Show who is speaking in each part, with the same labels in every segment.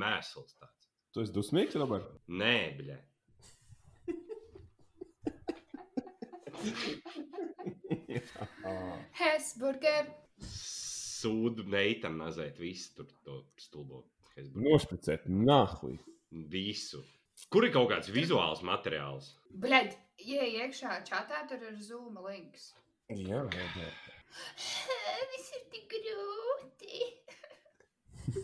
Speaker 1: Mēsls tāds.
Speaker 2: Tu esi dusmīgs, Robert?
Speaker 1: Nē, bļē.
Speaker 3: Hesburger.
Speaker 1: Sūdu neitam nazēt visu tur to stulbo. Hesburgeru.
Speaker 2: Nošpicēt, nāhui.
Speaker 1: Visu. Kur ir kaut kāds vizuāls materiāls?
Speaker 3: Bled, ieej iekšā čatā, tur ir zūma links.
Speaker 2: Jā, jā, jā.
Speaker 3: Viss ir tik grūti.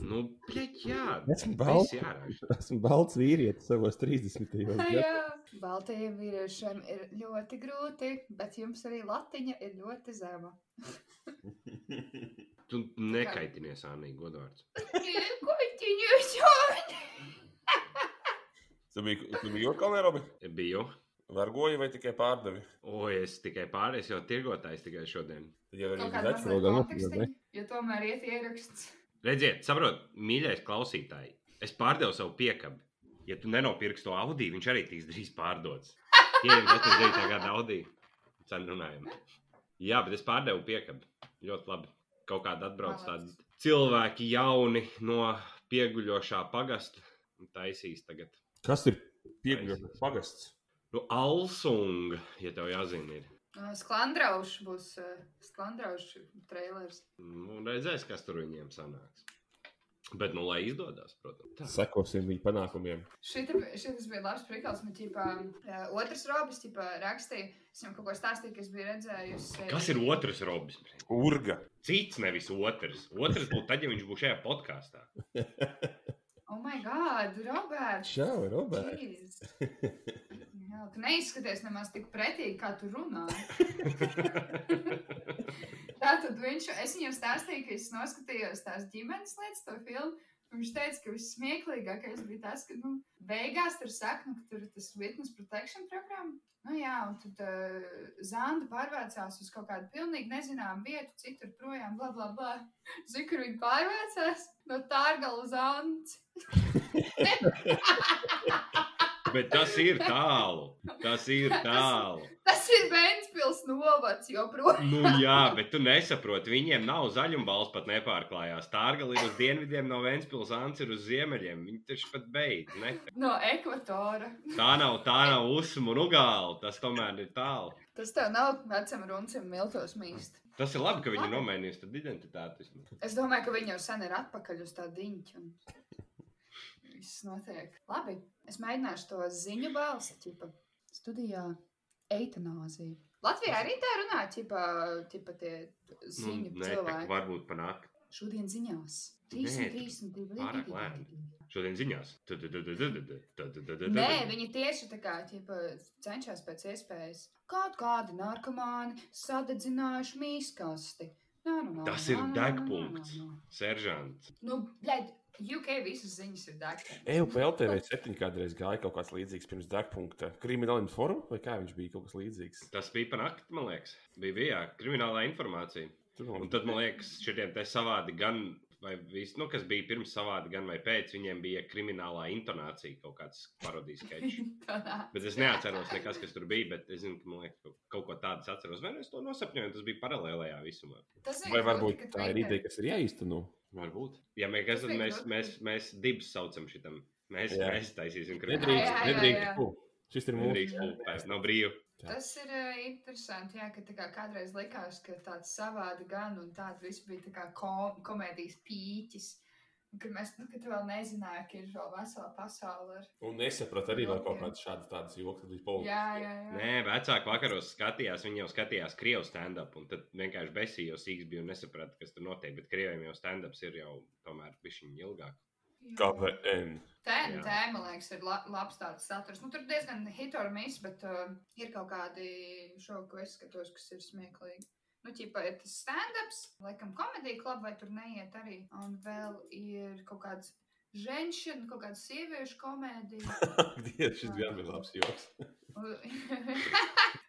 Speaker 1: Nu, bļaģ, jā.
Speaker 2: Esmu balts,
Speaker 1: Viss jāraž.
Speaker 2: esmu balts vīrietis savos 30. gados.
Speaker 3: Jā, baltajiem vīriešiem ir ļoti grūti, bet jums arī latiņa ir ļoti zema.
Speaker 1: Tu nekaitinies, Anī, godvārds.
Speaker 3: Ko jūs jūtat?
Speaker 4: Tu biji, tu biji jūrkalnē, Robi?
Speaker 1: Biju.
Speaker 4: Vargoji vai tikai pārdevi?
Speaker 1: O, es tikai pārējais jau tirgotājs tigai šodien.
Speaker 4: Tad jau arī
Speaker 3: Kaut
Speaker 4: bija
Speaker 3: kāda
Speaker 2: mazliet.
Speaker 4: zaķis.
Speaker 3: mazliet
Speaker 2: vēl gan
Speaker 3: kontekstiņa, jo tomēr iet ieraksts.
Speaker 1: Redziet, saprotiet, mīļais klausītāj, es pārdevu savu piekabu. Ja tu nenopirksi to Audi, viņš arī tiks drīz pārdots. Viņam ir 89. gada Audi. Cenu runājam. Jā, bet es pārdevu piekabu. Ļoti labi. Kaut kāda atbrauc tādi
Speaker 3: Malacis.
Speaker 1: cilvēki jauni no pieguļošā pagasta. un Taisīs tagad.
Speaker 2: Kas ir?
Speaker 4: Pieguļots pagasts.
Speaker 1: Nu, Alsunga, ja tev jāzina, ir.
Speaker 3: Ā, Sklandraušs būs ā, sklandraušs trailers.
Speaker 1: Nu, redzēs, kas tur viņiem sanāks. Bet, nu, lai izdodas, protams. Tā.
Speaker 2: Sekosim viņa panākumiem.
Speaker 3: Šita, šitas bija labs prikals, man ķipā ā, otrs robis ķipā rakstīja, es viņam kaut ko stāstīju, ka es biju redzējusi.
Speaker 1: Kas ir otrs robis?
Speaker 4: Urga.
Speaker 1: Cits nevis otrs. Otrs būtu tad, ja viņš būtu šajā podkāstā.
Speaker 3: Oh my god, Roberts!
Speaker 2: Čau, Robert!
Speaker 3: Jeez. Jā, tu neizskaties nemaz tik pretīgi, kā tu runā. Tā tad viņš, es viņam stāstīju, ka es noskatījos tās ģimenes lietas, to filmu. Viņš teica, ka vissmieklīgākais bija tas, ka nu, beigās tur saka, nu, ka tur ir tas witness protection programma. Nu, jā, un tad uh, Zanda pārvācās uz kaut kādu pilnīgi nezināmu vietu, citur projām, bla, bla, bla. Zinu, kur viņa pārvācās no Tārga uz Ants.
Speaker 1: Bet tas ir tālu. Tas ir tālu.
Speaker 3: Tas ir Vēncpils novads joprojām.
Speaker 1: Nu, jā, bet tu nesaproti. Viņiem nav zaļumbalsts pat nepārklājās. Tārga ir uz dienvidiem no Vēncpils, Ants ir uz ziemeļiem. Viņi taču pat beidz. Ne?
Speaker 3: No ekvatora.
Speaker 1: Tā nav, tā nav usmu un ugāla. Tas tomēr ir tālu.
Speaker 3: Tas tev nav vecam runcim miltos mīst.
Speaker 1: Tas ir labi, ka viņi nomainīs tad Nu, identitāti. vismaz.
Speaker 3: Es domāju, ka viņi jau sen ir atpakaļ uz tā diņķa. Un... Viss notiek. Labi, es mēģināšu to ziņu balsi, tipa studijā eitanāzija. Latvijā arī tā runā, tipa, tipa tie
Speaker 1: Nu,
Speaker 3: ziņu
Speaker 1: nē,
Speaker 3: nu,
Speaker 1: tā
Speaker 3: cilvēki.
Speaker 1: varbūt panākt.
Speaker 3: Šodien ziņās.
Speaker 1: Nē,
Speaker 3: 332.
Speaker 1: pārāk lēni. Šodien ziņās.
Speaker 3: Nē,
Speaker 1: Nē,
Speaker 3: viņi tieši tā kā ķipa, cenšas pēc iespējas. Kaut kādi narkomāni sadedzinājuši nu, mīksti.
Speaker 1: Tas ir degpunkts. Seržants.
Speaker 3: Nu, blēd, UK visas ziņas ir degpunkts.
Speaker 4: Eju PLTV 7 kādreiz gāja kaut kāds līdzīgs pirms degpunkta. Krimināla informa vai kā viņš bija kaut kas līdzīgs?
Speaker 1: Tas bija panākt, man liekas. Bija bijā kriminālā informācija.
Speaker 4: Tur
Speaker 1: Un
Speaker 4: man
Speaker 1: tad, man liekas, šiem te savādi gan, vai viss, nu, kas bija pirms savādi, gan vai pēc, viņiem bija kriminālā intonācija kaut kāds parodijas sketčs. Bet es neatceros, nekas, kas tur bija, bet es zinu, ka man liekas, ka kaut ko tādu es atceros. Vai nu es to nosapņoju, un tas bija paralēlajā visumā.
Speaker 3: Tas
Speaker 4: Vai varbūt
Speaker 3: grūti, ka
Speaker 4: tā ir
Speaker 3: Twitter-
Speaker 4: ideja, kas ir jāīsteno?
Speaker 1: Varbūt. Ja mēs, kas, tad mēs, mēs, mēs dibs saucam šitam. Mēs,
Speaker 4: Jā.
Speaker 1: mēs taisīsim
Speaker 3: Jā,
Speaker 4: Nedrīkst,
Speaker 3: jā, jā, jā.
Speaker 4: nedrīkst. pu. Šis ir mūsu.
Speaker 1: Nedrīkst būt pēc, nav brīvi.
Speaker 3: Tas ir eh, interesanti, jā, ka tā kā kādreiz likās, ka tāds savādi gan un tāds viss bija tā kā ko, komēdijas pīķis. Un Kad mēs nu, kad tu vēl nezinājām, ka ir vēl vesela pasaule. ar-
Speaker 4: Un nesapratu arī vēl kaut kādas šādas tādas joks, kad bija policija.
Speaker 3: Nu, Jā, jā, jā.
Speaker 1: Nē, vecāki vakaros skatījās, viņi jau skatījās krievu stand-up, un tad vienkārši besījos īks bija un nesaprata, kas tur notiek. Bet krieviem jau stand-ups ir jau tomēr pišķiņi ilgāk.
Speaker 4: KVN.
Speaker 3: Tēma,
Speaker 1: Jā.
Speaker 3: tēma, liekas, ir la, labs tāds saturs. Nu, tur diezgan hit or miss, bet uh, ir kaut kādi šovi, ko es skatos, kas ir smieklīgi. Nu, ķipa, ir tas stand-ups, laikam, komēdija kluba, vai tur neiet arī. Un vēl ir kaut kāds ženšana, kaut kāda sieviešu komēdija.
Speaker 4: Dievs, šis gan bija labs joks.
Speaker 3: Un-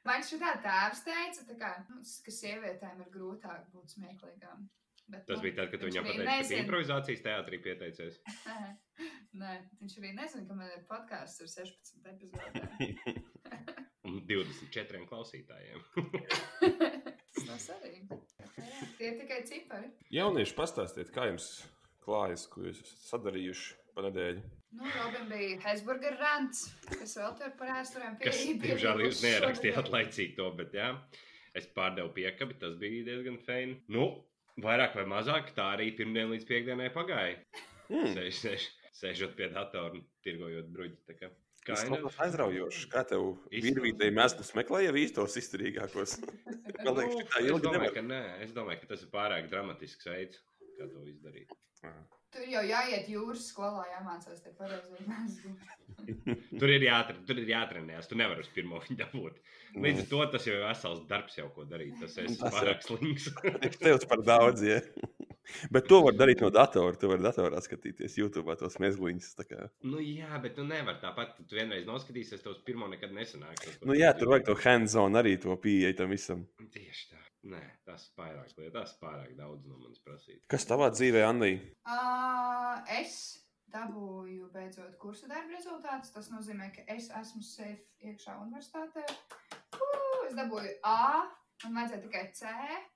Speaker 3: Man šitā tēvs teica, tā kā, nu, s- ka sievietēm ir grūtāk būt smieklīgām. Bet,
Speaker 1: Tas
Speaker 3: nu,
Speaker 1: bija tad, kad
Speaker 3: viņš
Speaker 1: viņi
Speaker 3: arī
Speaker 1: pateica, ka
Speaker 3: nezina.
Speaker 1: improvizācijas teātrī pieteicies.
Speaker 3: Nē, Nē, viņš arī nezina, ka man ir podkāsts ar 16 epizodēm.
Speaker 1: Un 24 klausītājiem.
Speaker 3: Tas arī. Tie ir tikai cipari.
Speaker 4: Jaunieši, pastāstiet, kā jums klājas, ko jūs esat sadarījuši pa nedēļu.
Speaker 3: Nu, Robin bija Hesburger rants, kas vēl tur par ēsturēm
Speaker 1: Kas,
Speaker 3: pie-
Speaker 1: diemžēl, jūs
Speaker 3: piebilst
Speaker 1: neierakstījāt
Speaker 3: šodien.
Speaker 1: laicīgi to, bet jā, es pārdevu piekabi, tas bija diezgan feini. Nu, vairāk vai mazāk tā arī pirmdien līdz piekdienai pagāja.
Speaker 4: Mm.
Speaker 1: Sēž, sēž, sēžot pie datora un tirgojot bruģi. tā Kā,
Speaker 4: Tas
Speaker 1: Kind
Speaker 4: kaut
Speaker 1: of.
Speaker 4: kas aizraujošs. Kā tev
Speaker 1: Izsmaukts.
Speaker 4: virvīdēji mēslu meklēja īstos izturīgākos? Man liekas,
Speaker 1: Nu,
Speaker 4: šitā
Speaker 1: es
Speaker 4: ilgi
Speaker 1: domāju,
Speaker 4: nevar.
Speaker 1: ka nē, es domāju, ka tas ir pārāk dramatisks veids, kā to izdarīt.
Speaker 3: Tur jau jāiet jūras skolā, jāmācās te pareizi. mēsli.
Speaker 1: Tur ir, jātre, tur ir jātrenējas, tu nevari uz pirmo viņu dabūt. Līdz ar to tas jau ir vesels darbs, jau ko darīt. Tas es esmu
Speaker 4: Tas jau.
Speaker 1: pārāk slings.
Speaker 4: Es tev par daudz, ja. Bet to var darīt no datora. Tu vari datorā skatīties YouTube tos mezgliņus. tā kā.
Speaker 1: nu, jā, bet tu nevari tāpat. Tu vienreiz noskatīsies, tev uz pirmo nekad nesanāks. tas, ko
Speaker 4: Nu
Speaker 1: tu
Speaker 4: jā,
Speaker 1: gribi.
Speaker 4: tur vajag to hands-on arī to pieeja tam visam.
Speaker 1: Tieši tā. Nē, tas pārāk, liet- tas pārāk daudz no manis prasīt.
Speaker 4: Kas tavā dzīvē, Anī?
Speaker 3: Ā, Es dabūju beidzot kursu darba rezultātus. Tas nozīmē, ka es esmu safe iekšā universitātē. Ū, Es dabūju A, man vajadzēja tikai C.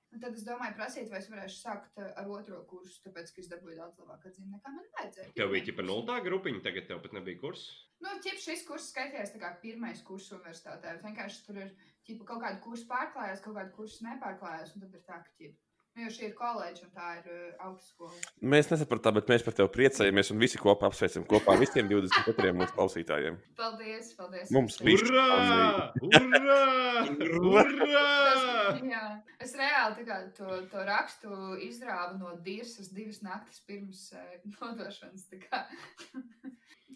Speaker 3: Un tad es domāju, prasīt, vai es varēšu sākt ar otro kursu, tāpēc, ka es dabūju daudz labāku atzīmi, nekā man vajadzēja.
Speaker 1: Tev bija tikai nultā grupiņa, tagad tev pat nebija kurs.
Speaker 3: Nu, ķip, šis kurs skaitījās tā kā pirmais kurs universitātē. bet Vienkārši tur ir ķip, kaut kāda kursa pārklājās, kaut kāda kursa nepārklājās, un tad ir tā, ka ķip. Nu, jo šī ir koledža un tā ir uh, augstskola.
Speaker 4: Mēs nesapratām, bet mēs par tevi priecājamies un visi kopā apsveicam kopā visiem 24 mūsu klausītājiem.
Speaker 3: Paldies, paldies.
Speaker 4: Mums
Speaker 3: jums.
Speaker 4: Viņš
Speaker 1: Urā! Urā! Urā!
Speaker 3: Tas- Jā, es reāli tā kā to, to rakstu izrāvu no dirzas divas naktis pirms eh, nodošanas. tā kā.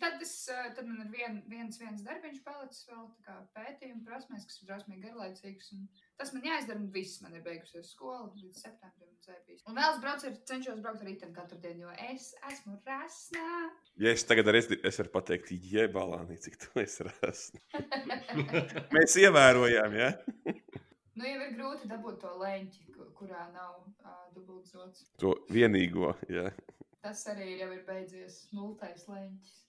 Speaker 3: tad, es, eh, tad man ir vien, viens, viens darbiņš palicis vēl tā kā pētījuma prasmēs, kas ir drusmīgi garlaicīgs. Un tas man jāizdara, un viss man ir beigusies skola līdz septembrim. un zēbīs. Un vēl es braucu, ar- cenšos braukt ar rītdienu katru dienu, jo es esmu rasnā.
Speaker 4: Ja es tagad arī es, es varu pateikt, jebalāni, cik tu esi rāsni. Mēs ievērojām, ja?
Speaker 3: Nu, jau ir grūti dabūt to leņķi, ku- kurā nav uh, dubultzots.
Speaker 4: To vienīgo, ja.
Speaker 3: Tas arī ir jau ir beidzies nultais leņķis.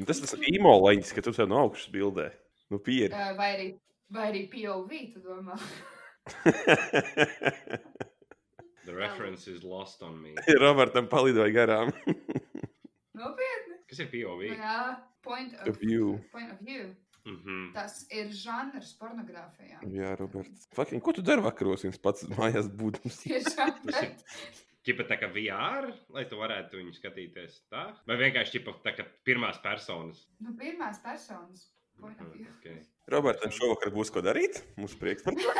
Speaker 4: Nu, Tas tas īmo leņķis, ka tu sev no augšas bildē. Nu,
Speaker 3: Ā,
Speaker 4: pieri.
Speaker 3: Eh, Vai arī, vai arī POV, tu domā?
Speaker 1: The reference is lost on me.
Speaker 4: Robertam palidoja garām.
Speaker 3: Nopietni.
Speaker 1: Kas ir POV?
Speaker 3: Jā, point
Speaker 4: The
Speaker 3: of,
Speaker 4: view.
Speaker 3: point of view.
Speaker 1: Mhm.
Speaker 3: Tas ir žanrs pornogrāfijā.
Speaker 1: Mm.
Speaker 4: Jā, Roberts. Fucking, ko tu dari vakaros viens pats mājās būdams?
Speaker 3: Tiešām.
Speaker 1: Tas ir Čipa tā kā VR, lai tu varētu viņu skatīties tā? Vai vienkārši čipa tā kā pirmās personas?
Speaker 3: Nu, pirmās personas. Point of
Speaker 1: Mhm,
Speaker 3: view.
Speaker 1: okay.
Speaker 4: Robertam šovakar būs ko darīt. Mums prieks par to.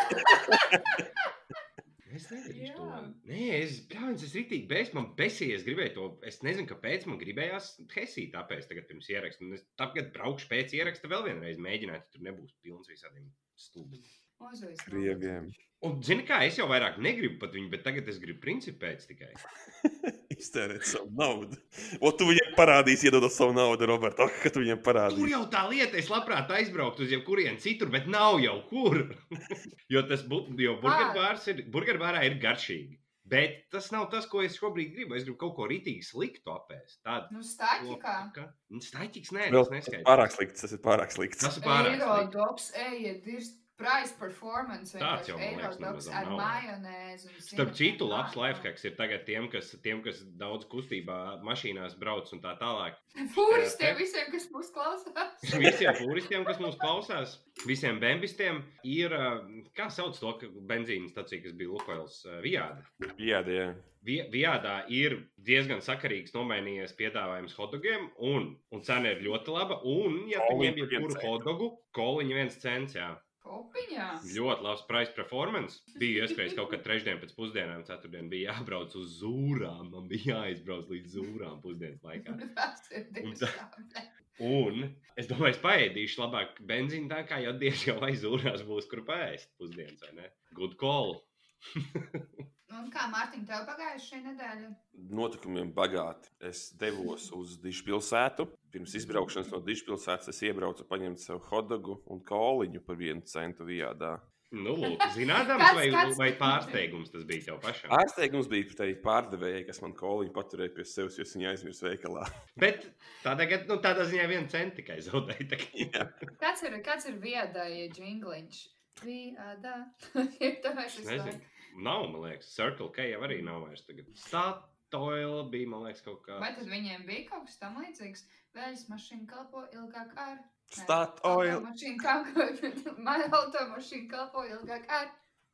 Speaker 1: Es nezinu,
Speaker 3: Jā.
Speaker 1: to. Nē, es domāju, es rītīgi bez, man besīju, es gribēju to. Es nezinu, kāpēc man gribējās hesīt, tāpēc tagad pirms ieraksta. Un es tagad braukšu pēc ieraksta vēl vienreiz mēģināt, ja tur nebūs pilns visādiem stūmiem.
Speaker 3: Uzvis.
Speaker 4: Krieviem.
Speaker 1: Un, zini, kā es jau vairāk negribu pat viņu, bet tagad es gribu principu pēc tikai.
Speaker 4: Iztērēt savu naudu. O, tu viņam parādīsi, iedodot savu naudu, Robert. O, ka tu viņam
Speaker 1: Tur
Speaker 4: parādīsi.
Speaker 1: jau tā lieta, es labprāt aizbrauktu uz jebkurienu citur, bet nav jau kur. jo tas bu- jo burgerbārs ir, burgerbārā ir garšīgi. Bet tas nav tas, ko es šobrīd gribu. Es gribu kaut ko rītīgi sliktu apēst. Tāda
Speaker 3: Nu, stāķi kā.
Speaker 1: Staķis Nu, nē,
Speaker 4: Vēl
Speaker 1: tas
Speaker 4: tas ir
Speaker 1: neskaidrs.
Speaker 4: pārāk slikts. Tas ir pārāk slikts.
Speaker 1: Tas ir pārāk. slikti.
Speaker 3: Eirodoks, ejiet, dirst. Price performance.
Speaker 1: Tāds
Speaker 3: vienkārši
Speaker 1: jau, man liekas,
Speaker 3: Eirodogs
Speaker 1: nemaz
Speaker 3: ar
Speaker 1: nav.
Speaker 3: majonēzi. un
Speaker 1: Starp
Speaker 3: sirdi.
Speaker 1: citu,
Speaker 3: Nā,
Speaker 1: labs
Speaker 3: nā.
Speaker 1: lifehacks ir tagad tiem, kas, tiem, kas daudz kustībā mašīnās brauc un tā tālāk.
Speaker 3: Fūris tie visiem, kas mūs klausās.
Speaker 1: Visiem turistiem, kas mūsu klausās, visiem bambistiem, ir, ā, kā sauc to ka- benzīna stāciju, kas bija Lukoils Vijāda.
Speaker 4: Jā, jā.
Speaker 1: Vi- Vijādā ir diezgan sakarīgs nomainījies piedāvājums hotdogiem, un, un cena ir ļoti laba. Un, ja tu
Speaker 4: Koliņu
Speaker 1: ņem
Speaker 4: par
Speaker 1: jebkuru
Speaker 4: vienu
Speaker 1: hotdogu, koliņa viens cents, jā,
Speaker 3: Kopiņā.
Speaker 1: ļoti labs price performance. Bija iespējams kaut kad trešdien pēc pusdienām, ceturtdien bija jābrauc uz zūrām, man bija jāizbrauc līdz zūrām pusdienas laikā.
Speaker 3: Tas ir
Speaker 1: Un
Speaker 3: divas
Speaker 1: tā-
Speaker 3: stāvas.
Speaker 1: Un es domāju, es paēdīšu labāk benzīna tā kā jau diez jau aizūrās būs, kur pēst pusdienas, vai ne? Good call.
Speaker 3: Nu, Un kā Mārtiņ, tev pagājušā šī nedēļa?
Speaker 4: notikumiem bagāti. Es devos uz Dižpilsētu. Pirms izbraukšanas no Dižpilsētas es iebraucu, paņēmu sev hotdogu un koliņu par vienu centu vijādā.
Speaker 1: Nu, lūk, zinādams,
Speaker 3: Kāds-
Speaker 1: vai,
Speaker 3: kāds-
Speaker 1: vai pārsteigums tas bija tev pašam?
Speaker 4: Ārsteigums bija tai pārdevējai, kas man koliņu paturēja pie sevis, jo viņa aizmirsa veikalā.
Speaker 1: Bet tādā, gad- nu, tādā ziņā viena centa tikai zaudēja. tā kā-
Speaker 3: Kāds ir, kāds ir viedāja džingliņš? Viedā.
Speaker 1: Nezinu. Nav, man liekas, Circle K jau arī nav vairs tagad. Stāt Toila bija, man liekas, kaut kā.
Speaker 3: Vai tad viņiem bija kaut kas tam līdzīgs? Vēļas mašīna kalpo ilgāk ar.
Speaker 4: Stāt oil!
Speaker 3: Automašīna kalpo, man automašīna kalpo ilgāk ar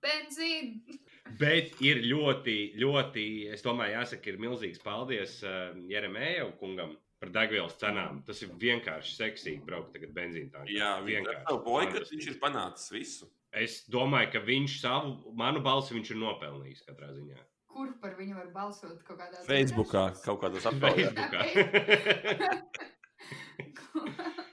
Speaker 3: benzīnu.
Speaker 1: Bet ir ļoti, ļoti, es domāju, jāsaka, ir milzīgs paldies uh, Jeremēju kungam par degvielas cenām. Tas ir vienkārši seksīgi braukt tagad benzīna tankā.
Speaker 4: Jā, vienkārši. Tā boika, viņš ir panācis visu.
Speaker 1: Es domāju, ka viņš savu, manu balsi viņš ir nopelnījis katrā ziņā.
Speaker 3: Kur par viņu var balsot kaut kādā
Speaker 4: Facebookā kaut kādas apgādes.
Speaker 1: Facebookā.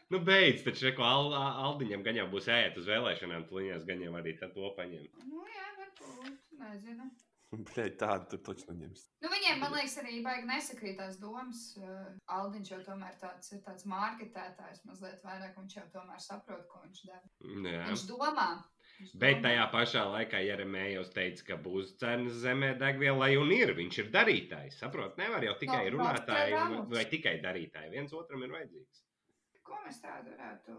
Speaker 1: nu, beidz, taču reko Al, Aldiņam gan jau būs ēst uz vēlēšanām, tad viņās gan jau arī tad to paņem.
Speaker 3: Nu, jā, varbūt. Nezinu.
Speaker 4: Tāda tur taču neņems.
Speaker 3: Nu, viņiem, man liekas, arī baigi nesakrītās domas. Uh, Aldiņš jau tomēr tāds ir tāds mārketētājs mazliet vairāk. Viņš jau tomēr saprot, ko viņš dara.
Speaker 1: Jā.
Speaker 3: Viņš domā. Viņš
Speaker 1: Bet
Speaker 3: domā.
Speaker 1: tajā pašā laikā Jeremējos teica, ka būs cenas zemē degvielai, un ir. Viņš ir darītājs. Saprot, nevar jau tikai
Speaker 3: Nav- nav
Speaker 1: runātāji un-
Speaker 3: tikai rāmots.
Speaker 1: vai tikai darītāji. Viens otram ir vajadzīgs.
Speaker 3: Ko mēs tādu varētu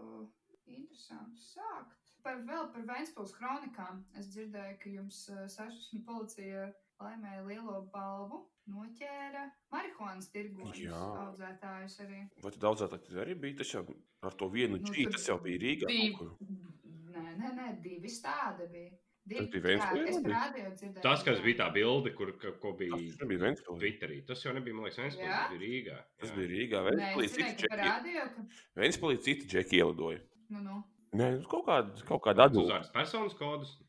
Speaker 3: interesantu sākt? Par vēl par Vēnspils kronikām. Es dzirdēju, ka jums eh, sašķiņa policija laimēja lielo balvu, noķēra marihuānas tirgoņus
Speaker 4: Jā.
Speaker 3: audzētājus arī.
Speaker 4: Vai tu daudzā tādā arī bija? Tas jau ar to vienu
Speaker 3: Nu,
Speaker 4: čīnu,
Speaker 3: tur
Speaker 4: tas jau bija Rīgā. kaut
Speaker 3: Divi,
Speaker 4: kur.
Speaker 3: nē, nē, nē, divi stādi bija. Divi,
Speaker 4: bija Ventspilī
Speaker 3: jā, es
Speaker 4: vai
Speaker 3: par
Speaker 4: bija?
Speaker 3: radio dzirdēju.
Speaker 1: Tas, kas
Speaker 3: jā.
Speaker 1: bija tā bilde, kur ka- ko bija
Speaker 4: Tas taču nebija Vēnspilī.
Speaker 1: Twitterī, tas jau nebija, man liekas, viens
Speaker 3: Jā?
Speaker 1: no Rīgā.
Speaker 4: Tas
Speaker 1: Jā.
Speaker 4: bija Rīgā.
Speaker 3: Nē, es
Speaker 4: Vēnspilī
Speaker 3: zinu, ka
Speaker 4: citi
Speaker 3: par radio, ka,
Speaker 4: citi džeki ielidoja.
Speaker 3: nu, nu,
Speaker 4: Nē, nu, kaut kāda, kaut kāda atbildība.
Speaker 1: uzvārds personas kodus.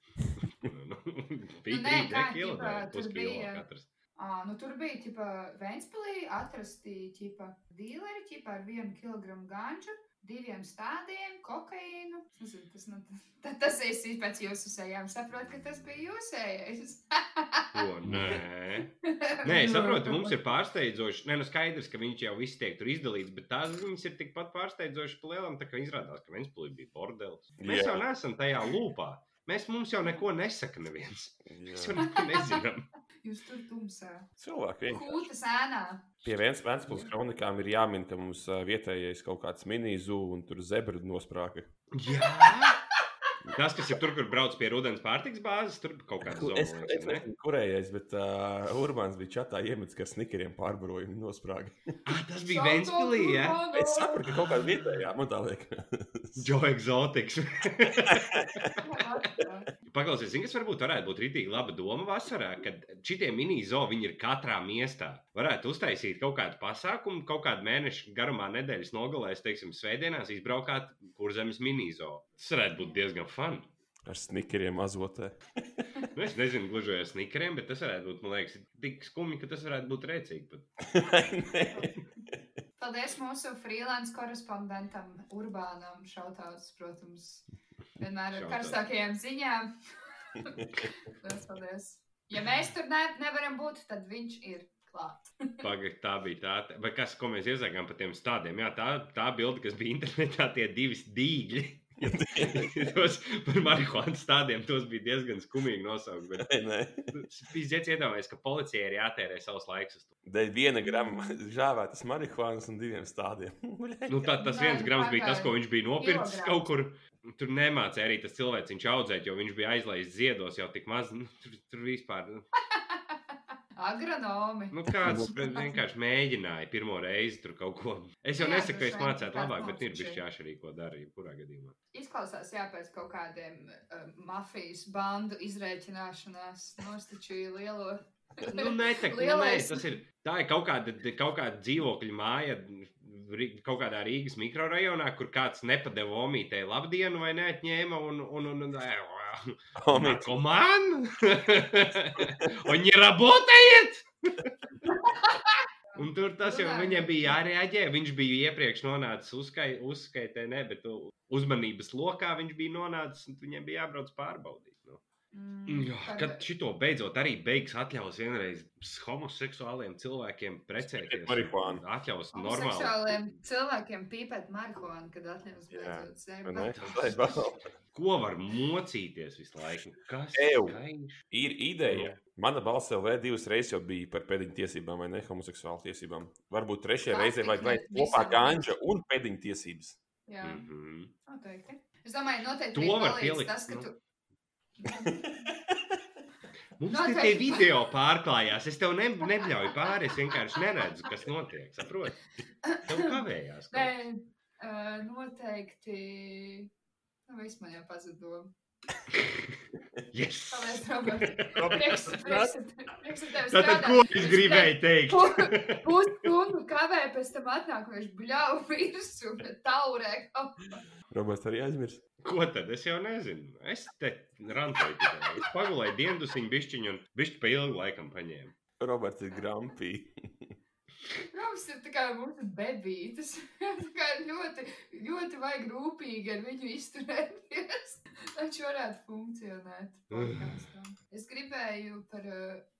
Speaker 1: Nu, Bija
Speaker 3: Nu, nē,
Speaker 1: trīs
Speaker 3: kā,
Speaker 1: deki
Speaker 3: ķipā,
Speaker 1: ielidēji,
Speaker 3: tur
Speaker 1: puskilo
Speaker 3: bija-
Speaker 1: katrs.
Speaker 3: Ā, nu, tur bija ģipa, Ventspēlī atrasti ģipa, dīleri ģipa, ar vienu kilogramu ganžu, diviem stādiem, kokaīnu. Es nezinu, Tas, nu, tas, tas es pēc jūsu sejām saprotu, ka tas bija jūsējais.
Speaker 1: Ko? Nē. Nē, es saprotu, mums ir pārsteidzoši. Nē, nu skaidrs, ka viņš jau viss tiek tur izdalīts, bet tās ziņas ir tikpat pārsteidzošas pa lielam, tā kā izrādās, ka Ventspilī bija bordelis. Mēs
Speaker 4: Jā.
Speaker 1: jau neesam tajā lūpā. Mēs mums jau neko nesaka neviens. Mēs jau
Speaker 4: Jā.
Speaker 1: neko nezinām.
Speaker 3: Jūs tur tumsā.
Speaker 4: Cilvēki vienkārši.
Speaker 3: Kūta sēnā.
Speaker 4: Pie vienas Vēncpilsnes kronikām ir jāmin, ka mums ā, vietējais kaut kāds mini-zū un tur zebra nosprāga.
Speaker 1: Jā. Tas, kas ir tur, kur brauc pie rudens pārtiks bāzes, tur kaut kāda zona.
Speaker 4: Es, es
Speaker 1: liekas, vai ne?
Speaker 4: nezinu, kurējais, bet uh, Urbāns bija čatā iemetis, ka snikeriem pārbaroja un nosprāga.
Speaker 1: Ah, Tas bija Ventspilī, jā.
Speaker 4: Es saprotu, ka kaut kādā vietējā man tā liekas.
Speaker 1: Džo Exotics.
Speaker 3: saprotu.
Speaker 1: Paklausies, zini, kas varbūt varētu būt rītīgi laba doma vasarā, kad šitie mini-zoo viņi ir katrā miestā. Varētu uztaisīt kaut kādu pasākumu, kaut kādu mēnešu garumā, nedēļas nogalēs, teiksim, svētdienās izbraukāt kurzemes mini-zoo. Tas varētu būt diezgan fun.
Speaker 4: Ar snikeriem azotē.
Speaker 1: Nu, es nezinu, gluži vai ar snikeriem, bet tas varētu būt, man liekas, tik skumji, ka tas varētu būt rēcīgi. pat.
Speaker 4: Nē.
Speaker 3: Paldies mūsu freelance korespondentam Urbānam Šautauts, protams, vienmēr ar
Speaker 1: Shoutouts.
Speaker 3: karstākajām ziņām. Liels paldies. Ja mēs tur ne, nevaram būt, tad viņš ir klāt.
Speaker 1: Pagaid, tā bija tā, te- vai kas, ko mēs iezagām par tiem stādiem. Jā, tā, tā bilde, kas bija internetā, tie divi dīļi. tos par marihuānu stādiem tos bija diezgan skumīgi nosaukt. Bet
Speaker 4: Nē.
Speaker 1: Pīzdēļ iedomājies, ka policijai ir jātērē savs laiks uz to.
Speaker 4: Dēļ viena grama žāvētas marihuānas un diviem stādiem.
Speaker 1: Nu, tā, tas
Speaker 3: Nē,
Speaker 1: viens
Speaker 3: nu,
Speaker 1: grams
Speaker 3: tā
Speaker 1: bija
Speaker 3: kā
Speaker 1: tas, ko viņš bija nopircis
Speaker 3: kilograms.
Speaker 1: kaut kur. Tur nemācīja arī tas cilvēciņš audzēt, jo viņš bija aizlaists ziedos jau tik maz. Nu, tur, tur vispār. nu,
Speaker 3: Agronomi.
Speaker 1: Nu, kāds vienkārši mēģināja pirmo reizi tur kaut ko. Es jau
Speaker 3: Jā,
Speaker 1: nesaku, ka
Speaker 3: droši
Speaker 1: es
Speaker 3: vien
Speaker 1: mācētu
Speaker 3: kāds
Speaker 1: labāk, bet ir
Speaker 3: mācīšana.
Speaker 1: bijis jāšķirī, ko darīja. Kurā gadījumā?
Speaker 3: Izklausās, jā, pēc kaut kādiem uh, mafijas bandu izrēķināšanās. Nostačīja lielo.
Speaker 1: Nu, nē, tā, nu, nē,
Speaker 3: Lielais.
Speaker 1: tas ir. Tā ir kaut kāda, kaut kāda dzīvokļa māja, Rī- kaut kādā Rīgas mikrorajonā, kur kāds nepadeva omītei labdienu vai neatņēma. Un, un, un, un, un,
Speaker 4: Omīt,
Speaker 1: Narkoman? Viņi работает! Un tur tas jau viņam bija jārēģē. Viņš bija iepriekš nonācis uzskai, uzskaitē, ne, bet u- uzmanības lokā viņš bija nonācis un viņam bija jābrauc pārbaudīt. Nu.
Speaker 3: Mm,
Speaker 1: Jā,
Speaker 3: par-
Speaker 1: kad šito beidzot arī beigs atļaus vienreiz homoseksuāliem cilvēkiem precēties.
Speaker 4: marihuānu.
Speaker 1: Atļaus normāli.
Speaker 3: Seksuāliem cilvēkiem pīpēt marihuānu, kad atņems
Speaker 4: Jā,
Speaker 3: beidzot sevi.
Speaker 4: vai ne?
Speaker 1: Tas-
Speaker 4: Tas-
Speaker 1: Ko var mocīties visu laiku? Kas?
Speaker 4: Ew.
Speaker 1: skaņš?
Speaker 4: Ir ideja. Mana balss LV divas reizes jau bija par pēdiņu tiesībām, vai ne homoseksuālu tiesībām. Varbūt trešajā
Speaker 3: Tā,
Speaker 4: reizē
Speaker 3: tik
Speaker 4: vajag
Speaker 3: ne
Speaker 4: veikt kopā
Speaker 3: visam.
Speaker 4: gāņa un pēdiņu tiesības.
Speaker 3: Jā,
Speaker 1: Mhm.
Speaker 3: noteikti. Es domāju, noteikti
Speaker 1: To nu.
Speaker 3: bija
Speaker 1: var
Speaker 3: palīdz
Speaker 1: pielikt,
Speaker 3: Tas, ka
Speaker 1: nu.
Speaker 3: tu...
Speaker 1: Mums te,
Speaker 3: Noteikti.
Speaker 1: te video pārklājās. Es tev ne, nebļauju pāri. Es vienkārši neredzu, kas notiek. Saproti? Tev kavējās.
Speaker 3: Nē,
Speaker 1: kaut kas.
Speaker 3: uh, noteikti. Nu, viss man jau pazuda.
Speaker 1: Yes!
Speaker 3: Paldies, Roberts. Prieks, prieks,
Speaker 1: Tātad,
Speaker 3: prieks ar tevi
Speaker 1: ko
Speaker 3: strādāt.
Speaker 1: es gribēju teikt?
Speaker 3: Pu- Pusstundu kavē, pēc tam atnāk, viņš bļauj virsū, Oh. taurē.
Speaker 4: Roberts arī aizmirst.
Speaker 1: Ko tad? Es jau nezinu. Es te rantoju tikai. Es pagulēju diendusiņu bišķiņu un bišķi pa ilgu laikam paņēmu.
Speaker 4: Roberts ir grampī.
Speaker 3: Roms ir tā kā mūsu bebītis. Tā kā ļoti, ļoti vajag rūpīgi ar viņu izturēties, lai viņš varētu funkcionēt. podcastā. Es gribēju par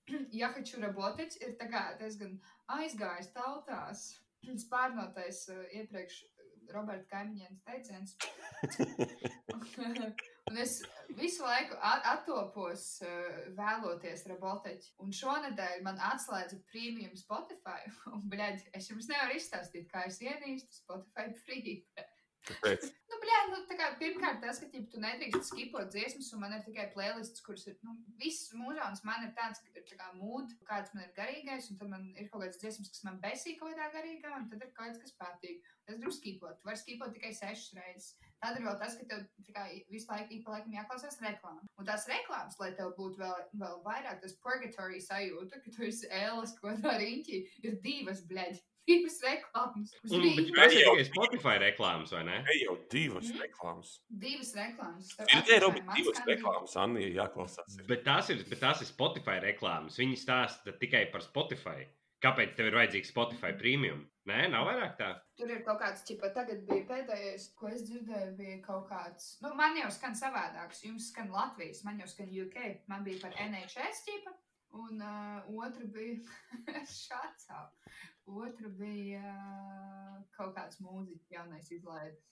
Speaker 3: Jahaču Rabotiču, ir tā kā diezgan aizgājis tautās, spārnotais eh, iepriekš Roberta Kaimiņienas teiciens. Un es visu laiku a- attopos eh, vēloties robotiķi. Un šonadēļ man atslēdza premium Spotify. Un, bļaļ, es jums nevaru izstāstīt, kā es ienīstu Spotify free.
Speaker 4: Kāpēc?
Speaker 3: Nu, blē, nu, tā kā pirmkārt, tas, ka tīp, tu nedrīkst skipot dziesmas, un man ir tikai playlists, kuras ir. Nu, viss mūžāns man ir tāds, ka ir tā kā mūds, kāds man ir garīgais, un tad man ir kaut kāds dziesmas, kas man besīk kaut kādā garīgā, un tad ir kaut kāds, kas patīk. Es gribu skipot, tu vari skipot tikai sešas reizes. Tad ir vēl tas, ka tev tā kā visu laiku ik pa laikam jāklausās reklāmas. Un tās reklāmas, lai tev būtu vēl, vēl vairāk tas purgatory sajūta, ka tu esi ēlas kaut kādā riņķī, ir divas, blēģi, divas reklāmas. Uz
Speaker 1: Un, Mm, bet
Speaker 3: rīta.
Speaker 1: tas ir tikai Spotify reklāmas, vai ne?
Speaker 4: Te jau divas
Speaker 3: Mm.
Speaker 4: reklāmas.
Speaker 3: Divas reklāmas. Tev
Speaker 4: Ir tikai
Speaker 3: atnesa
Speaker 4: Roberts
Speaker 3: mans
Speaker 4: divas
Speaker 3: kaimiņš.
Speaker 4: reklāmas, Anija, jāklausās. ir.
Speaker 1: Bet tās ir, bet tās ir Spotify reklāmas. Viņi stāsta tikai par Spotify. Kāpēc tev ir vajadzīgs Spotify premium? Nē, nav vairāk tā.
Speaker 3: Tur ir kaut kāds, čipa, tagad bija pēdējais, ko es dzirdēju, bija kaut kāds, nu, man jau skan savādāks, jums skan Latvijas, man jau skan UK, man bija par NHS čipa, un uh, otra bija šāds jau, otra bija uh, kaut kāds mūziķis jaunais izlaidis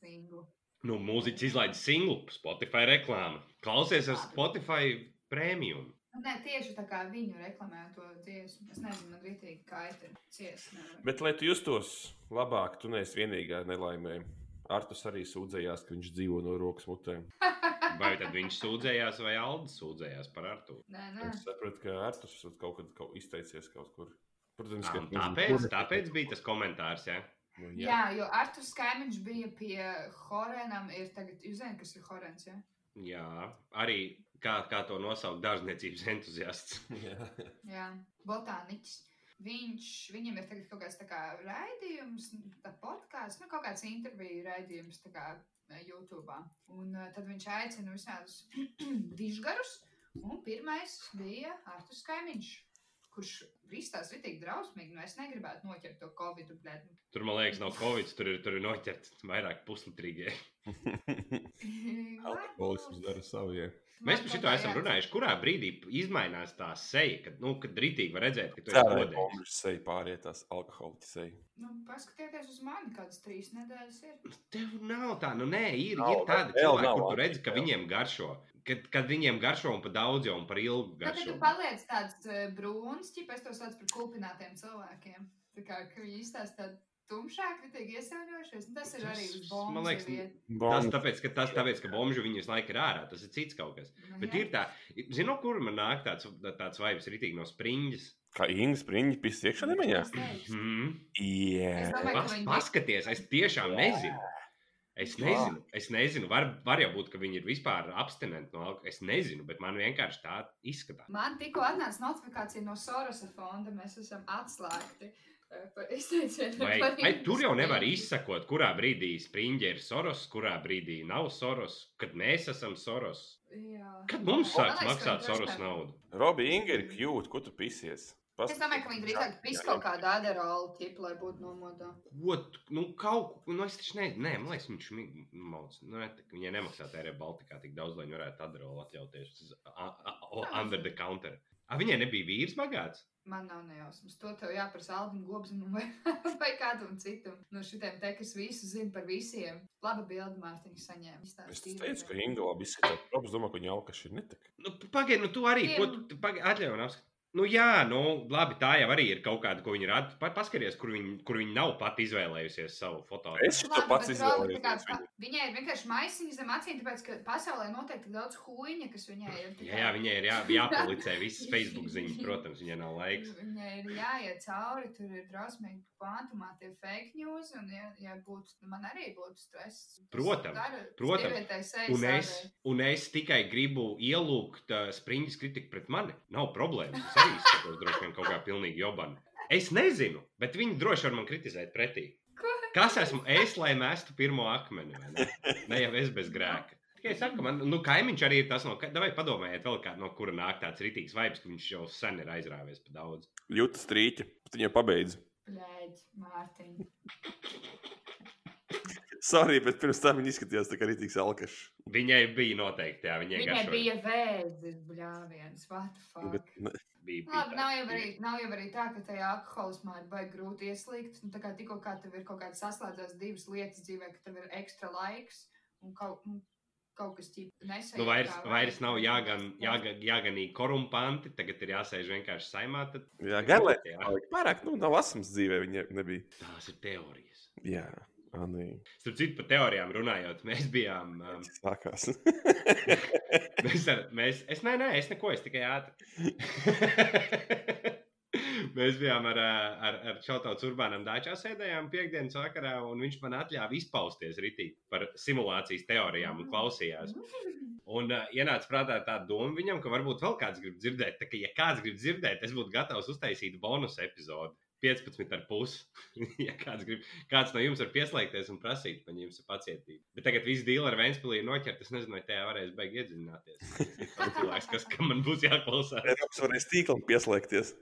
Speaker 3: singlu.
Speaker 1: Nu, mūziķis izlaiž singlu, Spotify reklāmu. Klausies ar Spotify premium.
Speaker 3: Nu, Nē, tieši tā kā viņu reklamē to dziesmu. Es nezinu, man rītīgi kaita ir ciesnēm.
Speaker 4: Bet, lai tu justos labāk, tu neesi vienīgā nelaimē. Artus arī sūdzējās, ka viņš dzīvo no rokas mutēm.
Speaker 1: Vai tad viņš sūdzējās, vai Aldis sūdzējās par Artu?
Speaker 3: Nē, nē.
Speaker 4: Es sapratu, ka Artus esat kaut kad kaut izteicies kaut kur. Protams, ka
Speaker 1: Tāpēc, tāpēc bija tas komentārs. Ja?
Speaker 4: Nu,
Speaker 3: Jā, jo Arthurs Kaimiņš bija pie Horēnam. Ir tagad, jūs zināt, kas ir Horēns. Ja?
Speaker 1: Jā, arī kā, kā to nosaukt, dārzniecības entuziasts.
Speaker 4: jā.
Speaker 3: Jā, botāniķis. Viņš, viņam ir tagad kaut kāds tā kā raidījums, tā podkāsts, nu, kaut kāds interviju raidījums tā kā eh, YouTube. Un eh, tad viņš aicina visādus dižgarus. Un pirmais bija Arthurs Kaimiņš, kurš rīstās vitīgi drausmīgi. Nu, es negribētu noķert to Covid-u, bet
Speaker 1: Tur, man liekas, nav Covid, tur ir, tur ir noķerts vairāk puslitrīgie.
Speaker 3: nu,
Speaker 2: Alkoholisms dara savu. jā.
Speaker 1: Mēs par šo esam runājuši. Kurā brīdī mainās tā seja, kad, nu, kad rītīgi var redzēt, ka tu esi
Speaker 4: Cēlā
Speaker 1: godīgs?
Speaker 4: bombas seja pāriet tās alkoholiķa seja.
Speaker 3: Nu, paskatieties uz mani, kādas trīs nedēļas ir.
Speaker 1: Tev nav tā, nu, nē, ir,
Speaker 4: Nav,
Speaker 1: ir tāda
Speaker 4: vēl
Speaker 1: cilvēka,
Speaker 4: nav,
Speaker 1: kur tu
Speaker 4: Andri,
Speaker 1: redzi, ka
Speaker 4: vēl.
Speaker 1: viņiem garšo. Kad, kad viņiem garšo un par daudz jau un par ilgu
Speaker 3: Tad, kad
Speaker 1: garšo.
Speaker 3: tu paliec tāds eh, brūns, ķip, es to saucu par kulpinātiem cilvēkiem. Tā kā ka viņi izstāsta tādu tumšāku, bet tiek iesauļojušies. Un Tas ir arī
Speaker 1: Tas,
Speaker 3: uz
Speaker 1: man
Speaker 3: bombas.
Speaker 1: liekas, Tas tāpēc, ka tas tāpēc, ka bomžu viņi visu laiku ir ārā, tas ir cits kaut kas. Bet
Speaker 3: nu,
Speaker 1: ir tā, zinu, kur man nāk tāds, tāds vibes ritīgi no springas.
Speaker 4: Kā Inga spriņķi pis iekšā nemaņā?
Speaker 1: Hmm.
Speaker 4: Jā.
Speaker 3: Es domāju, ka
Speaker 1: Pas,
Speaker 3: viņi
Speaker 1: paskaties, es tiešām nezinu. Es
Speaker 4: Jā.
Speaker 1: nezinu, es nezinu. Var, var jau būt, ka viņi ir vispār abstinenti no alkohola. Es nezinu, bet man vienkārši tā izskatās.
Speaker 3: Man tikko atnāca notifikācija no Sorosa fonda. Mēs esam atslēgti. eh, par izteicienu
Speaker 1: Vai,
Speaker 3: par
Speaker 1: vai tur jau nevar
Speaker 3: Indiju.
Speaker 1: izsakot, kurā brīdī spriņķi ir soros, kurā brīdī nav soros, kad mēs esam soros?
Speaker 3: Jā.
Speaker 1: Kad mums
Speaker 3: Man
Speaker 1: sāks
Speaker 3: liekas, ka
Speaker 1: maksāt
Speaker 3: droši
Speaker 1: soros
Speaker 3: vien-
Speaker 1: naudu?
Speaker 4: Robi, Inga ir kļūt, ko tu pisies? Pas-
Speaker 3: Es domāju, ka viņi drīzāk pīs kaut kādu aderolu tipu, lai būtu nomodā.
Speaker 1: Ko, tu- nu, kaut ko, nu, es taču nezinu, nē, man liekas, viņš maudz. Nu, ne, tik- viņai nemaksā tērē Baltikā tik daudz, lai viņi varētu adarolu atļauties uz a- a- o- under the counter. A, viņai nebija vīrs bagāts?
Speaker 3: Man nav nejausmas. To tev jāprasa Aldim Gobzinam vai, vai kādam citam. No šitiem te, kas visu zina par visiem. Laba bilde Mārtiņš saņēma. Viņš tāds
Speaker 4: Es
Speaker 3: tīri-
Speaker 4: teicu, ka Inga labi izskatās. Robs domā, ka viņa alkaši ir netika.
Speaker 1: Nu, Pagaidiet, nu, tu arī
Speaker 3: Tiem-
Speaker 1: ko tu- tu pagaidi, atļauj man apskatīt. Nu, jā, nu, labi, tā jau arī ir kaut kāda, ko viņi rada. Pa- Paskaties, kur viņi, kur viņi nav pati izvēlējusies savu fotogrāfiju.
Speaker 4: Es to pats izvēlējos.
Speaker 3: Viņai ir vienkārši maisiņš zem acīm, tāpēc, ka pasaulē noteikti ir daudz huīņa, kas viņai ir.
Speaker 1: Jā, jā, viņai ir jā, jāpublicē visas Facebook ziņas, protams, viņai nav laiks.
Speaker 3: Viņai ir jāiet cauri, tur ir drausmīgi kvantumā tie fake news, un ja, ja būtu, nu, man arī būtu stress.
Speaker 1: Protams, protams. Un es, un es tikai gribu ielūgt uh, spriņķis kritiku pret mani. Nav problēmas. Es arī skatos droši vien kaut kā pilnīgi jobanu. Es nezinu, bet viņi droši var man kritizēt pretī.
Speaker 3: Ko?
Speaker 1: Kas esmu es, lai mēstu pirmo akmeni? vai Ne, ne jau es bez grēka. Tikai es saku, man, nu, kaimiņš arī ir tas, no kā, vai padomājiet, vēl kā, no kura nāk tāds rītīgs vibes, ka viņš jau sen ir aizrāvies pa daudz.
Speaker 4: Jūtas strīķi, bet viņa pabeidz.
Speaker 3: Blēģi, Mārtiņ.
Speaker 4: Sorry, bet pirms tam viņa izskatījās tā kā rītīgs alkašs.
Speaker 1: Viņai bija noteikti, jā, viņai,
Speaker 3: Viņai
Speaker 1: viņai bija.
Speaker 3: bija vēzis, bļāviens, what the fuck.
Speaker 4: Bet, ne,
Speaker 1: Nu, bija
Speaker 3: Labi, nav jau, arī,
Speaker 1: bija-
Speaker 3: nav jau arī tā, ka tajā alkoholismā ir baigi grūti ieslīgt. Nu, tā kā tikko kā tev ir kaut kāda saslēdzās divas lietas dzīvē, ka tev ir ekstra laiks un kaut, nu, kaut kas tāds nesajūt.
Speaker 1: Nu, vairs,
Speaker 3: kā
Speaker 1: vairs
Speaker 3: vajag.
Speaker 1: nav jāgan, jāga, jāganīja korumpanti, tagad ir jāsēž vienkārši saimā. Tad...
Speaker 4: jā, garlaicīgi.
Speaker 1: Jā,
Speaker 4: Pārāk, nu, nav asmas dzīvē, viņa nebija.
Speaker 1: tās ir teorijas.
Speaker 4: Jā, Anī.
Speaker 1: Starp citu, par teorijām runājot, mēs bijām. Um,
Speaker 4: Tas sākās.
Speaker 1: mēs ar, mēs, es, nē, nē, es neko, es tikai ātri. mēs bijām ar, ā, ar, ar Čautauts Urbānam Dāčā sēdējām piekdienas vakarā, un viņš man atļāva izpausties ritīgi par simulācijas teorijām un klausījās. Un uh, ienāca prātā tā doma viņam, ka varbūt vēl kāds grib dzirdēt. Tā kā, ja kāds grib dzirdēt, es būtu gatavs uztaisīt bonusu epizodi. 15,5. ja kāds, grib, kāds no jums var pieslēgties un prasīt, man jums ir pacietība. Bet tagad viss deal ar Vēnspīlī ir noķerts. Es nezinu, vai tajā varēs beigties iedziļināties. Tas cilvēks, kas kam man būs jāklausās.
Speaker 4: Eiropas varēs tīklam pieslēgties.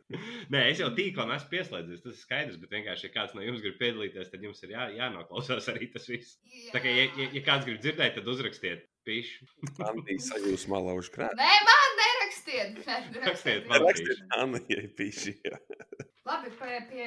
Speaker 1: Nē, es jau tīklā esmu pieslēdzies, tas ir skaidrs. Bet vienkārši, ja kāds no jums grib piedalīties, tad jums ir jā, jānoklausās arī tas viss.
Speaker 3: Jā.
Speaker 1: Tā kā, ja, ja, ja kāds grib dzirdēt, tad uzrakstiet pīšu.
Speaker 4: Anī sajūsmā lauž krāpstu.
Speaker 3: Nē, man nerakstiet! Nē,
Speaker 1: Rakstiet,
Speaker 3: man.
Speaker 1: man.
Speaker 4: Rakstiet Anijai piši. jā.
Speaker 3: Labi, pie, pie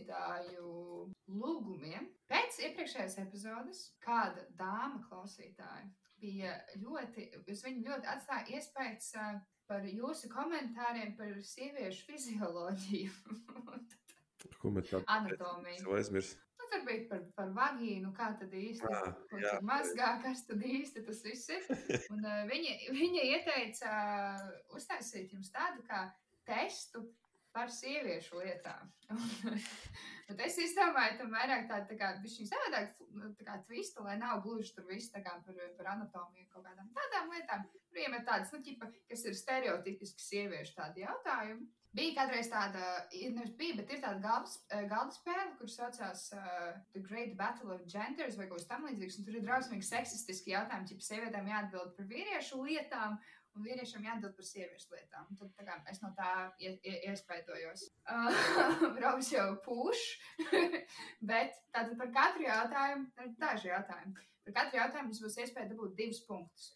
Speaker 3: klausītāju lūgumiem. Pēc iepriekšējās epizodes kāda dāma klausītāja bija ļoti, uz viņu ļoti atstāja iespējas ā, par jūsu komentāriem par sieviešu fizioloģiju un
Speaker 4: Ko mēs tam
Speaker 3: anatomiju.
Speaker 4: aizmirsām?
Speaker 3: Nu, tur bija par, par vagīnu, kā tad īsti,
Speaker 4: Ah,
Speaker 3: ko
Speaker 4: jā.
Speaker 3: tur mazgā, kas tad īsti tas viss ir. Un, uh, viņa, viņa ieteica uh, uztaisīt jums tādu kā testu par sieviešu lietām. Bet es izdomāju, tam vairāk tādu tā kā bišķiņ savādāk nu, tā kā twistu, lai nav gluži tur viss tā kā par, par anatomiju kaut kādām tādām lietām. Priemet tādas, nu, ķipa, kas ir stereotipiski sieviešu tādi jautājumi. Bija kādreiz tāda, ir- nevis bija, bet ir tāda galvas, eh, galda spēle, kuras saucās uh, The Great Battle of Genders vai kaut kas tamlīdzīgs. un Tur ir drausmīgi seksistiski jautājumi, ja sievietēm jāatbild par vīriešu lietām. Un vīriešiem jāatbild par sieviešu lietām. Un Tad tā kā, es no tā ie- ie- iespaidojos. Uh, Raus jau pūš, bet tātad par katru jautājumu, ir daži jautājumi. Par katru jautājumu jums būs iespēja dabūt divus punktus.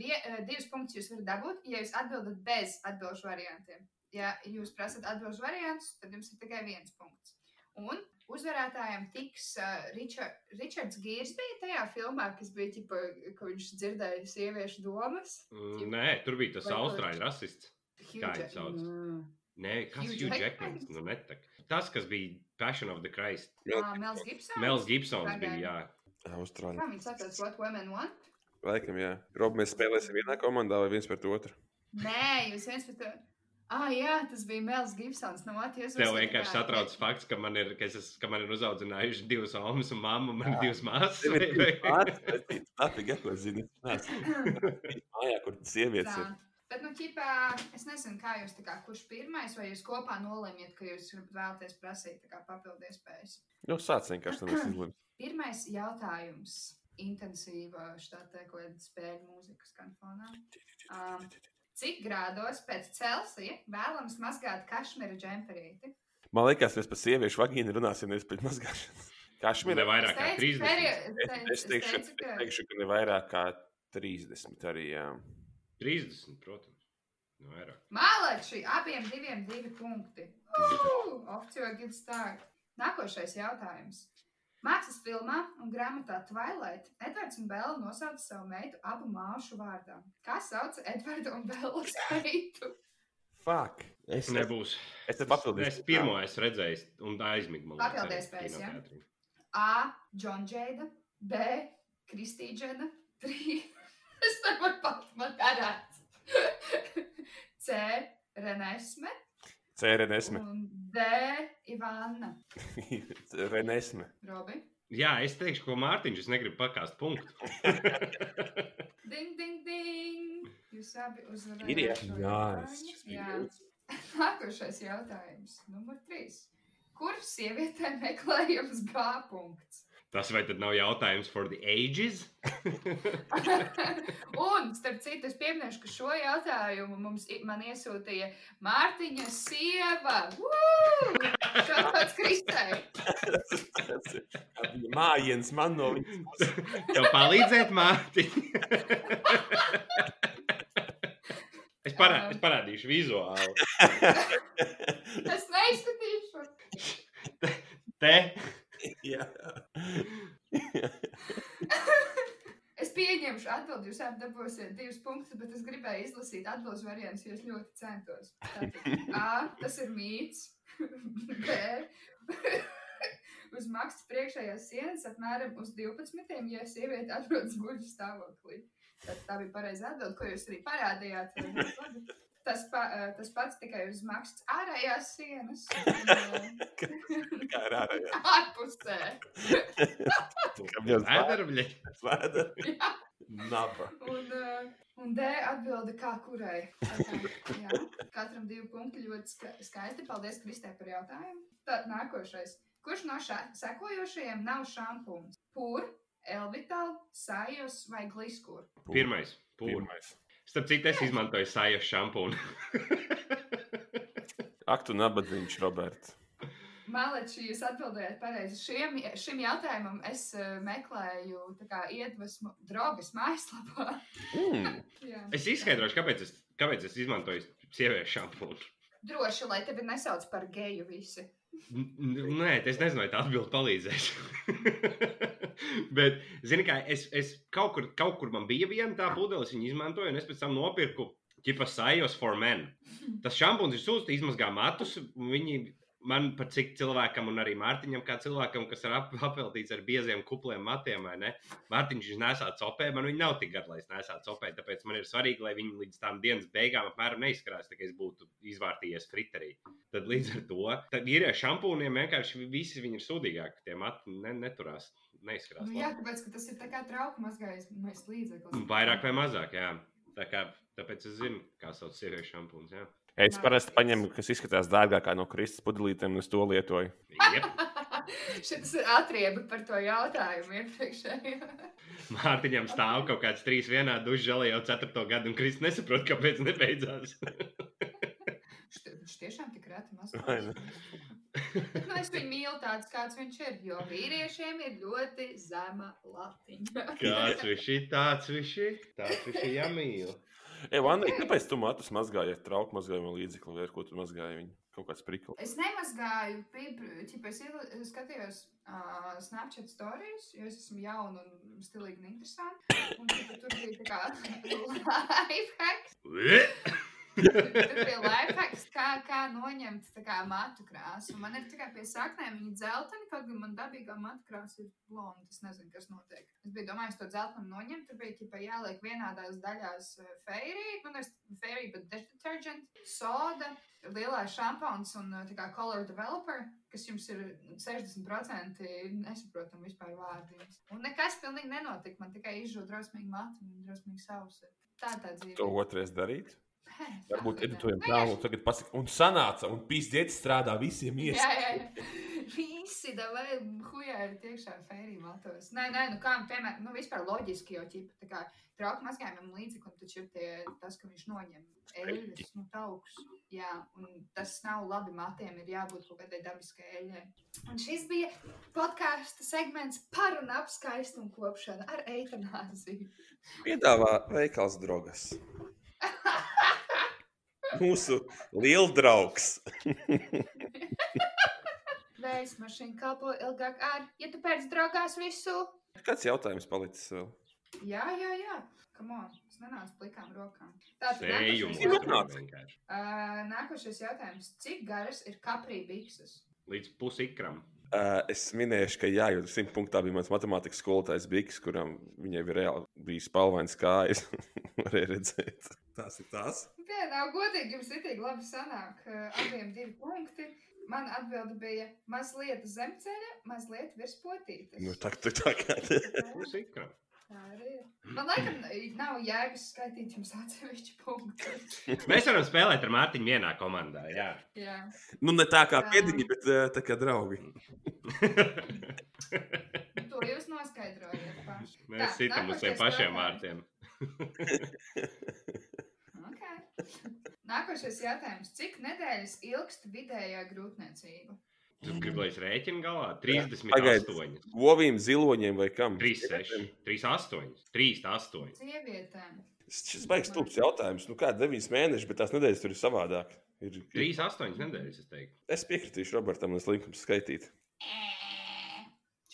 Speaker 3: Die, uh, divus punktus jūs varat dabūt, ja jūs atbildat bez atbildžu variantiem. Ja jūs prasat atbildus variantus, tad jums ir tikai viens punkts. Un uzvarētājiem tiks uh, Richard, Richards Gīrs bija tajā filmā, kas bija tipa, ka viņš dzirdēja sieviešu domas.
Speaker 1: Mm, Nē, tur bija tas
Speaker 3: Vai kaut-
Speaker 1: austrāļu rasists.
Speaker 3: Hugh
Speaker 1: Kā viņu
Speaker 3: Jack-
Speaker 1: sauc?
Speaker 3: Mm.
Speaker 1: Nē, kas
Speaker 3: Hugh
Speaker 1: ir Hugh
Speaker 3: Jackmans?
Speaker 1: Jackmans? Nu, ne tak. Tas, kas bija Passion of the Christ.
Speaker 3: Ā, Mels Gibsons.
Speaker 1: Mels Gibsons
Speaker 3: Pagaid.
Speaker 1: bija, jā.
Speaker 4: Austrālijā.
Speaker 3: Kā viņš saucās, What Women Want?
Speaker 4: Laikam, jā. Rob, mēs spēlēsim vienā komandā vai viens pret otru.
Speaker 3: Nē, jūs viens pēc to. Ah, jā, tas bija Mels Gibsons. Nu, vat, jūs
Speaker 1: Tev
Speaker 3: esat
Speaker 1: vienkārši
Speaker 3: kā-
Speaker 1: satrauc fakts, ka man ir, ka es, es- ka man ir uzaudzinājuši divas omas un mamma, man ir divas māsas.
Speaker 4: Tev ir
Speaker 1: vai- vai-
Speaker 4: Tā ir gala zina. Es neesmu mājā, kur sievietes ir.
Speaker 3: Tā. Bet, nu, ķipā, es nezinu, kā jūs tā kā kurš pirmais, vai jūs kopā nolēmiet, ka jūs gribat vēlaties prasīt tā kā papildu iespējas.
Speaker 4: Nu, sāc vienkārši tam izlemt.
Speaker 3: Pirmais jautājums - intensīva štāta kaut kāda spēļu mūzikas kanfonā. Um, Cik grādos pēc Celsija vēlams mazgāt kašmira džemperīti?
Speaker 4: Man liekas, mēs par sieviešu vagīnu runāsim nevis pēc mazgāšanas.
Speaker 1: Ne
Speaker 4: Kašmīra
Speaker 1: vairāk kā 30.
Speaker 4: Es, es, teikšu,
Speaker 3: Es
Speaker 4: es teikšu, ka ne vairāk kā 30 arī. Jā.
Speaker 1: 30, protams. Nu, vairāk.
Speaker 3: Mālači, abiem diviem divi punkti. Uhu! Off to a good start. Nākošais jautājums. Mākslas filmā un grāmatā Twilight Edvards un Bela nosauca savu meitu abu māšu vārdā. Kā sauc Edvardu un Bela meitu?
Speaker 4: Fuck. Es, es,
Speaker 1: Nebūs.
Speaker 4: es te papildīšu.
Speaker 1: Es pirmo esmu redzējis, un tā aizmiga.
Speaker 3: Papildi iespējas, jā. A. John Jada, B. Kristīna Jada, 3. Es nevaru pat padarīt. C. Renesme
Speaker 4: Cērenesme.
Speaker 3: un D. Ivana.
Speaker 4: Renesme.
Speaker 3: Robi.
Speaker 1: Jā, es teikšu, ko Mārtiņš, es negribu pakāst punktu.
Speaker 3: Ding, ding, ding. Jūs abi uzvarējāt.
Speaker 4: Ir, jā.
Speaker 3: šo
Speaker 2: Jā,
Speaker 3: jautājumu.
Speaker 2: es-
Speaker 3: Jā. Nākošais jautājums, numur 3. Kur sievietē meklējams G punkts?
Speaker 1: Tas vai tad nav jautājums for the ages?
Speaker 3: Un, starp citu, es pieminēšu, ka šo jautājumu mums i- man iesūtīja Mārtiņa sieva. Šāds Kristai.
Speaker 4: Tas ir mājiens man no viņas.
Speaker 1: Tev palīdzēt, Mārtiņ! es, parā, es parādīšu vizuāli.
Speaker 3: Es neizskatīšu.
Speaker 1: Te
Speaker 4: Jā.
Speaker 3: Es pieņemšu atbildi, jūs abi dabūsiet divus punktus, bet es gribēju izlasīt atbildes variantus, jo es ļoti centos. Tātad, A, tas ir mīts. B, uz maksas priekšējās sienas apmēram uz 12, ja sieviete atrodas guļu stāvoklī. Tad tā bija pareizā atbilde, ko jūs arī parādījāt. Labi. Tas, pa, tas pats tikai uz maksas ārējās sienas. un,
Speaker 4: Kā ir ārējā?
Speaker 3: eh, Ārpusē.
Speaker 4: jau zvanīt?
Speaker 1: vēdarbļi.
Speaker 4: Svēda. Naba.
Speaker 3: Un, uh, un D atbilde, kā kurai. Tā, jā. Katram divi punkti ļoti ska- skaisti. Paldies, Kristē, par jautājumu. Tad nākošais. Kurš no šā, sekojošajiem nav šampūns? Pūr, Elvital, Sajos vai Gliskur?
Speaker 1: Pirmais. Pūr.
Speaker 4: Pirmais.
Speaker 1: Starp citu, es izmantoju sāļu šampūnu.
Speaker 4: Ak, tu nabadzīgs, Roberts.
Speaker 3: Maleči, jūs atbildējāt pareizi. Šiem, šim jautājumam es uh, meklēju tā kā iedvesmu drogas mājaslapā.
Speaker 4: Mm.
Speaker 3: Jā.
Speaker 1: Es izskaidrošu, kāpēc es, kāpēc es izmantoju sieviešu šampūnu.
Speaker 3: Droši, lai tevi nesauc par geju visi.
Speaker 1: N- n- Nē, es nezinu, vai tā atbilde palīdzēs. Bet, zini, kā es, es kaut, kur, kaut kur man bija viena tā pudeles, viņa izmantoja, un es pēc tam nopirku tipa sajos for men. Tas šampūns ir sūds, izmazgā matus. un Viņi man par cik cilvēkam, un arī Mārtiņam, kā cilvēkam, kas ir ap, apeltīts ar bieziem kupliem matiem, vai ne? Mārtiņš viņš nesā copē, man viņa nav tik gara, lai es nesā copē, tāpēc man ir svarīgi, lai viņi līdz tām dienas beigām apmēram neizskrās, tā kā es būtu izvārtījies friterī. Tad līdz ar to tad ir ar šampūniem vienkārši visi viņi ir sūdīgāki. Tie mati ne, neturās, neizskrās.
Speaker 3: Nu, jā, tāpēc, ka tas ir tā kā trauku mazgājis līdzeklis.
Speaker 1: Vairāk vai mazāk, jā. Tā kā, tāpēc es zinu, kā sauc sieviešu šampūns. Jā,
Speaker 4: Es parasti paņemu, kas izskatās dārgākā no Kristus pudelītēm, un es to lietoju.
Speaker 1: Jep.
Speaker 3: Šis ir atriebis par to jautājumu iepriekšējā.
Speaker 1: Mārtiņam stāv kaut kāds trīs vienā dušā žēlē jau ceturto gadu, un Kristis nesaprot, kāpēc nebeidzās.
Speaker 3: Št- Viņš tiešām tik reti
Speaker 4: Vai
Speaker 3: mazgājās.
Speaker 4: ne?
Speaker 3: Nu, es viņu mīlu tāds, kāds viņš ir, jo vīriešiem ir ļoti zema latiņa.
Speaker 1: Kāds viņš ir, tāds viņš ir, tāds viņš ir jāmīl.
Speaker 4: Ei, Vanda, kāpēc tu matus mazgāji ar trauku mazgājumu līdzekli, vai ar ko tu mazgāji viņu? Kaut kāds priklis.
Speaker 3: Es nemazgāju, piemēram, es iel- es skatījos uh, Snapchat stories, jo es esmu jauna un stilīga un interesanta. Un tad tur bija tā kā lifehacks. Tur bija lifehacks, kā, kā noņemt tā kā matu krāsu. Un Man ir tikai pie saknēm viņa dzeltena, kaut gan man dabīgā matu krāsa ir blonda. Es nezinu, kas notiek. Es biju domājis to dzeltenu noņemt, tur bija ķipa, jāliek vienādās daļās fairy, nu nevis fairy, bet dish detergent, soda, lielā šampons un eh, tā kā color developer, kas jums ir 60% nesaprotam vispār vārdiem. Un nekas pilnīgi nenotika, man tikai izžūda drosmīgi matu un drosmīgi sausi. Tā ir tā
Speaker 4: To
Speaker 3: dzīve.
Speaker 4: otrais darīt. Varbūt editoriem
Speaker 3: Nu, jā,
Speaker 4: tālu tagad pasakā, un sanāca, un pīzdietis strādā visiem
Speaker 3: Jā,
Speaker 4: iestādes.
Speaker 3: jā, jā. Visi davai hujā ir tiešā fērī matos. Nē, nē, nu kā, piemēram, nu vispār loģiski jau ķipa, tā kā trauku mazgājumam līdzekam taču ir tie, tas, ka viņš noņem eļļas, nu tauks. Jā, un tas nav labi matiem, ir jābūt kaut kādai dabiskai eļļai. Un šis bija podkāsta segments par un ap skaistumu kopšanu ar eitanāziju.
Speaker 4: Piedāvā veikals drogas. Mūsu liels draugs.
Speaker 3: Vējas mašīna kalpo ilgāk ar, ja tu pēc drogās visu.
Speaker 4: Kāds jautājums palicis vēl?
Speaker 3: Jā, jā, jā. Come on, es nenācu plikām rokām. Tātad
Speaker 1: Sēju mums
Speaker 4: Sējumu.
Speaker 3: nākošais
Speaker 1: tur
Speaker 3: jautājums.
Speaker 1: vienkārši.
Speaker 3: Ā, nākošais jautājums. Cik garas ir kaprī bikses?
Speaker 1: Līdz pusikram.
Speaker 4: Uh, es minēšu, ka jā, jo simt punktā bija mans matemātikas skolotājs Biks, kuram viņai bija reāli bijis palvains kājas. Varēja redzēt. Tas ir tas.
Speaker 3: Jā, nav godīgi, jums ir tik labi sanāk. ā, Abiem divi punkti. Man atbilde bija mazliet zem ceļa, mazliet virs potītes.
Speaker 4: Nu, tā, tā, tā kā tā.
Speaker 1: Pusikram.
Speaker 3: Tā arī ir. Man laikam nav jēgas skaitīt jums atsevišķu punktu.
Speaker 1: Mēs varam spēlēt ar Mārtiņu vienā komandā. Jā.
Speaker 3: Jā.
Speaker 4: Nu, ne tā kā
Speaker 3: Jā.
Speaker 4: pēdiņi, bet eh, tā kā draugi.
Speaker 3: Nu, To jūs noskaidrojat paši.
Speaker 1: Mēs sitam uz
Speaker 3: nākošais
Speaker 1: saviem pašiem vārtiem.
Speaker 3: jautājums. Okay. Nākošais jautājums. Cik nedēļas ilgst vidējā grūtniecība?
Speaker 1: Tu gribi, lai es rēķinu galā? 38,
Speaker 4: Pagaid. Govīm, ziloņiem vai kam?
Speaker 1: 36, 38, 38.
Speaker 3: Sievietēm.
Speaker 4: Šis baigs stulbs jautājums. Nu, kāda 9 mēneši, bet tās nedēļas tur ir savādāk. Ir, ir.
Speaker 1: 38 nedēļas, es teiktu.
Speaker 4: Es piekritīšu Robertam, es linkums skaitīt.
Speaker 3: Ē,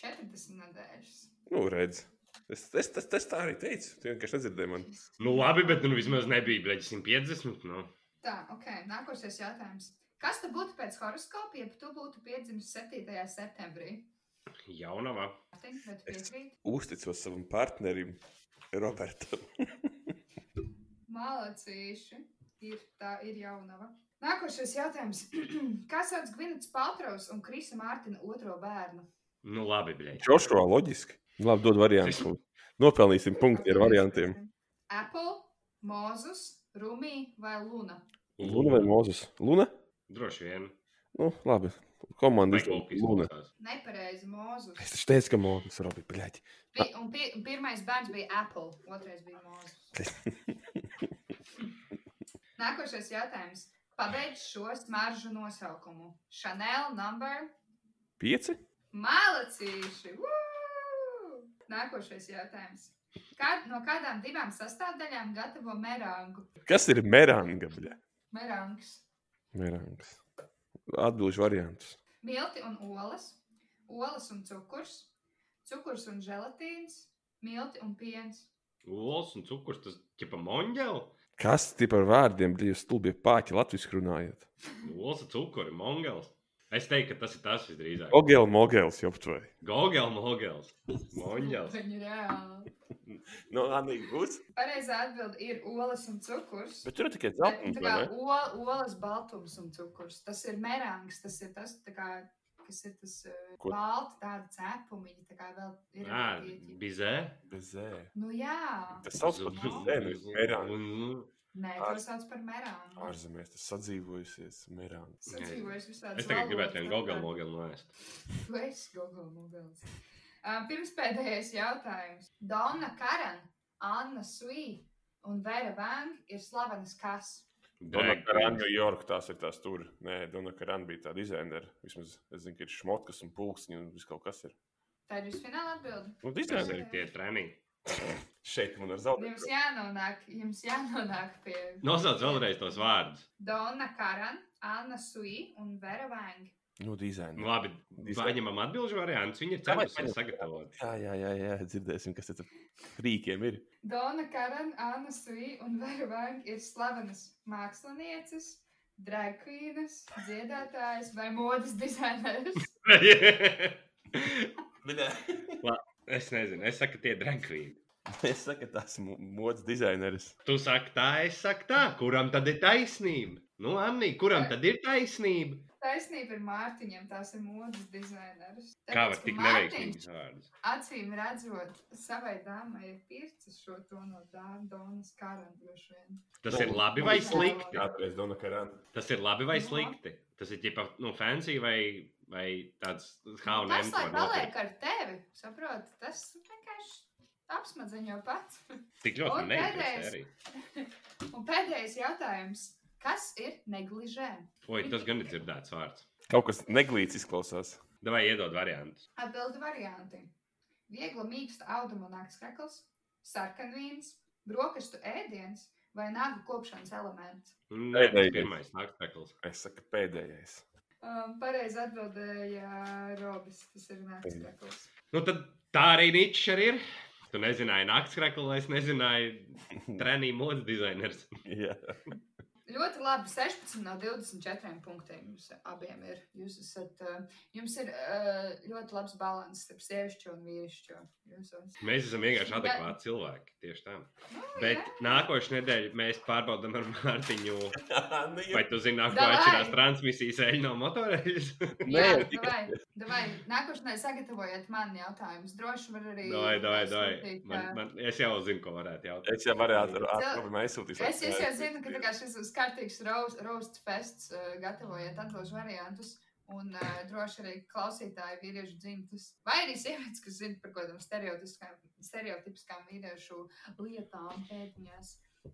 Speaker 3: 40 nedēļas.
Speaker 4: Nu, redz. Es, es, es, es tā arī teicu. Tu vienkārši nedzirdēji mani.
Speaker 1: Nu, labi, bet nu, vismaz nebija bleģis 150. Nu.
Speaker 3: Tā, ok. Nākošais jautājums. Kas tu būtu pēc horoskopa, ja tu būtu piedzimis 7. septembrī?
Speaker 1: Jaunavā.
Speaker 3: Mārtiņ, vai tu
Speaker 4: Es-
Speaker 3: piekrīti?
Speaker 4: Uzticos savam partnerim, Robertam.
Speaker 3: Malacīši. Ir, tā ir jaunava. Nākošais jautājums. Kā sauc Gvinets Paltraus un Krisa Mārtina otro bērnu?
Speaker 1: Nu, labi, bleģis.
Speaker 4: Čoškā loģiski. Nu, Labi, dod variantus. mums. Nopelnīsim punktu ar variantiem.
Speaker 3: Apple, Mozus, Rumija vai Luna?
Speaker 4: Luna vai Mozus? Luna?
Speaker 1: Droši vien.
Speaker 4: Nu, labi. Komanda
Speaker 1: Vai
Speaker 4: izlēma
Speaker 1: kaut kas
Speaker 4: Luna.
Speaker 1: tāds?
Speaker 3: Nepareizi, Mozus.
Speaker 4: Es taču teicu, ka Mozus ir Robi, bļaļ.
Speaker 3: Pi un pi un pirmais bērns bija Apple, otrais bija Mozus. Nākošais jautājums. Pabeidz šo smaržu nosaukumu. Chanel number
Speaker 4: Pieci?
Speaker 3: malacīši. Woo! Nākošais jautājums. Kad, no kādām divām sastāvdaļām gatavo merangu?
Speaker 4: Kas ir meranga, bļaļ?
Speaker 3: Merangs.
Speaker 4: Merangs. Atbilžu variantus.
Speaker 3: Milti un olas, olas un cukurs, cukurs un želatīns, milti un piens.
Speaker 1: Olas un cukurs, tas ķepa monģeli.
Speaker 4: Kas tie par vārdiem, bļaļ, stulbi pāķi latviešu runājot?
Speaker 1: Olas un cukuri, monģels. Es teiktu, ka tas ir tas visdrīzāk.
Speaker 4: Ogel, mogels, joptvai.
Speaker 1: Gogel, mogels. Monģels.
Speaker 3: Viņi reāli.
Speaker 4: Nu, Anī, būs.
Speaker 3: Pareizā atbilde ir olas un cukurs.
Speaker 4: Bet tur ir tikai
Speaker 3: Bet,
Speaker 4: dzeltums,
Speaker 3: tā
Speaker 4: vai
Speaker 3: kā
Speaker 4: ne?
Speaker 3: ol- olas baltums un cukurs. Tas ir merangs, tas ir tas, tā kā, kas ir tas eh,
Speaker 4: Ko-
Speaker 3: balti, tāda cepumiņa, tā kā vēl ir.
Speaker 1: Nā,
Speaker 3: pieķi.
Speaker 1: bizē.
Speaker 4: Bezē.
Speaker 3: Nu jā,
Speaker 4: Tas sauc par
Speaker 3: Zudums.
Speaker 4: bezē, nevis meranga.
Speaker 3: nē,
Speaker 4: Ar-
Speaker 3: to sauc par merangu.
Speaker 4: Ārzemēs tas sadzīvojusies, meranga.
Speaker 3: Sadzīvojas visādas
Speaker 1: Es tagad gribētu
Speaker 3: valodas,
Speaker 1: vienu gogelu,
Speaker 3: tāpēc-
Speaker 1: mogelu noēst.
Speaker 3: Tu esi Google mobilis. Uh, Pirmspēdējais jautājums. Donna Karan, Anna Sui un Vera Vang ir slavenas kas?
Speaker 1: Drag
Speaker 4: Donakarāna, New York, tās ir tās tur. Nē, Donakarāna bija tāda dizainera. Vismaz, es zinu, ka ir šmotkas un pulksni un viss kaut kas ir.
Speaker 3: Tā ir jūsu fināla atbilde.
Speaker 4: Nu,
Speaker 1: Tas
Speaker 4: dizaineri.
Speaker 1: ir tie treniņi.
Speaker 4: Šeit man ir
Speaker 3: Jums
Speaker 4: zaudējums.
Speaker 3: jānonāk, jums jānonāk pie
Speaker 1: Nosauc vēlreiz tos vārdus.
Speaker 3: Donna Karan, Anna Sui un Vera Vang.
Speaker 4: Nu,
Speaker 1: Nu,
Speaker 4: dizaineri.
Speaker 1: Labi, paņemam atbildžu variantus. Viņi ir
Speaker 4: Davai,
Speaker 1: centusies
Speaker 4: paņem.
Speaker 1: sagatavot.
Speaker 4: Jā, jā, jā, jā, dzirdēsim, kas tas rīkiem ir.
Speaker 3: Donna Karan, Anna Sui un Vera Vang ir slavenas mākslinieces, dragvīnas, dziedātājas vai modes dizaineris.
Speaker 1: es nezinu, es saku, tie dragvīni.
Speaker 4: Es saku, ka tas ir mods dizaineris.
Speaker 1: Tu saki tā, es saku tā, kuram tad ir taisnība? Nu, Anni, kuram tad ir taisnība?
Speaker 3: Taisnība ir Mārtiņam, tās ir modes dizaineris.
Speaker 1: Kā var tik
Speaker 3: neveiksmīgi?
Speaker 1: neveiksmīgs vārds?
Speaker 3: Acīm redzot, savai dāmai ir pircis šo to no Dānas Karan droši vien.
Speaker 1: Tas ir labi vai slikti?
Speaker 4: Kādreiz Donakarāna.
Speaker 1: Tas ir labi vai
Speaker 3: Jā.
Speaker 1: slikti? Tas ir ģipa, nu, fancy vai, vai tāds
Speaker 3: Nu, Tas,
Speaker 1: haunēm.
Speaker 3: lai paliek ar tevi, saproti, tas vienkārši apsmadziņo pats.
Speaker 1: Tik
Speaker 3: Un
Speaker 1: ļoti
Speaker 3: pēdējais.
Speaker 1: neinteresē arī.
Speaker 3: Un pēdējais jautājums. Kas ir negližē?
Speaker 1: Oi, tas gan ir dzirdēts vārds.
Speaker 4: Kaut kas neglīts izklausās.
Speaker 1: Davai iedod variantus.
Speaker 3: Atbildi varianti. Viegla mīksta auduma nakts krekls, sarkanvīns, brokastu ēdiens vai nāga kopšanas elements.
Speaker 1: Nē, tas ir
Speaker 4: Pēdējais.
Speaker 1: Nu, pirmais naktsmeklis.
Speaker 4: Es saku, pēdējais.
Speaker 3: Um, Pareizi atbildēja Robis. Tas ir nākamais.
Speaker 1: Nu, tad tā arī Nīčs arī ir. Tu nezināji, naktskrekla, es nezināju, trenī modes dizainers.
Speaker 4: Jā,
Speaker 3: Ļoti labi. 16 no 24 punktiem jums abiem ir. Jūs esat, uh, jums ir uh, ļoti labs līdzsvars starp sievišķo un vīrišķo. jūsos.
Speaker 1: Mēs esam vienkārši
Speaker 3: Bet-
Speaker 1: adekvāti cilvēki. Tieši tā.
Speaker 3: Nu, jā.
Speaker 1: Bet nākošais nedēļa mēs pārbaudām ar Mārtiņu,
Speaker 4: nu,
Speaker 1: vai tu zini, nāk, ko
Speaker 3: Davai!
Speaker 1: atšķirās transmisijas eļļa no motoreļas.
Speaker 4: Nē,
Speaker 3: Jā,
Speaker 4: tikai-
Speaker 3: davai, davai. Nākošanai sagatavojiet man jautājumus. Droši vien var arī. eh,
Speaker 1: Dai, dai, dai.
Speaker 3: sūtīt,
Speaker 1: Man,
Speaker 3: ā,
Speaker 1: man, es jau zinu, ko varētu jautāt.
Speaker 4: Es jau varētu
Speaker 1: atrast.
Speaker 4: ar to aizsūtīt.
Speaker 3: Es, es jau zinu, ka tā kā šis būs kārtīgs roast, roast fests, uh, gatavojiet atbildžu variantus. Un uh, droši arī klausītāji, vīriešu dzimtas, vai arī sievietes, kas zina par kaut kādām stereotipiskām, stereotipiskām vīriešu lietām, pēdiņās,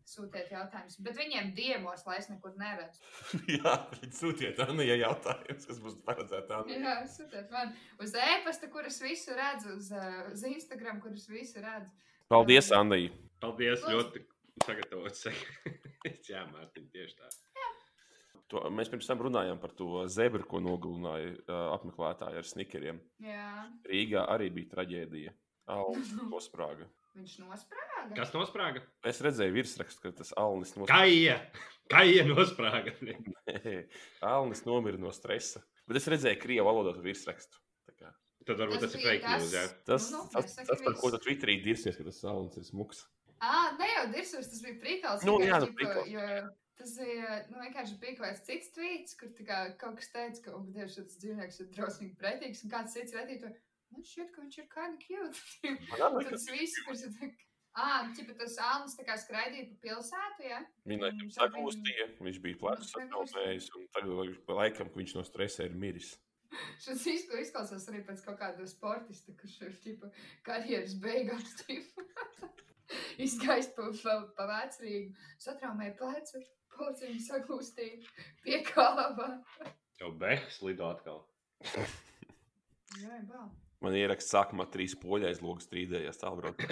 Speaker 3: sūtiet jautājumus. Bet viņiem diemos, lai es nekur neredzu.
Speaker 4: Jā, bet sūtiet Anijai jautājumus, kas būs paredzēts Anijai.
Speaker 3: Jā, sūtiet man uz e-pasta, kuras visu redzu, uz, uh, uz Instagram, kuras visu redzu.
Speaker 4: Paldies, Anija.
Speaker 1: Paldies,
Speaker 3: Lūdzu.
Speaker 1: ļoti sagatavots. sekretārs. Jā, Mārtiņ, tieši tā.
Speaker 4: To, mēs pirms tam runājām par to zebru, ko nogalināja uh, apmeklētāji ar snikeriem.
Speaker 3: Jā,
Speaker 4: Rīgā arī bija traģēdija. Alnis nosprāga.
Speaker 3: viņš nosprāga.
Speaker 1: Oh. Kas nosprāga?
Speaker 4: Es redzēju virsrakstu, ka tas Alnis nosprāga.
Speaker 1: Kaija! Kaija nosprāga!
Speaker 4: Alnis nomira no stresa. Bet es redzēju krievu valodā to virsrakstu. Tā kā
Speaker 1: Tad varbūt tas, tas
Speaker 3: Tas
Speaker 1: ir
Speaker 3: bija
Speaker 1: fake news.
Speaker 3: tas-
Speaker 1: Jā.
Speaker 4: Tas,
Speaker 3: Nu,
Speaker 4: nu,
Speaker 3: nu,
Speaker 4: tas,
Speaker 3: nesaka
Speaker 4: tas par ko
Speaker 3: viss.
Speaker 4: tu Twitterī dirsies, ka tas salons ir smuks.
Speaker 3: Ah, ne jau Dirsovs, tas bija prikals.
Speaker 4: Nu,
Speaker 3: vienkārši,
Speaker 4: jā, nu,
Speaker 3: tipo,
Speaker 4: prikals.
Speaker 3: Jo, tas bija nu, vienkārši bija kaut kāds cits tvīts, kur tā kā, kaut kas teica, ka, oh, Dievs, šis dzīvnieks ir drausmīgi pretīgs, un kāds cits redzīja to. Man šķiet, ka viņš ir kind of cute. Un Tas viss, kurš ir. tā- Ah, tipā tas Alnis tā kā skraidīja pa pilsētu, jā?
Speaker 4: Viņa
Speaker 3: Mm,
Speaker 4: laikam
Speaker 3: tad Mm,
Speaker 4: sagūstīja, viņš bija
Speaker 3: Viņš
Speaker 4: plecus
Speaker 3: sagūstīja.
Speaker 4: apdraudējis, un tagad lai- laikam, ka viņš no stresa ir miris.
Speaker 3: Šis izko- izklausās arī pēc kaut kāda sportista, kurš ir tipa, karjeras beigās. tipa. Izgājis pa, pa, pa vecrīgu, satraumēja plecu, pociņu sagūstīja, piekāva.
Speaker 1: Jau Behs lido atkal.
Speaker 3: Jā, bā.
Speaker 4: Man ieraksts sākumā trīs poļais logs strīdējās tālbrauc.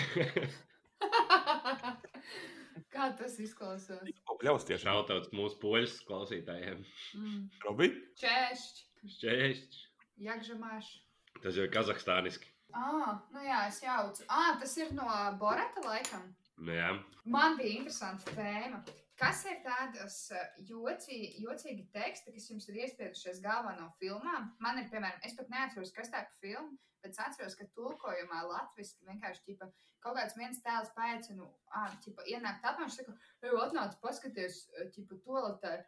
Speaker 3: Kā tas izklausās?
Speaker 4: Ko Bļaus
Speaker 1: Tieši
Speaker 4: tieši nav.
Speaker 1: autors mūsu poļus klausītājiem.
Speaker 3: Mm.
Speaker 4: Robi?
Speaker 3: Čēšķi,
Speaker 1: Šķēšķi.
Speaker 3: jāgžamāši.
Speaker 1: Tas jau ir kazahstāniski.
Speaker 3: Ah, nu jā, es jaucu. Ah, tas ir no Borata laikam.
Speaker 1: Nu, jā.
Speaker 3: Man bija interesanta tēma. Kas ir tādas jocīgi, jocīgi teksti, kas jums ir iespiedušies galvā no filmām? Man ir, piemēram, es pat neatceros, kas tā ir par filmu, bet es atceros, ka tulkojumā latviešu vienkārši ķipa, kaut kāds viens tēls paaicina, ah, ķipa, ienāk tāpā, viņš saka, ej, atnāc, paskaties, eh, ķipa, toaletē, eh,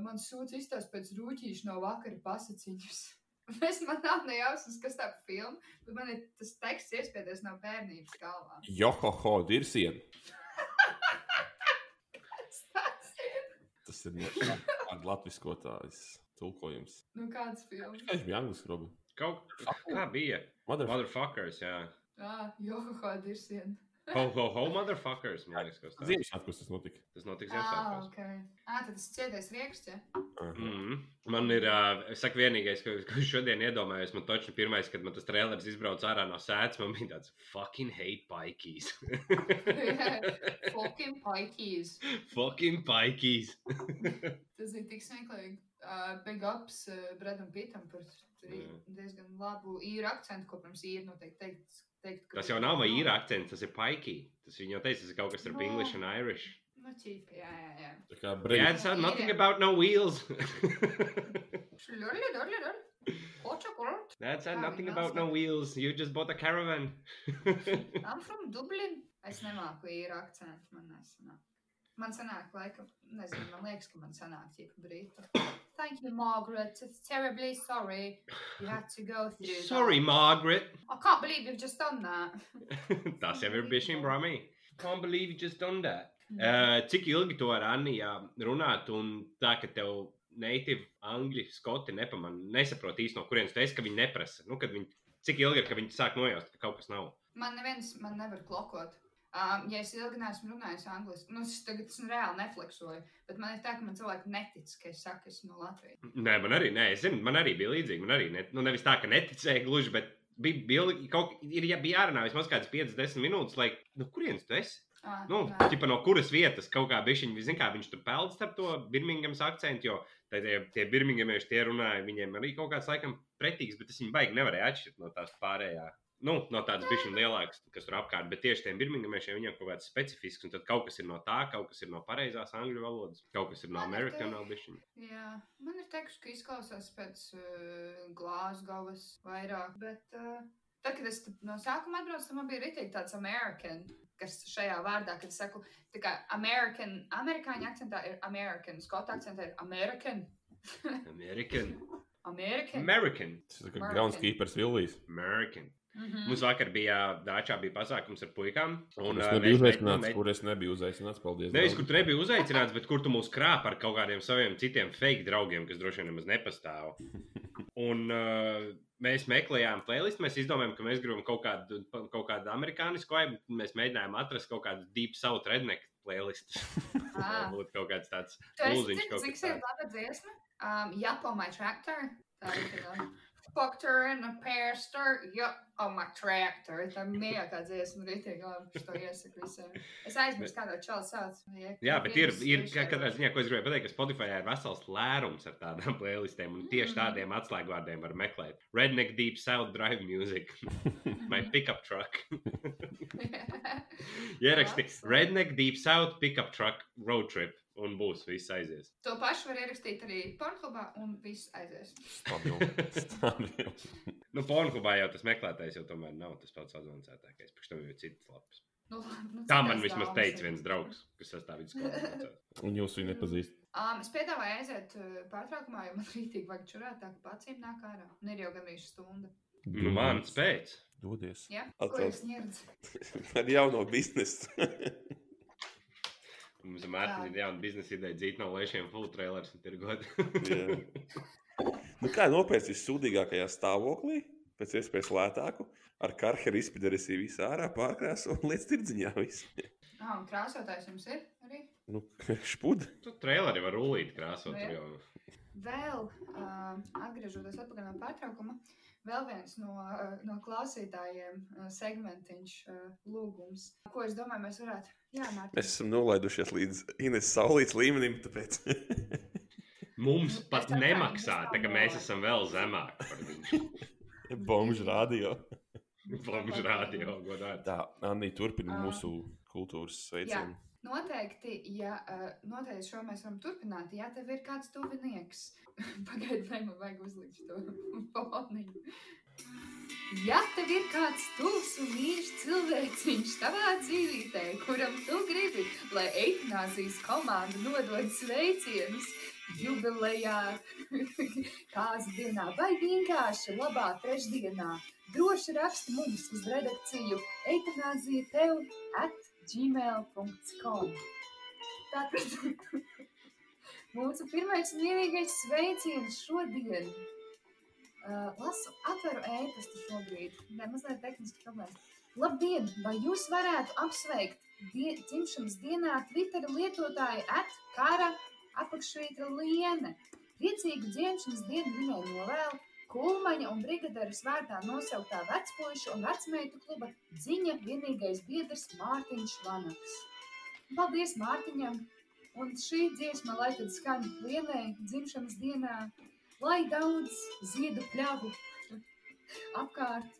Speaker 3: man sūta iztās pēc rūtīšu no vakara pasaciņas. Es man nav ne jausmas, kas tā par filmu, bet man ir tas teksts iespēdies no bērnības galvā.
Speaker 4: Johoho, dirsien. Tas ir no kāda latviskotājs tulkojums.
Speaker 3: Nu, kāds filmas?
Speaker 4: Viņš bija angliski, Robi.
Speaker 1: Kaut kā bija.
Speaker 4: Motherf-
Speaker 1: Motherfuckers, jā.
Speaker 3: Jā, johoho, dirsiena.
Speaker 1: Ho, ho, ho, motherfuckers, man liekas, kas tas ir.
Speaker 4: Ziemassvētkos tas notika.
Speaker 1: Tas notiks
Speaker 3: Ah,
Speaker 1: Ziemassvētkos.
Speaker 3: ok. Ah, tad tas cietais rieksts, ja?
Speaker 4: Aha.
Speaker 1: Mm. Man ir, ā, es saku, vienīgais, ko, ko es šodien iedomājos, man točni pirmais, kad man tas trailers izbrauca ārā no sēdes, man bija tāds fucking hate paikīs.
Speaker 3: Fucking paikīs.
Speaker 1: fucking paikīs.
Speaker 3: Tas bija tik smieklīgi. Uh, big ups uh, Bredam Pitam par tri-
Speaker 1: Jā.
Speaker 3: diezgan labu īru akcentu, ko pirms īru noteikti teikt. teikt ka
Speaker 1: Tas
Speaker 3: viņš
Speaker 1: jau nav vai
Speaker 3: nav.
Speaker 1: īra akcents, tas ir paikī. Tas viņa jau teica, tas ir kaut kas starp
Speaker 3: No.
Speaker 1: English un Irish.
Speaker 3: Nu, ķīpa, jā, jā, jā.
Speaker 4: Tā kā
Speaker 1: Yeah,
Speaker 4: brīdī.
Speaker 1: it's nothing about no wheels.
Speaker 3: Šļurļi, ļurļi, ļurļi. Koča, kurort.
Speaker 1: That's
Speaker 3: Kā
Speaker 1: nothing
Speaker 3: viņa
Speaker 1: about no
Speaker 3: nosaka?
Speaker 1: wheels. You just bought a caravan.
Speaker 3: I'm from Dublin. Es nemāku īru akcentu, man nesanāk. Man sanāk, laikam, nezinu, man liekas, ka man sanāk ķīpa brītu. Thank you, Margaret. It's terribly sorry. You had to go through that.
Speaker 1: Sorry, Margaret.
Speaker 3: I can't believe you've just done that.
Speaker 1: Tas jau ir bijis šim brāmī. Can't believe you just done that.
Speaker 3: Mm.
Speaker 1: Uh, cik ilgi to ar Anniju uh, runāt, un tā, ka tev neitīvi angļu skoti nepamanā, nesaprot īsti no kurienes tas ir, ka viņi neprasa. Nu, kad viņi, cik ilgi ir, ka viņi sāk nojaust, ka kaut kas nav.
Speaker 3: Man neviens man nevar blokot. Um, ja es ilgi neesmu runājis angliski, nu, es tagad es nu reāli nefleksoju, bet man ir tā, ka man cilvēki netic, ka es saku, esmu no Latvijas.
Speaker 1: Nē, man arī, nē, es zinu, man arī bija līdzīgi. Man arī, ne, nu, nevis tā, ka neticēja gluži, bet bija, bija, ilgi- kaut, ir, ja bija jārunā vismaz kāds 5-10 minūtes, lai, nu, kurienes tu esi?
Speaker 3: Ah,
Speaker 1: Nu,
Speaker 3: jā.
Speaker 1: ķipa, no kuras vietas kaut kā bišķiņ, zin kā viņš tur peld starp to Birmingemas akcentu, jo Tad tie, tie birmingamieši tie runāja, viņiem arī kaut kāds laikam pretīgs, bet es viņu baigi nevarēju atšķirt no tās pārējā. Nu, no tādas bijušas lielākas, kas tur apkārt, bet tieši tiem birmingamiešiem viņiem kaut kāds specifisks, un tad kaut kas ir no tā, kaut kas ir no pareizās angļu valodas, kaut kas ir no
Speaker 3: Man ir tā-
Speaker 1: amerikāņu valodas.
Speaker 3: Jā, man ir teikts, ka izklausās pēc uh, Glāzgovas vairāk, bet uh, tad, kad es tu- no sākuma atbraucu, tad man bija rītīgi tāds American, kas šajā vārdā, kad es saku, tā kā American, amerikāņu akcentā ir American, skotu akcentā ir American,
Speaker 1: American.
Speaker 3: American.
Speaker 1: American.
Speaker 4: Tas ir kā groundskeepers Villijs.
Speaker 1: American.
Speaker 3: Mhm.
Speaker 1: Mums vakar bija dāčā bija pasākums ar puikām.
Speaker 4: Un es
Speaker 1: ā,
Speaker 4: nebiju
Speaker 1: meit-
Speaker 4: uzaicināts,
Speaker 1: meit-
Speaker 4: kur es nebiju uzaicināts. Paldies.
Speaker 1: Nevis, kur
Speaker 4: draugi.
Speaker 1: tu nebija uzaicināts, bet kur tu mūs krāp ar kaut kādiem saviem citiem fake draugiem, kas droši vien nemaz nepastāv. Un uh, mēs meklējām playlistu, mēs izdomājām, ka mēs gribam kaut kādu, kaut kādu amerikānisku, vai mēs mēģinājām atrast kaut kādu deep south redneck playlistu.
Speaker 3: Ah.
Speaker 1: Varbūt kaut kāds tāds
Speaker 3: Tu esi,
Speaker 1: lūziņš
Speaker 3: cik,
Speaker 1: kaut
Speaker 3: cik
Speaker 1: kas
Speaker 3: sev
Speaker 1: tāds.
Speaker 3: laba dziesma? Um, yup, on my tractor. Tā ir tā. Faktor and a pastor, yup, on my tractor. Tā mīļākā dziesma, rītīgi labi, es to iesaku visiem. Es aizmirsu, kādā čela sauc. Ja-
Speaker 1: Jā, bet ir,
Speaker 3: vienas
Speaker 1: ir
Speaker 3: svešā-
Speaker 1: ka- katrā ziņā, ko es gribēju pateikt, ka Spotify ir vesels lērums ar tādām playlistēm, un tieši
Speaker 3: Mm.
Speaker 1: tādiem atslēgvārdiem var meklēt. Redneck, Deep South Drive Music, My Pickup Truck. Ieraksti
Speaker 3: Labs.
Speaker 1: Redneck, Deep South Pickup Truck Road Trip, un būs viss aizies.
Speaker 3: to pašu var ierakstīt arī pornogrāfijā, un viss aizies.
Speaker 4: Stabils. Stabils.
Speaker 1: Nu, Pornhubā jau tas meklētājs jau tomēr nav tas pats avansētākais, pēc tam jau ir citas lapas.
Speaker 3: Nu, labi, nu,
Speaker 1: Tā
Speaker 3: citās
Speaker 1: man vismaz
Speaker 3: dāmas
Speaker 1: teica
Speaker 3: ir.
Speaker 1: viens draugs, kas sastāv vidusskolas.
Speaker 2: Un jūs viņu nepazīstat.
Speaker 3: Um, es piedāvāju aiziet uh, pārtraukumā, jo man rītīgi vajag čurāt, tā ka pacīm nāk ārā. Un ir jau gan visu stundu.
Speaker 1: Nu, mans pēc.
Speaker 4: Dodies.
Speaker 3: Jā, ko
Speaker 4: Atcels.
Speaker 3: jūs ņirdat?
Speaker 4: Ar jauno biznesu.
Speaker 1: Mums vienmēr ir jauna biznesa ideja dzīt no lēšiem full trailers un tirgot.
Speaker 4: Jā. nu, kā nopērts vissūdīgākajā stāvoklī, pēc iespējas lētāku, ar karjeru izpildījusi visā ārā, pārkrāsā un lietas tirdziņā. viss.
Speaker 3: Ah, un krāsotājs jums ir arī?
Speaker 4: Nu, špūda.
Speaker 1: Tu traileri var rulīt krāsot.
Speaker 3: Jā.
Speaker 1: tur jau.
Speaker 3: Vēl, uh, atgriežoties atpakaļ no pārtraukuma, vēl viens no, uh, no klausītājiem uh, segmentiņš uh, lūgums, ko es domāju, mēs varētu. Jā, Mārtiņ.
Speaker 4: Mēs esam nolaidušies līdz Ines Saulītas līmenim, tāpēc
Speaker 1: Mums
Speaker 3: Nu,
Speaker 1: pat
Speaker 3: tas tā kā
Speaker 1: nemaksā,
Speaker 3: mēs tā
Speaker 1: tā ka mēs
Speaker 3: domājam.
Speaker 1: esam vēl zemāk par viņu.
Speaker 4: bombžu rādio.
Speaker 1: Bomžu radio godāt.
Speaker 4: Tā, Anī, turpina
Speaker 3: Ā.
Speaker 4: mūsu kultūras sveicienu.
Speaker 3: Noteikti, ja uh, noteikti šo mēs varam turpināt, ja tev ir kāds tuvinieks. Pagaidiet, vai man vajag uzlikt to poniņu. Ja tev ir kāds tuvs un mīļš cilvēciņš tavā dzīvītē, kuram tu gribi, lai eitanāzijas komanda nodod sveicienus jubilejā, kāds dienā vai vienkārši labā trešdienā, droši raksti mums uz redakciju eitanāzija tev at gmail.com. Tātad mūsu pirmais un vienīgais sveiciens šodien. Uh, lasu, atveru ēpastu šobrīd. Nē, mazliet tehniski problēmas. Labdien, vai jūs varētu apsveikt die, dzimšanas dienā Twitter lietotāju at kara apakšvītra Liene? Priecīgu dzimšanas dienu viņai novēlu Kulmaņa un brigadieru svētā nosauktā vecpuļu un vecmeitu kluba ziņa vienīgais biedrs Mārtiņš Vanaks. Paldies Mārtiņam! Un šī dziesma, lai tad skan vienai dzimšanas dienā, lai daudz ziedu pļavu apkārt,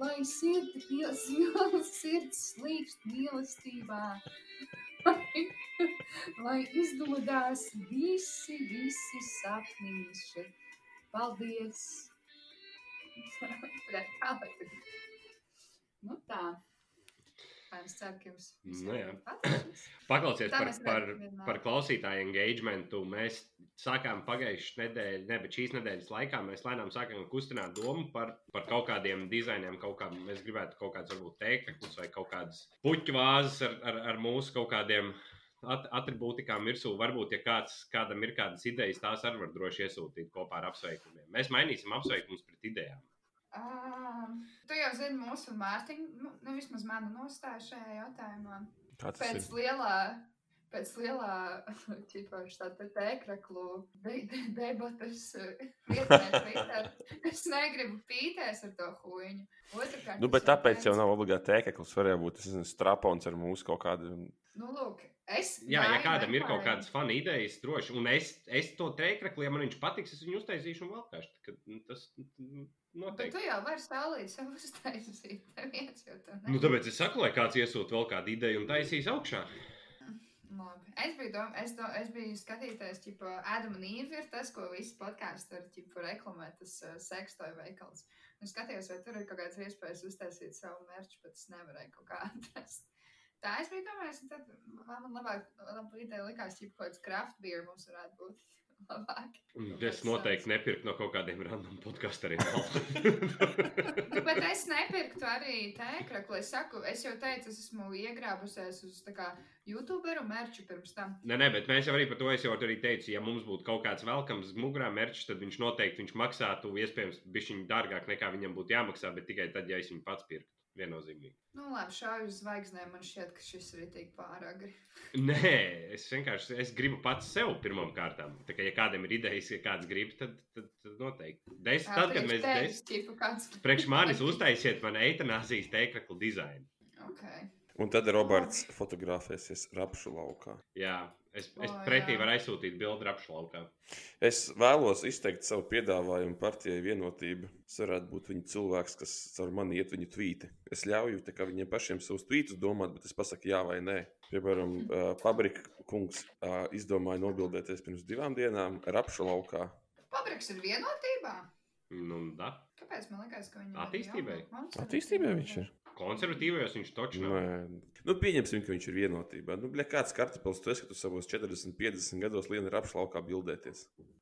Speaker 3: lai sirdi pil- sirds slīkst mīlestībā, lai, lai izdodās visi, visi sapnīši. Paldies! Tālāk. Nu tā. Kā jums ceru, ka jums
Speaker 1: Nu
Speaker 3: visiem
Speaker 1: jā.
Speaker 3: patiks.
Speaker 1: Paklausies
Speaker 3: Tā
Speaker 1: par,
Speaker 3: mēs
Speaker 1: par,
Speaker 3: redzam vienmēr.
Speaker 1: par klausītāju engagementu. Mēs sākām pagājušā nedēļa, ne, bet šīs nedēļas laikā mēs lēnām sākām kustināt domu par, par kaut kādiem dizainiem, kaut kā mēs gribētu kaut kādas, varbūt, tēkļus vai kaut kādas puķu vāzes ar, ar, ar mūsu kaut kādiem. at- Atribūtikām virsū, varbūt, ja kāds, kādam ir kādas idejas, tās arī var droši iesūtīt kopā ar apsveikumiem. Mēs mainīsim apsveikumus pret idejām.
Speaker 3: Ā, Tu jau zini mūsu Mārtiņu, nu, nu, vismaz mana nostāja šajā jautājumā.
Speaker 4: Kā tas
Speaker 3: Pēc
Speaker 4: ir?
Speaker 3: lielā, pēc lielā, ķipaši tāda tēkraklu de- de- debatas eh, vietnē Twitter, es negribu pītēs ar to huiņu. Otrakārt,
Speaker 4: Nu, bet
Speaker 3: es jau
Speaker 4: tāpēc jau
Speaker 3: teicu-
Speaker 4: nav obligāti tēkeklis. Varēja būt tas strapons ar mūsu kaut kādu
Speaker 3: Nu, lūk, Es
Speaker 1: Jā, ja
Speaker 3: gāju
Speaker 1: kādam ir
Speaker 3: meklēju.
Speaker 1: kaut kādas fanu idejas, droši, un es, es to teikrāku, ja man viņš patiks, es viņu uztaisīšu un valkāšu. Tā kā, nu, Tas nu,
Speaker 3: Bet
Speaker 1: noteikti.
Speaker 3: tu jau vari saulīt savu uztaisīt. Neviens jau to
Speaker 1: Nu,
Speaker 3: nevar.
Speaker 1: tāpēc es saku, lai kāds iesūta vēl kādu ideju un taisīs augšā.
Speaker 3: Labi. Es biju, dom... es, do... es biju skatītājs, ka Ādama un Īva ir tas, ko visi podkāstu ar ķipu reklamē, tas uh, sekstoja veikals. Es skatījos, vai tur ir kaut kāds iespējas uztaisīt savu mērķu, bet es nevarēju kaut kā atrast. Tā es biju domājis, un tad man man labāk, labi ideja likās, ka kaut kāds craft beer mums varētu būt labāk.
Speaker 1: Un Es noteikti nepirku no kaut kādiem random podkastiem.
Speaker 3: Nu, bet es nepirktu arī tēkrakli. Es saku, es jau teicu, es esmu iegrābusies uz tā kā youtuberu mērķu pirms tam.
Speaker 1: Nē, nē, bet mēs jau arī par to es jau arī teicu, ja mums būtu kaut kāds velkams mugurā mērķis, tad viņš noteikti viņš maksātu, iespējams, bišķiņu dārgāk nekā viņam būtu jāmaksā, bet tikai tad, ja es viņu pats pirktu. Viennozīmīgi.
Speaker 3: Nu, labi, šādi uz zvaigznēm man šķiet, ka šis ir tik pārāk.
Speaker 1: Nē, es vienkārši es gribu pats sev pirmām kārtām. Tā kā ja kādam ir idejas, ja kāds grib, tad, tad, tad noteikti. Des, tad, kad mēs des,
Speaker 3: Tipu kāds.
Speaker 1: priekš manis uztaisiet man eitanāzijas teikrāklu dizainu.
Speaker 3: Ok.
Speaker 4: Un tad Roberts fotografēsies rapšu laukā.
Speaker 1: Jā, es, es
Speaker 3: O,
Speaker 1: pretī
Speaker 3: jā.
Speaker 1: varu aizsūtīt bildi apšlaukā.
Speaker 4: Es vēlos izteikt savu piedāvājumu partijai vienotība. Es varētu būt viņa cilvēks, kas ar mani iet viņa tvīti. Es ļauju tā kā viņiem pašiem savus tvītus domāt, bet es pasaku jā vai nē. Piemēram, uh, Pabrika kungs uh, izdomāja nobildēties pirms divām dienām rapšu laukā.
Speaker 3: Pabriks ir vienotībā.
Speaker 1: Nu, da.
Speaker 3: Kāpēc man liekas, ka viņam
Speaker 1: Attīstībai?
Speaker 4: Attīstībā viņš ir.
Speaker 1: Konservatīvajos viņš taču nav.
Speaker 4: Nē. Nu, pieņemsim, ka viņš ir vienotībā. Nu, bļa, kāds kartupils tu esi, ka tu savos 40, 50 gados lieni rapšu laukā bildēties?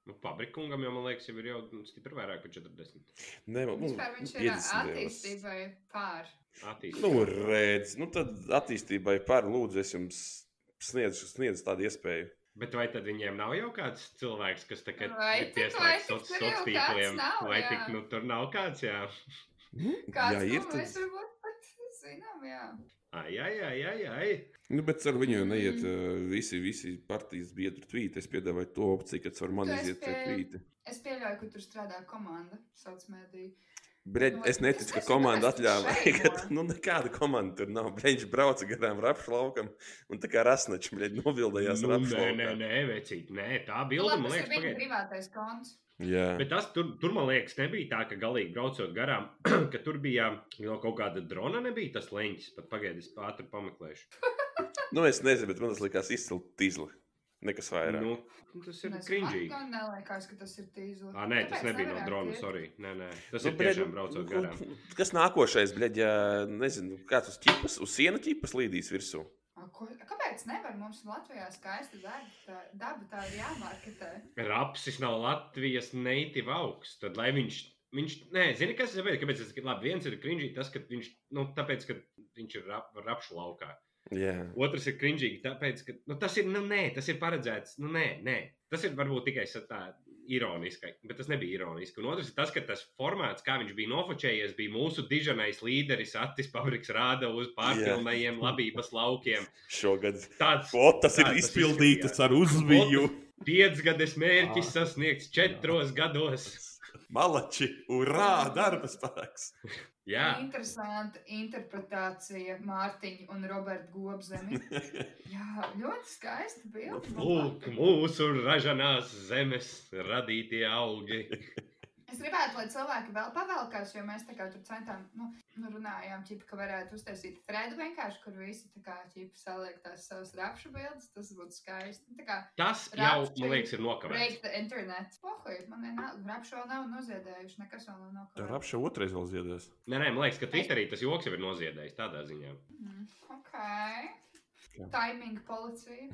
Speaker 1: Nu, Pabrikungam jau, man liekas, jau ir jau nu, stipri vairāk par 40.
Speaker 4: Nē, man- nu,
Speaker 3: Vispār viņš
Speaker 4: 50
Speaker 3: ir
Speaker 4: gados.
Speaker 3: attīstībai pār.
Speaker 1: Attīstīt.
Speaker 4: Nu, redz, nu tad attīstībai pārlūdzu, es jums sniedzu, sniedzu tādu iespēju.
Speaker 1: Bet vai tad viņiem nav jau kāds cilvēks, kas tagad
Speaker 3: Vai
Speaker 1: ir
Speaker 3: tad-
Speaker 1: pieslēgts
Speaker 3: vai
Speaker 1: soc-
Speaker 3: tad tur jau kāds
Speaker 1: sociāliem?
Speaker 3: nav,
Speaker 1: Vai
Speaker 3: jā.
Speaker 1: tik, nu, tur nav kāds, jā.
Speaker 3: Kāds
Speaker 4: Jā,
Speaker 3: jā,
Speaker 4: ir,
Speaker 3: ir,
Speaker 4: tad-
Speaker 3: mēs varbūt pat zinām, jā.
Speaker 1: Ai, ai, ai, ai, ai.
Speaker 4: Nu, bet ar viņu jau neiet mm. visi, visi partijas biedru tvīti. Es piedāvāju to opciju, ka ar mani
Speaker 3: Tu esi
Speaker 4: iziet pie
Speaker 3: pie-
Speaker 4: tvīti.
Speaker 3: Es pieļauju, ka tur strādā komanda, sauc mediju.
Speaker 4: Bred,
Speaker 3: Nu,
Speaker 4: es neticu, ka
Speaker 3: es- es
Speaker 4: komanda
Speaker 3: neesmu
Speaker 4: atļāva.
Speaker 3: šeit,
Speaker 4: ka
Speaker 3: no.
Speaker 4: tu- Nu, nekāda komanda tur nav. Viņš brauca garām rapšu laukam un tā kā rasnačs, bļaļ, novildējās
Speaker 1: Nu,
Speaker 4: rapšu
Speaker 1: nē, nē,
Speaker 4: laukā.
Speaker 1: nē, vecīt, nē, tā bilde,
Speaker 3: Nu, Labi,
Speaker 1: man
Speaker 3: tas ir
Speaker 1: liekas,
Speaker 3: viņa
Speaker 1: pagaid.
Speaker 3: privātais konts.
Speaker 4: Jā,
Speaker 1: Bet tas tur, tur, man liekas, nebija tā, ka galīgi braucot garām, ka tur bija jau kaut kāda drona, nebija tas leņķis. Pat pagaidi, es ātri pameklēšu.
Speaker 4: nu es nezinu, bet man tas likās izcili tīzli. Nekas vairāk.
Speaker 1: Nu, tas ir
Speaker 3: Es
Speaker 1: krinžīgi.
Speaker 3: atkal neliekas, ka tas ir tīzlis.
Speaker 1: Ah, nē, tas nebija no drona, sorry. Nē, nē, tas ir tiešām braucot garām.
Speaker 4: Nu, Kas nākošais, bļaļ, ja nezinu, kāds uz ķipas, uz sienu ķipas līdīs virsū?
Speaker 3: Kāpēc nevar mums Latvijā skaista darba? Tā, daba tā ir jāmarketē.
Speaker 1: Rapsis nav Latvijas neitīva augsts. Tad lai viņš. Viņš, nē, zini, kas ir vēl, kāpēc tas ir labi. Viens ir krinžīgi, tas, ka viņš, nu, tāpēc, ka viņš ir rap, rapšu laukā.
Speaker 4: Jā.
Speaker 1: Otrs ir krinžīgi, tāpēc, ka, nu, tas ir, nu, nē, tas ir paredzēts, nu, nē, nē. Tas ir varbūt tikai sa- tā ironiski, bet tas nebija ironiski. Un otrs ir tas, ka tas formāts, kā viņš bija nofočējies, bija mūsu dižanais līderis, Atis Pabriks rāda uz pārpilnajiem labības laukiem.
Speaker 4: Šogad
Speaker 1: Tāds
Speaker 4: o, tas
Speaker 1: Jā,
Speaker 4: ir
Speaker 1: tas
Speaker 4: izpildīts
Speaker 1: izpildījās.
Speaker 4: ar uzviju.
Speaker 1: piecgades mērķis sasniegts četros gados.
Speaker 4: Malači, urā, darba spēks.
Speaker 1: Jā,
Speaker 3: Interesanta interpretācija Mārtiņa un Roberta Gobzemi. Jā, ļoti skaista bilde. man
Speaker 1: Lūk, mūsu ražanās zemes radītie augi.
Speaker 3: Es gribētu, lai cilvēki vēl pavēlkās, jo mēs tā kā tur centām, nu, nu runājām, ķipa, ka varētu uztaisīt Fredu vienkārši, kur visi tā kā ķipa saliek tās savas rapšu bildes, tas būtu skaisti. Nu, Tā kā
Speaker 1: Tas jau, man liekas, ir nokavēts.
Speaker 3: break the internet. Pohoj, man vienalga, rapšu vēl nav noziedējuši, nekas vēl nav nokavēts.
Speaker 4: Rapša otrais vēl ziedēs.
Speaker 1: Nē, nē, man liekas, ka Twitterī tas joks jau ir noziedējis tādā ziņā.
Speaker 3: Mm, Ok. Timing policija.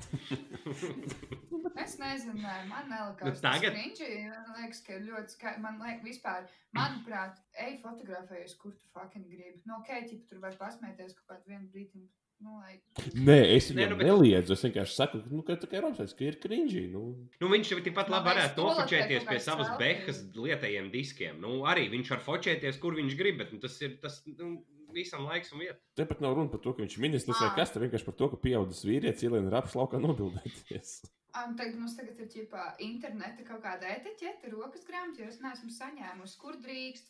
Speaker 3: es nezinu, nē, man nelikās.
Speaker 1: Nu,
Speaker 3: tas
Speaker 1: tagad-
Speaker 3: cringy, Man liekas, ka ir ļoti skaisti. Man liekas, vispār, manuprāt, ej fotografējies, kur tu fucking gribi. No keķi tur var pasmēties kaut kādu vienu brīdi. Nu, lai...
Speaker 2: Nē, es
Speaker 1: Nē,
Speaker 2: viņam
Speaker 1: nu,
Speaker 2: Nē,
Speaker 1: bet-
Speaker 2: nu, neliedzu. Es vienkārši saku, nu, ka tā kā Roms teica, ka ir krinžī. Nu,
Speaker 1: Nu, viņš jau tikpat labi
Speaker 3: Man liekas,
Speaker 1: varētu
Speaker 3: skolotē
Speaker 1: nofočēties
Speaker 3: kaut
Speaker 1: pie
Speaker 3: kāds
Speaker 1: savas
Speaker 3: selfie.
Speaker 1: behas lietajiem diskiem. Nu, arī viņš var fočēties, kur viņš grib, bet nu, tas ir tas nu, visam laiks un vieta.
Speaker 2: te pat nav runa par to, ka viņš ir ministrs vai
Speaker 3: Ā.
Speaker 2: kas, te vienkārši par to, ka pieaugušas vīrietis ielien rapšu laukā nobildēties.
Speaker 3: Um, tagad mums tagad ir ķipā, interneta kaut kāda etiķete, rokas grāmatas, jo es neesmu saņēmusi, kur drīkst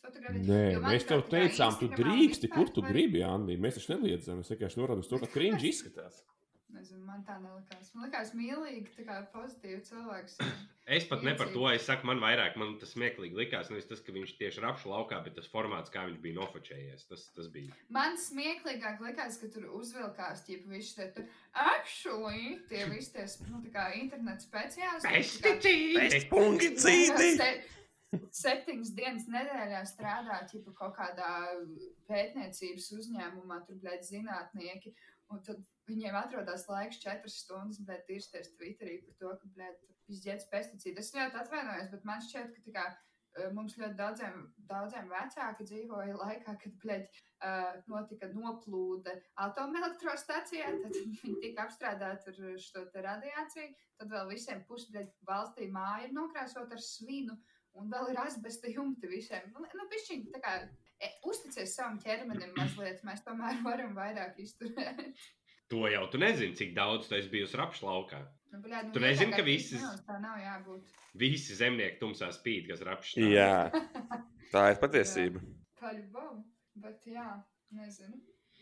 Speaker 4: Mm.
Speaker 3: fotografēt.
Speaker 2: Nē,
Speaker 3: Jo,
Speaker 2: mēs tev
Speaker 3: manuprāt, tā kā
Speaker 2: teicām, tu
Speaker 3: Instagramā
Speaker 2: drīksti,
Speaker 3: vispār
Speaker 2: kur tu
Speaker 3: var-
Speaker 2: gribi, Anni. Mēs taču neliedzam. Es vienkārši norādu uz to, ka krinžī izskatās.
Speaker 3: Nezinu, man tā nelikās. Man likās mīlīgi, tā kā pozitīvi cilvēks.
Speaker 1: Es pat ne par to,
Speaker 3: Iedzīvo.
Speaker 1: es saku, man vairāk man tas smieklīgi likās. Nevis tas, ka viņš tieši rapšu laukā, bet tas formāts, kā viņš bija nofočējies. Tas, tas bija.
Speaker 3: Man smieklīgāk likās, ka tur uzvilkās tie visi tie tur actually, tie visi tie nu, tā kā interneta speciālisti. kas tā kā
Speaker 1: Pesticīdi!
Speaker 4: Pungi cīti!
Speaker 3: Se- Septiņas dienas nedēļā strādā ķipa, kaut kādā pētniecības uzņēmumā, tur bija zinātnieki. un tad Viņiem atrodas laiks, četras stundas, bet tirsties Twitterī par to, ka blēd, izdzēs pesticīdu. Es ļoti atvainojos, bet man šķiet, ka tā kā, eh, mums ļoti daudziem, daudziem vecāki dzīvoja laikā, kad blēd, eh, notika noplūde atomelektrostacijā, tad viņi tika apstrādāti ar šo te radiāciju. Tad vēl visiem pusbļaļ valstī māja ir nokrāsot ar svinu, un vēl ir asbesta jumti visiem. Nu, nu pišķiņ, tā kā e, uzticies savam ķermenim mazliet, mēs tomēr varam vairāk izturēt.
Speaker 1: To jau tu nezini, cik daudz tu esi bijusi rapšu laukā.
Speaker 3: Nu, bļād, nu,
Speaker 1: Tu nezini,
Speaker 3: vienkārši
Speaker 1: ka visas-
Speaker 3: nav, Tā nav jābūt.
Speaker 1: Visi zemnieki tumsā spīd, kas rapšu. stāv.
Speaker 4: Jā, tā ir patiesība.
Speaker 3: Paļbam, bet jā, nezinu.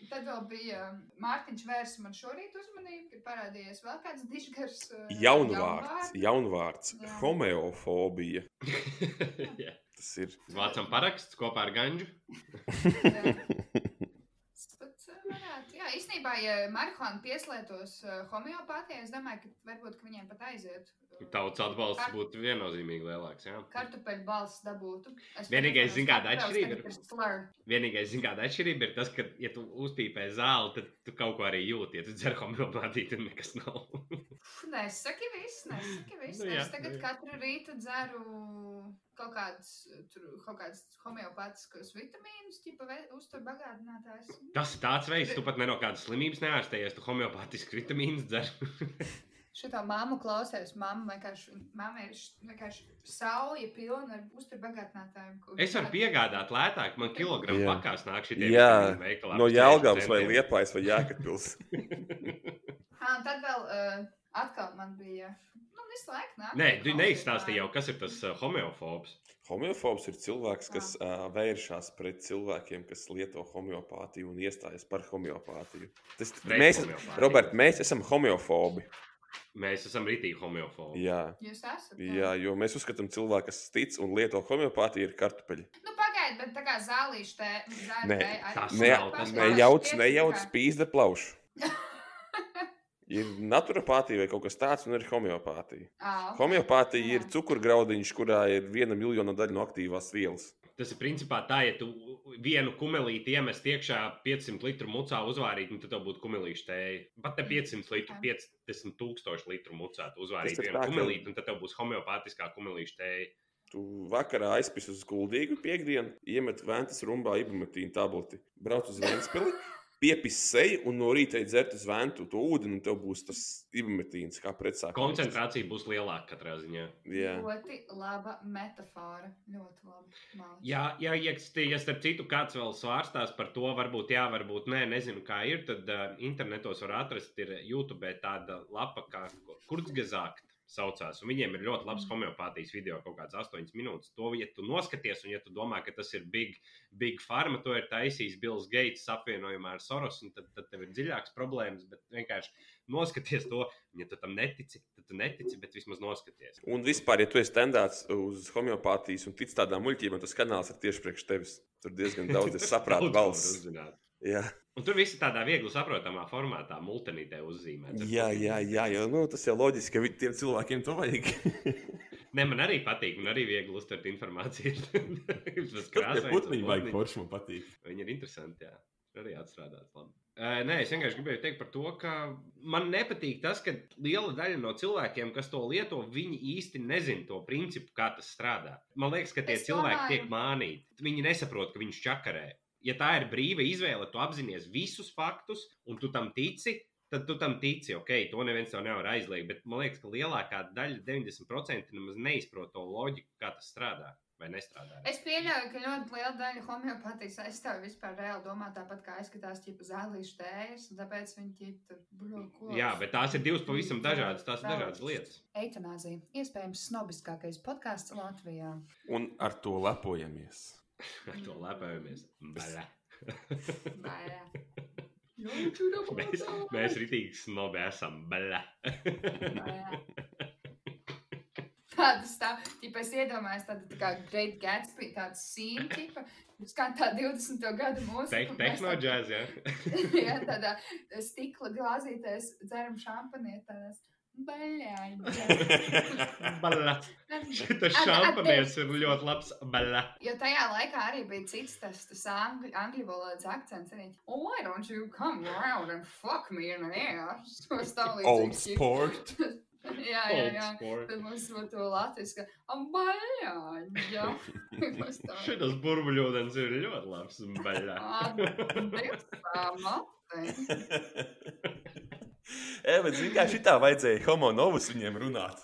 Speaker 3: Tad vēl bija um, Mārtiņš Vērs, man šorīt uzmanību, kad parādījies vēl kāds dišgars. eh,
Speaker 4: Jaunvārds, jaunvārds,
Speaker 3: Jā.
Speaker 4: homeofobija.
Speaker 1: Jā.
Speaker 4: Tas ir
Speaker 1: Vācam paraksts kopā ar ganģu.
Speaker 3: Jā. Bet, eh, varētu. Jā, īstenībā, ja marihuāna pieslēgtos homeopātijai, es domāju, ka varbūt ka viņiem pat aiziet. eh,
Speaker 1: Tauts atbalsts
Speaker 3: kar-
Speaker 1: būtu viennozīmīgi lielāks. Jā.
Speaker 3: Kartupeļu balss dabūtu. Es
Speaker 1: Vienīgais, zini, kāda atšķirība ir?
Speaker 3: ir. Slur.
Speaker 1: Vienīgais, zin, kāda atšķirība ir tas, ka, ja tu uzpīpē zāli, tad tu kaut ko arī jūti. Ja tu dzer homeopātiju, tad nekas nav.
Speaker 3: Pf, Nesaki viss, nesaki viss.
Speaker 1: Nu
Speaker 3: Nu,
Speaker 1: jā,
Speaker 3: es tagad
Speaker 1: nu jā.
Speaker 3: katru rītu dzeru kaut kādas, tur, kaut kādas homeopātiskas vitamīnus, tipa ve- uztur bagātinātājs.
Speaker 1: Tas ir tāds veids, tu pat ne no kādas slimības neārstējies, tu homeopātiski vitamīnus dzer.
Speaker 3: Šitā māmu klausās, mamma vienkārši, mamma ir š- vienkārši sauja pilna ar uztur bagātinātājiem. ko
Speaker 1: Es varu piegādāt lētāk, man kilogramu
Speaker 4: Jā.
Speaker 1: pakās nāk šī
Speaker 4: Jā, no Jālgavas vai Liepājas vai Jākatpils.
Speaker 3: Ā, un tad vēl uh, atkal man bija, nu, visu laiku nāk.
Speaker 1: Nē, tu neizstāstīji jau, kas ir tas uh, homeofobs.
Speaker 4: Homeofobs ir cilvēks, kas uh, vēršas pret cilvēkiem, kas lieto homeopātiju un iestājas par homeopātiju. Tas,
Speaker 1: Pret
Speaker 4: mēs,
Speaker 1: homeopātiju.
Speaker 4: Robert, mēs esam homeofobi.
Speaker 1: Mēs esam rītīgi homeofobi.
Speaker 4: Jā,
Speaker 3: Jūs esat?
Speaker 4: jā, jo mēs uzskatām, ka cilvēks, kas tic un lieto homeopātiju, ir kartupeļi.
Speaker 3: Nu, pagaidiet, bet tā kā zālīšu te. zāļu
Speaker 4: Nē,
Speaker 3: tē arī-
Speaker 1: tas
Speaker 4: Ne,
Speaker 1: nav tas pats.
Speaker 4: nejauc,
Speaker 3: Tiesa,
Speaker 4: nejauc
Speaker 3: kā-
Speaker 4: spīzda plaušu. Ir naturopātija vai kaut kas tāds, un ir homeopātija.
Speaker 3: Ā, ok.
Speaker 4: Homeopātija ir
Speaker 3: Jā.
Speaker 4: cukurgraudiņš, kurā ir viena miljona daļa no aktīvās vielas.
Speaker 1: Tas ir principā tā, ja tu vienu kumelīti iemest iekšā 500 litru mucā uzvārīt, nu, tad tev būtu kumelīša tēja. Pat ne 500 litru, 50 tūkstoši litru mucā tu
Speaker 4: Tas
Speaker 1: uzvārīt
Speaker 4: ir
Speaker 1: vienu
Speaker 4: tā, ka-
Speaker 1: kumelīti, un tad tev būs homeopātiskā kumelīša tēja.
Speaker 4: Tu vakarā aizpis uz guldīgu piekdienu, iemet vēmtas rumbā ibumetīnu tableti, brauc uz vēmspili, piepis seju un no rīta ej dzert uz vēmtu to ūdeni, un tev būs tas ibumetīns kā pretsākums.
Speaker 1: Koncentrācija būs lielāka katrā ziņā.
Speaker 4: Jā.
Speaker 3: Ļoti laba metāfora. Ļoti labi. Maliks.
Speaker 1: Jā, jā, ja, sti- ja starp citu kāds vēl svārstās par to, varbūt jā, varbūt nē, nezinu, kā ir, tad uh, internetos var atrast, ir YouTube tāda lapa, kā Kurzgezākt saucās, un viņiem ir ļoti labs homeopātijas video, kaut kāds 8 minūtes. To, ja tu noskaties, un ja tu domā, ka tas ir big, big farma, to ir taisījis Bills Gates apvienojumā ar Soros, un tad, tad tev ir dziļāks problēmas, bet vienkārši noskaties to, un ja tu tam netici, tad tu netici, bet vismaz noskaties.
Speaker 4: Un vispār, ja tu esi tendēts uz homeopātijas un tic tādām muļķībām, tas kanāls ir tieši priekš tevis. Tur diezgan daudz ir
Speaker 1: Daudz ko
Speaker 4: saprāta
Speaker 1: var
Speaker 4: balss.
Speaker 1: uzzināt.
Speaker 4: Jā,
Speaker 1: Un tur viss ir tādā viegli saprotamā formātā, multinītē uzzīmēts.
Speaker 4: jā, jā, jā jo, nu, tas jau loģiski, ka vi- tiem cilvēkiem to vajag.
Speaker 1: Nē, man arī patīk, man arī viegli uztvert informāciju. Tas
Speaker 2: Kāpēc
Speaker 1: krāsains
Speaker 2: putniņi
Speaker 1: un
Speaker 2: vajag
Speaker 1: putniņi.
Speaker 2: forši man patīk?
Speaker 1: Viņi ir interesanti. Jā. Tur Arī atstrādāt. Labi. Eh, Nē, es vienkārši gribēju teikt par to, ka man nepatīk tas, ka liela daļa no cilvēkiem, kas to lieto, viņi īsti nezina to principu, kā tas strādā. Man liekas, ka tie
Speaker 3: Es
Speaker 1: es cilvēki
Speaker 3: domāju-
Speaker 1: tiek mānīti. Viņi nesaprot, ka viņš čakarē. Ja tā ir brīva izvēle, tu apzinājies visus faktus un tu tam tici. Tad tu tam tici, ok, to neviens tev nevar aizliegt. Bet man liekas, ka lielākā daļa, 90% nemaz neizprot to loģiku, kā tas strādā vai nestrādā.
Speaker 3: Es pieļauju, ka ļoti liela daļa homeopātijas aizstāvja vispār reāli domā tāpat, kā izskatās ķipa zālīšu tējas, un tāpēc viņi ķipa tur blokos.
Speaker 1: Jā, bet tās ir divas pavisam
Speaker 3: Mm,
Speaker 1: dažādas, tās ir dažādas lietas.
Speaker 3: Eitanāzija. Iespējams, snobiskākais podkāsts Latvijā.
Speaker 4: Un ar to lepojamies.
Speaker 1: Ar to lepojamies. Bļa.
Speaker 3: Bā, jā.
Speaker 1: Mēs, mēs rītīgi snobi esam. Bļa.
Speaker 3: Tāda stāv, tipā es iedomājos, tāda tā kā Great Gatsby, tāda sīna, tipā, kā tā 20. gada mūzika.
Speaker 1: Te,
Speaker 3: un mēs tā-
Speaker 1: Tehnoģēs, jā.
Speaker 3: Jā, tādā eh, stikla glāzītēs dzeram šampaniet tādās. Baļāņi.
Speaker 1: Bļa. Tas šampanietis ir ļoti labs. Bļa.
Speaker 3: Jo tajā laikā arī bija cits tas, tas angļu, angļu valodas akcents. Arī. Oh, why don't you come around and fuck me in the ass? To stāv
Speaker 4: Old
Speaker 3: līdz.
Speaker 4: sport.
Speaker 3: Jā, jā,
Speaker 1: Old
Speaker 3: jā.
Speaker 1: sport.
Speaker 3: Tad mums ir to latviska. Baļāņi. Jā. Kaut kas tāds.
Speaker 1: Šitas burbuļūdens ir ļoti labs. Bļa.
Speaker 3: Atbilstām.
Speaker 4: Jā, bet zini, kā šitā vajadzēja homonovus viņiem runāt.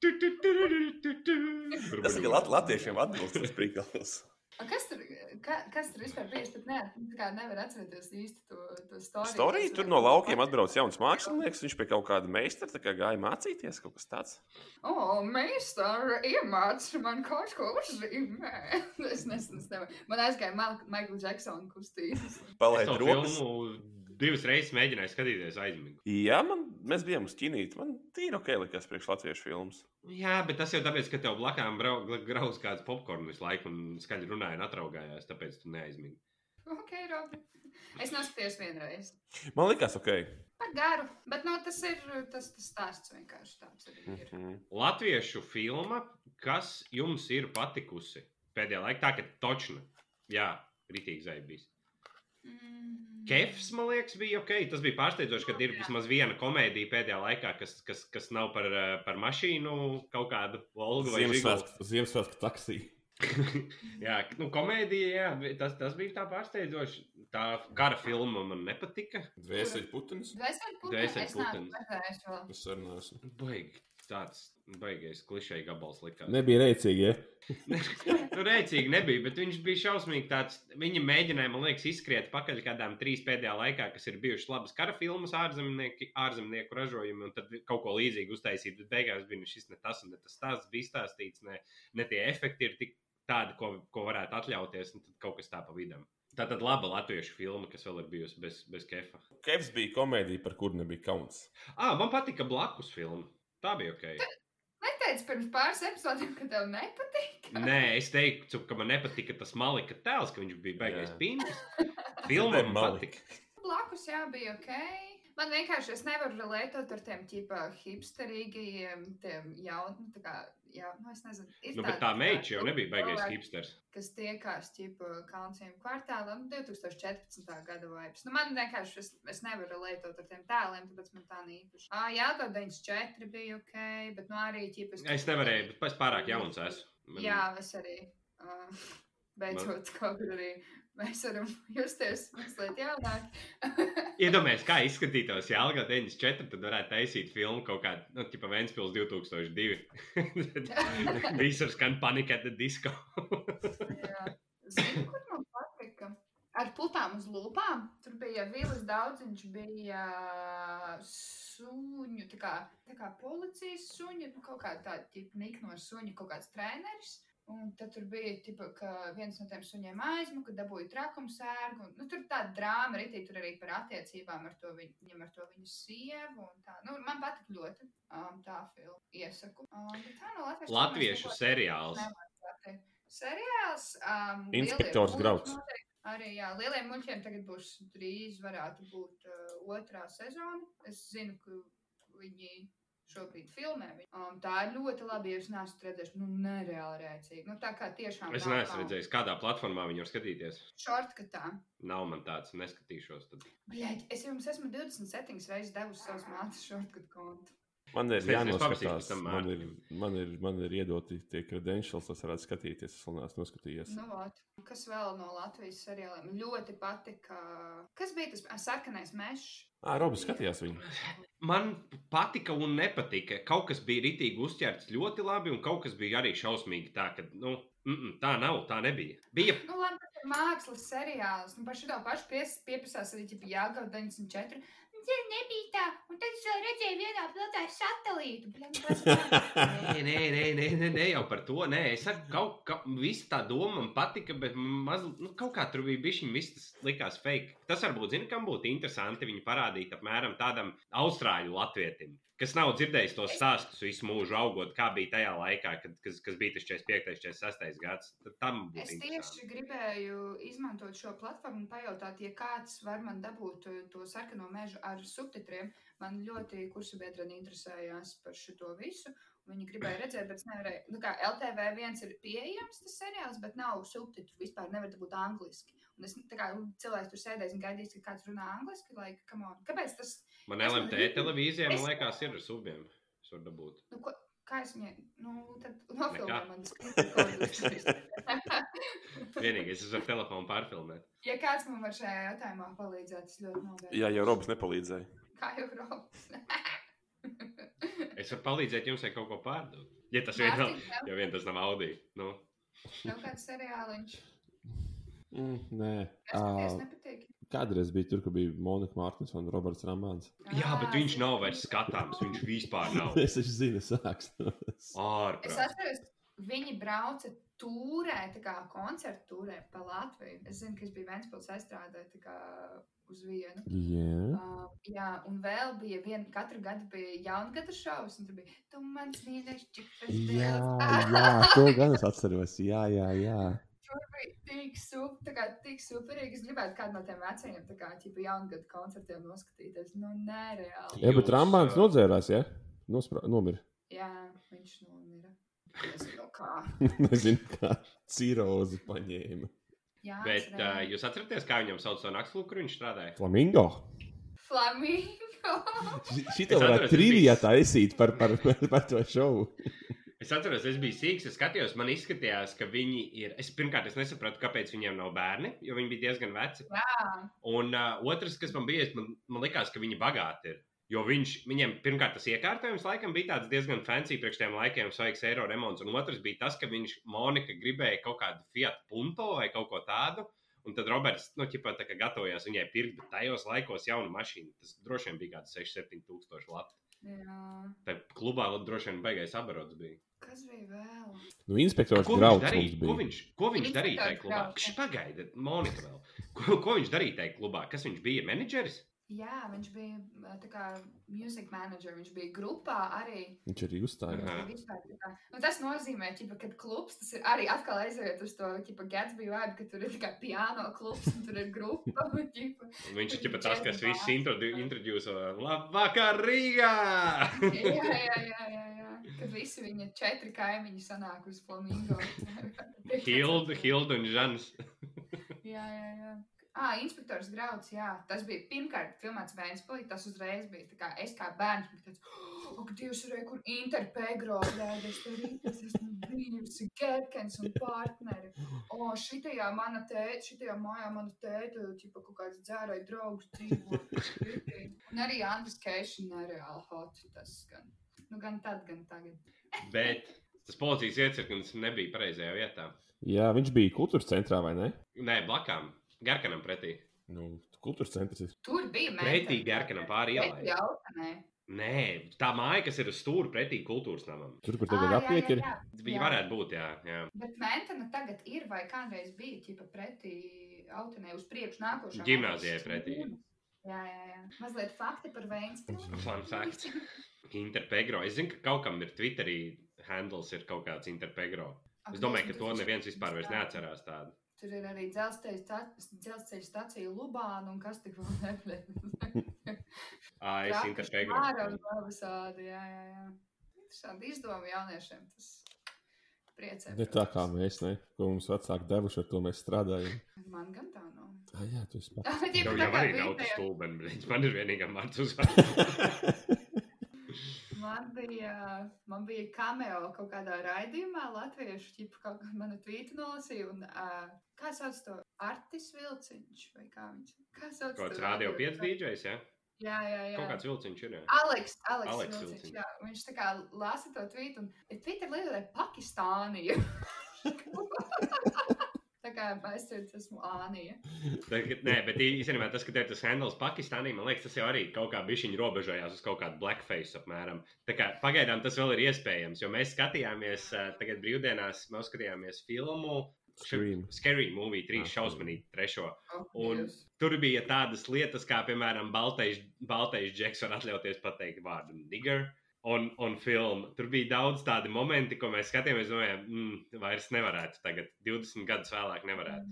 Speaker 1: Tu, tu, tu, tu, tu, tu.
Speaker 4: Tas ir lat latviešiem atbilst tas prikals.
Speaker 3: A Kas tur, ka, kas tur vispār bija? Es pat ne, tā kā nevaru atcerēties īsti to, to stāstu.
Speaker 4: Storija tur no laukiem atbrauc jauns mākslinieks, viņš pie kaut kāda meistara tā kā gāja mācīties kaut kas tāds.
Speaker 3: O, oh, meistara iemāca man kaut ko uzzīmē. es nesmu, es nevaru. Man aizgāja Mal- Michael Jackson kustības.
Speaker 1: Es
Speaker 4: Palaid
Speaker 1: to
Speaker 4: rokas.
Speaker 1: filmu divas reizes mēģināju skatīties aizmigt.
Speaker 4: Jā, man, mēs bijām uz ķinīt. Man tīri ok likās priekš latviešu filmas.
Speaker 1: Jā, bet tas jau tāpēc, ka tev blakām brau- gla- grauz kāds popkorns visu laiku un skaļi runāja un atraugājās, tāpēc tu neaizmini.
Speaker 3: ok, Robi. Es noskatījos vienreiz.
Speaker 4: Man likās ok.
Speaker 3: Par garu. Bet, nu, tas ir tas, tas stāsts vienkārši tāds arī ir.
Speaker 4: Mhm.
Speaker 1: Latviešu filma, kas jums ir patikusi pēdējā laikā, tā ka točna. Jā, rītīgi zaibīs.
Speaker 3: Mm.
Speaker 1: Kefs, man liekas, bija ok. Tas bija pārsteidzoši, ka ir vismaz viena komēdija pēdējā laikā, kas, kas, kas nav par, eh, par mašīnu kaut kādu Volgu vai Žiguli.
Speaker 2: Ziemassvētku Ziemassvētku taksī.
Speaker 1: Jā, nu, komēdija, jā, tas, tas bija tā pārsteidzoši. Tā kara filma man nepatika.
Speaker 3: Dvēseli
Speaker 4: putins.
Speaker 3: Dvēseli
Speaker 1: Dvēseli
Speaker 3: putni. Es neesmu
Speaker 1: putni.
Speaker 3: redzējis vēl.
Speaker 4: Es arī neesmu.
Speaker 1: Baigi, tāds baigais klišeja gabals likās.
Speaker 2: Nebija reicīgi, ja?
Speaker 1: Nu, rēcīgi nebija, bet viņš bija šausmīgi tāds. Viņa mēģināja, man liekas, izskriet pakaļ kādām trīs pēdējā laikā, kas ir bijušas labas kara filmas, ārzemnieki, ārzemnieku ražojumi, un tad kaut ko līdzīgu uztaisīt. Bet beigās bija nu, šis ne tas, un ne tas stāsts bija izstāstīts, ne, ne tie efekti ir tik tādi, ko, ko varētu atļauties, un tad kaut kas tā pa vidam. Tā tad laba latviešu filma, kas vēl ir bijusi bez, bez kefa.
Speaker 4: Kevs bija komēdija, par kuru nebija kauns.
Speaker 1: Ah, man patika blakus filma. Tā bija ok.
Speaker 3: Neteicu pirms pāris epizodēm, ka tev nepatīk.
Speaker 1: Nē, es teiktu, ka man nepatika tas malika tēls, ka viņš bija beigais
Speaker 4: Jā.
Speaker 1: pīns. Filma man
Speaker 4: Malika.
Speaker 1: patika.
Speaker 3: Blakus jā, bija ok. Man vienkārši es nevaru relētot ar tiem tipā hipsterīgiem, tiem jauniem, tā kā, jā, nu es nezinu. ir
Speaker 1: Nu, bet
Speaker 3: tādi,
Speaker 1: tā
Speaker 3: kā,
Speaker 1: meitene jau nebija baigājis
Speaker 3: cilvēki,
Speaker 1: hipsters.
Speaker 3: Kas tiekās tipā kalnciem kvartālam 2014. nu, gada vibes. Nu, man vienkārši, es, es nevaru relētot ar tiem tēliem, tāpēc man tā nīpaši. Ā, jā, to 94 bija ok, bet nu arī tipā.
Speaker 1: Es nevarēju, bet es pārāk jauns esmu. Man-
Speaker 3: Jā, es arī. ā, Beidzot, kaut kur arī mēs varam justies mazliet jaunāk.
Speaker 1: Iedomājieties, kā izskatītos, ja Alga 94, tad varētu taisīt filmu kaut kādu, nu, tipā Vēnspils 2002. Tad Visur skan panika, tad disko.
Speaker 3: Jā. Zini, kur man patika? Ar putām uz lūpām. Tur bija vīles daudz, viņš bija suņu, tā kā, tā kā policijas suņi, nu, kaut kā tāda tipa nikno suņu, kaut kāds treneris. Un tad tur bija tipa, ka viens no tiem suņiem aizmuka, dabūja trakums sērgu. Un, nu, tur tā drāma arī tur arī par attiecībām ar to viņu, viņam ar to viņu sievu. un Tā. Nu, man patika ļoti um, tā filma. Iesaku. Um, bet tā no latviešu,
Speaker 1: Latviešu seriāls.
Speaker 3: Latviešu seriāls. Um,
Speaker 2: Inspektors Grauds.
Speaker 3: Arī jā, lieliem muļķiem tagad būs drīz, varētu būt uh, otrā sezona. Es zinu, ka viņi šobrīd filmē. viņu. Um, tā ir ļoti labi. Jūs neesat redzējuši, nu, nereāli rēcīgi. Nu, tā kā tiešām.
Speaker 1: Es neesmu redzējis, kādā platformā viņi var skatīties.
Speaker 3: Šortkatā.
Speaker 1: Nav man tāds, neskatīšos. Tad.
Speaker 3: Bļaļ, es jums esmu 27 reizes devusi savus mātes šortkat kontu.
Speaker 4: Man ir
Speaker 1: Es nezinu, es paprasīšu
Speaker 2: Jānoskatās,
Speaker 1: tam
Speaker 2: man ir,
Speaker 1: Mārtiņam.
Speaker 2: man, ir, man ir iedoti tie credentials, es varētu skatīties, es vēl neesmu noskatījies.
Speaker 3: Nu, vot. kas vēl no Latvijas seriāliem? Man Ļoti patika. Kas bija tas ā, sarkanais mežs?
Speaker 2: Ā, Robs Nu, skatījās viņu.
Speaker 1: Man patika un nepatika. Kaut kas bija rītīgi uzķerts ļoti labi, un kaut kas bija arī šausmīgi. Tā, ka, nu, mm -mm, tā nav, tā nebija. Bija
Speaker 3: Nu, labi, tas ir mākslas seriāls. Nu, par šo pašu pies- pieprasās arī Jāgauda 94.
Speaker 5: tur nebija tā, un tad es vēl redzēju vienā pilsētā satelītu. Bļam, kas-
Speaker 1: Nē, nē, nē, nē, nē, nē, jau par to. Nē, es saku, kaut kā viss tā doma man patika, bet maz, nu, kaut kā tur bija bišķiņ, viss tas likās fake. Tas varbūt, zina, kam būtu interesanti viņu parādīt apmēram tādam austrāļu latvietim, kas nav dzirdējis tos stāstus visu mūžu augot, kā bija tajā laikā, kad, kas, kas bija tas 45, 46 gads. Tad tam
Speaker 3: Es
Speaker 1: būtu interesanti.
Speaker 3: tieši gribēju izmantot šo platformu un pajautāt, ja kāds var man dabūt eh, to sarkano mežu ar subtitriem. Man ļoti kursabiedrene interesējās par šo visu. un Viņi gribēja redzēt, bet es nevarēju. Nu kā LTV viens ir pieejams, tas seriāls, bet nav subtitru. Vispār nevar būt angliski. Un es tā kā cilvēks tur sēdēs un gaidīs, ka kāds runā angliski. Like, come on. Kāpēc tas?
Speaker 1: Man
Speaker 3: Es-
Speaker 1: LMT televīzijā, man
Speaker 3: es-
Speaker 1: liekas, ir ar subiem. Es varu dabūt.
Speaker 3: Nu, ko, kā es viņai? Nu, tad nofilmē
Speaker 1: Nekā.
Speaker 3: man skribi.
Speaker 1: Vienīgais, es ar telefonu pārfilmēt.
Speaker 3: ja kāds man var šajā jautājumā palīdzēt, es ļoti novērtēju.
Speaker 4: Jā, jau Robs nepalīdzēja.
Speaker 3: Kā jau Robs.
Speaker 1: Es varu palīdzēt jums, ja kaut ko pārdot. Ja tas vien, nav-
Speaker 3: Mārtiņ, tev-
Speaker 1: ja vien tas nav Audi. Nu.
Speaker 3: tev kāds seriāliņš.
Speaker 2: Mm, nē,
Speaker 3: Es
Speaker 2: uh,
Speaker 3: nepatīk.
Speaker 2: kādreiz bija tur, kur bija Monika Mārtiņš un Roberts Rāmāns.
Speaker 1: Jā, bet
Speaker 3: Ā,
Speaker 1: viņš
Speaker 3: es-
Speaker 1: nav vairs skatāms. Viņš vispār nav.
Speaker 2: es taču zinu, sāks.
Speaker 3: Es
Speaker 1: Ārprāt.
Speaker 3: atceros, viņi brauca tūrē, tā kā koncertu tūrē pa Latviju. Es zinu, ka es biju Ventspils aizstrādāju tā kā uz vienu.
Speaker 2: Jā,
Speaker 3: Uh, jā, un vēl bija viena, katru gadu bija jaungada šovs, un tur bija, tu mans mīļais čipas
Speaker 2: jā,
Speaker 3: dēls."
Speaker 2: jā, to gan es atceros. Jā, jā, jā.
Speaker 3: Tur bija tik super, tā kā tik superīgi. Es gribētu kādu no tiem vecajiem, tā kā, tipa, jaungada koncertiem noskatīties. Nu, nereāli.
Speaker 2: Jā, bet
Speaker 1: Jūs,
Speaker 2: Rāmāns
Speaker 1: ā,
Speaker 2: nodzērās, jā? Nospra... Nomira.
Speaker 3: Jā, viņš nu nomira. Nezinu, kā.
Speaker 2: Nezinu, kā cirozi paņēma.
Speaker 3: Jā,
Speaker 1: Bet
Speaker 3: es
Speaker 1: uh,
Speaker 3: redzu.
Speaker 1: jūs atceraties, kā viņam sauc to naktslu, kur viņš strādāja?
Speaker 2: Flamingo.
Speaker 3: Flamingo.
Speaker 2: Šī
Speaker 1: Es
Speaker 2: tā varētu
Speaker 1: atceros, es
Speaker 2: trivijā
Speaker 1: biju-
Speaker 2: taisīt par, par, par, par to šovu.
Speaker 1: Es atceros, es biju sīgs, es skatījos, man izskatījās, ka viņi ir. Es pirmkārt, es nesapratu, kāpēc viņiem nav bērni, jo viņi bija diezgan veci.
Speaker 3: Jā.
Speaker 1: Un uh, otrs, kas man bija, es- man, man likās, ka viņi bagāti ir. Jo viņš, viņiem pirmkārt tas iekārtojums laikam bija tāds diezgan fancy priekš tiem laikiem, svaigs eiro remonts. Un otrs bija tas, ka viņš Monika gribēja kaut kādu Fiat punto vai kaut ko tādu. Un tad Roberts, nu, ķipā, tā kā gatavojās viņai pirkt, bet tajos laikos jaunu mašīnu, tas droši vien bija kaut kāds 6-7 tūkstoši lati.
Speaker 3: Jā.
Speaker 1: Tā klubā vēl droši vien beigais abarots bija.
Speaker 3: Kas bija vēl?
Speaker 2: Nu, inspektors
Speaker 1: Ko viņš
Speaker 2: grauds mums
Speaker 1: darīja? Ko
Speaker 2: bija.
Speaker 1: viņš, ko viņš
Speaker 3: Viņš
Speaker 1: darīja tajā
Speaker 3: vienkārši
Speaker 1: klubā?
Speaker 3: brauca.
Speaker 1: Kš, Pagaidiet, Monika vēl. Ko, ko viņš darīja tajā klubā? Kas viņš bija? Menedžeris?
Speaker 3: Jā, viņš bija ā, tā kā music manager, viņš bija grupā arī.
Speaker 2: Viņš arī uzstājās.
Speaker 1: Aha.
Speaker 3: Tas bija vispār tā kā- Nu, tas nozīmē, ķipa, ka klubs tas ir arī atkal aiziet uz to Gatsby vibe, ka tur ir tikai piano klubs un tur ir grupa. un, ķipa,
Speaker 1: Un Viņš ir
Speaker 3: Tur
Speaker 1: ķipa tas,
Speaker 3: džeza
Speaker 1: kas
Speaker 3: bāra.
Speaker 1: visus introducē. uh, Labvakar, Rīgā!
Speaker 3: jā, jā, jā, jā, jā. Kad visi viņa četri kaimiņi sanāk uz flamingo.
Speaker 1: Hilda, Hilda un Žans.
Speaker 3: Jā, jā, jā. Ah, inspektors Grauds, jā, tas bija pirmkārt filmēts Vēnspēlī, tas uzreiz bija tā kā es kā bērns biju tāds, "Oh, ok, divas reizes, kur interpegro, blēdes, tur ir tas esmu bijusi Gerkens un partneri. O, šitajā mana tēta, šitajā mājā mana tēta, tipa kaut kāds dzērāja draugs dzīvo. Un arī Andris Keišs nereāli hot tas gan. Nu, gan tad, gan tagad.
Speaker 1: Bet tas policijas iecirknis nebija pareizajā vietā.
Speaker 2: Jā, viņš bija kultūras centrā vai ne?
Speaker 1: Nē, blakām. Garkanam pretī.
Speaker 2: Nu, kultūras centrs ir.
Speaker 3: Tur bija
Speaker 1: Pretī Gerkanam pāri ielai.
Speaker 3: Jā, nē.
Speaker 1: Nē, tā māja, kas ir uz stūra pretī kultūras namam.
Speaker 2: Tur, kur tagad apiet ir.
Speaker 1: Viņi varētu būt, jā. jā.
Speaker 3: Bet Mentena tagad ir vai kādreiz bija ķipa pretī autonē uz priekšu nākošā.
Speaker 1: Ģimnāzijai
Speaker 3: autonē.
Speaker 1: pretī.
Speaker 3: Jā, jā, jā. Mazliet fakti par Vēnspili.
Speaker 1: Fun fact. Interpegro. Es zinu, ka kaut kam ir Twitterī handles ir kaut kāds Interpegro. Es domāju, ka to neviens vispār vairs neatcerās tādu.
Speaker 3: Tur ir arī dzelzceļa sta- dzelzceļa stacija Lubāna un kas tik vēl nebija.
Speaker 1: Ā, es Interpegro.
Speaker 3: Ārā un vēl visādi, jā, jā, jā. Interesanti izdomi jauniešiem, tas
Speaker 2: Ne
Speaker 3: priecē.
Speaker 2: Nu, tā kā
Speaker 3: protams.
Speaker 2: mēs, ne? Ko mums vecāki devuši, ar to mēs strādājam.
Speaker 3: Man gan tā nav.
Speaker 2: Ah, jā, tu esi pats.
Speaker 3: Bet,
Speaker 1: Tev jau
Speaker 3: ķipa, tā kā
Speaker 1: arī nav
Speaker 3: bija
Speaker 1: tas
Speaker 3: tajā-
Speaker 1: stulbenis, bet man ir vienīgā mārciņa uzvārds.
Speaker 3: Man bija, man bija cameo kaut kādā raidījumā, Latviešu ķipa kaut kāda mana tvīta nolasīja. Un, uh, kā sauc to Artis Vilciņš? Vai kā viņš? Kā sauc
Speaker 1: Kaut
Speaker 3: to
Speaker 1: kāds radio
Speaker 3: radio-
Speaker 1: 5 dīdžers, ja?
Speaker 3: Jā, jā, jā.
Speaker 1: Kaut kāds vilciņš ir. jā.
Speaker 3: Aleks, Aleks,
Speaker 1: Aleks
Speaker 3: Aleks Vilciņš,
Speaker 1: Vilciņš.
Speaker 3: jā, viņš tā kā lasa to tvītu, un ir Twitter lietotāji Pakistāni. tā kā kā aizsardz esmu Ānija.
Speaker 1: Tagad, nē, bet īstenībā tas, ka tev ir tas handels Pakistānī, man liekas, tas jau arī kaut kā bišķiņi robežojās uz kaut kādu blackface apmēram. Tā kā pagaidām tas vēl ir iespējams, jo mēs skatījāmies ā, tagad brīvdienās, mēs skatījāmies filmu.
Speaker 2: Scream.
Speaker 1: Scary movie, 3
Speaker 2: Ah,
Speaker 1: šausmīgi, 3.
Speaker 3: Oh,
Speaker 1: Un
Speaker 3: Dievs.
Speaker 1: tur bija tādas lietas, kā, piemēram, baltais, baltais džeks var atļauties pateikt vārdu nigger. Un, un filma. Tur bija daudz tādu momentu, ko mēs skatījāmies. Domājām, mm, vairs nevarētu. Tagad, 20 gadus vēlāk, nevarētu.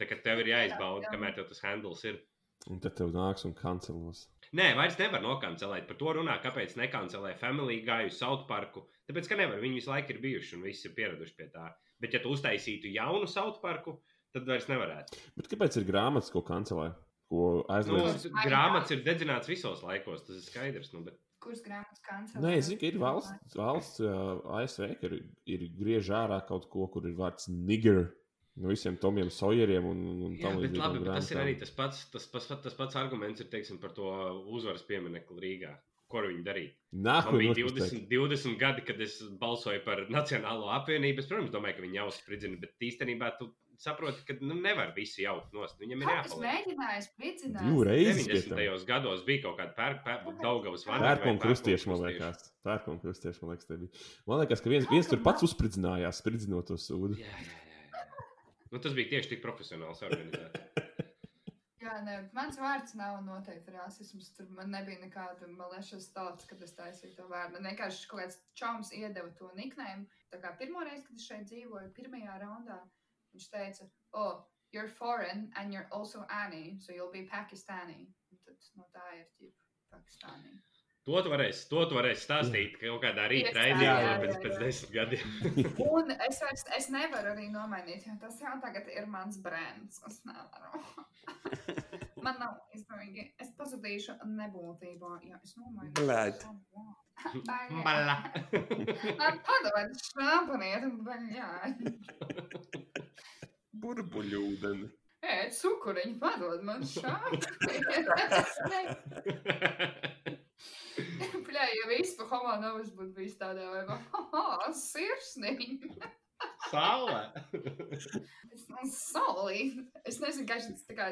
Speaker 1: Tā kā tev ir jāizbauda,
Speaker 3: Jā, jā.
Speaker 1: kamēr tev tas handles ir.
Speaker 2: Un tad tev nāks un kancelos.
Speaker 1: Nē, vairs nevar nokancelēt. Par to runā, kāpēc nekancelē Family Guy, South Parku. Tāpēc, ka nevar, viņi visu laiku ir bijuši un visi ir pieraduši pie tā. Bet, ja tu uztaisītu jaunu South Parku, tad vairs nevarētu.
Speaker 2: Bet kāpēc ir grāmatas, ko kancelē? Ko
Speaker 1: Nu,
Speaker 2: aizliedz?
Speaker 3: Tāpēc-
Speaker 1: grāmatas ir dedzināts visos laikos, tas ir skaidrs. Nu, bet...
Speaker 3: Kuras grāmatas kancelē?
Speaker 2: Nē, es zinu, ka ir valsts, valsts uh, ASV, ka ir, ir griež ārā kaut ko, kur ir vārds nigger. No visiem tomiem sojeriem un, un- un
Speaker 1: Jā,
Speaker 2: tam
Speaker 1: bet, labi, bet tas ir
Speaker 2: grāmatām.
Speaker 1: arī tas pats, tas, tas, pats- tas pats arguments ir, teiksim, par to uzvaras pieminekli Rīgā. Ko ar viņu darīt? Man
Speaker 2: Nākamais
Speaker 1: bija 20, 20 gadi, kad es balsoju par Nacionālo apvienību. Es, protams, domāju, ka viņi jau spridzina, bet īstenībā tu saproti, ka nu, nevar visu jaukt nost. Viņam ir
Speaker 3: Kaut kas
Speaker 1: jāpaliek.
Speaker 3: mēģinājis pridzināt.
Speaker 2: Divreiz pēc tam.
Speaker 1: 90. gados bija kaut kāda pērk, pērk, Daugavas vana.
Speaker 2: Pērkona kristieši, man liekas. Pērkona kristieši, man liekas, te bija. Man liekas, ka viens, viens tur pats uzspridzinājās, spridzinot to sūdu.
Speaker 1: nu, Jā, jā, jā. jā. Nu, tas bija tieši tik profesionāls organizēts.
Speaker 3: Jā, nē, mans vārds nav noteikti rasisms. Tur man nebija nekāda malešas tautas, kad es taisīju to vārdu. Man vienkārši kaut kāds čoms iedeva to niknēm. Tā kā pirmoreiz, kad es šeit dzīvoju, pirmajā raundā, viņš teica, oh, you're foreign and you're also Annie, so you'll be Pakistani. Un Tad no tā ir tīpa Pakistāni.
Speaker 1: To tu varēsi, to tu varēsi stāstīt kaut kādā rīta
Speaker 3: Piecā,
Speaker 1: raidījumā
Speaker 2: jā,
Speaker 1: pēc,
Speaker 3: jā,
Speaker 1: pēc
Speaker 3: jā.
Speaker 1: desmit gadiem.
Speaker 3: Un es vairs es nevaru arī nomainīt, jo tas jau tagad ir mans brands. Es nevaru. Man nav izdevīgi. Es pazudīšu nebūtībā, ja es nomainīšu.
Speaker 4: Blēd.
Speaker 3: savu vārdu. Baļā.
Speaker 1: Bala.
Speaker 3: Man padod šāpaniet, un baļā.
Speaker 4: Burbuļūdeni.
Speaker 3: Ē, cukuriņi padod man šāpaniet. Bļā, ja vispār homo novas būtu bijis tādā, vai va, hoho, sirsniņi.
Speaker 1: Saula.
Speaker 3: Es- un Solī. Es nezinu, kā šis tā kā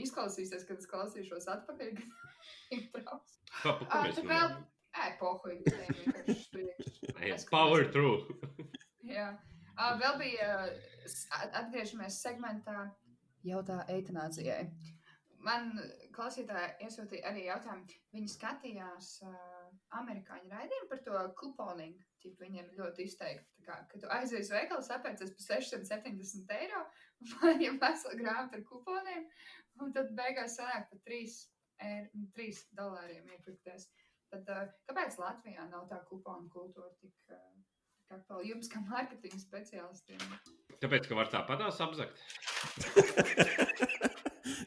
Speaker 3: izklausīsies, kad es klausīšos atpakaļ.
Speaker 1: Pa- pa- ko
Speaker 3: Ah,
Speaker 1: mēs
Speaker 3: tu
Speaker 1: runājam?
Speaker 3: vēl- Ai, pohuj. tā ir vienkārši spriekš.
Speaker 1: Ei,
Speaker 3: Es-
Speaker 1: Power through.
Speaker 3: Jā. Ah, Vēl bija, s- at- atgriežamies segmentā, jautā eitanācijai. Man klausītāja iesūtīja arī jautājumu. Viņi skatījās uh, amerikāņu raidījumu par to kuponingu. Tip, viņiem ļoti izteikti, tā kā, ka tu aizies uz veikalu, sapērcies par 670 eiro, vai jau veselu grāmatu ar kuponiem, un tad beigās sanāk par 3, 3 dolāriem iepirkties. Tad, uh, kāpēc Latvijā nav tā kuponu kultūra tik uh, Kā pal- jums, kā mārketinga speciālistiem,
Speaker 1: Tāpēc, ka var tā padās apzakt.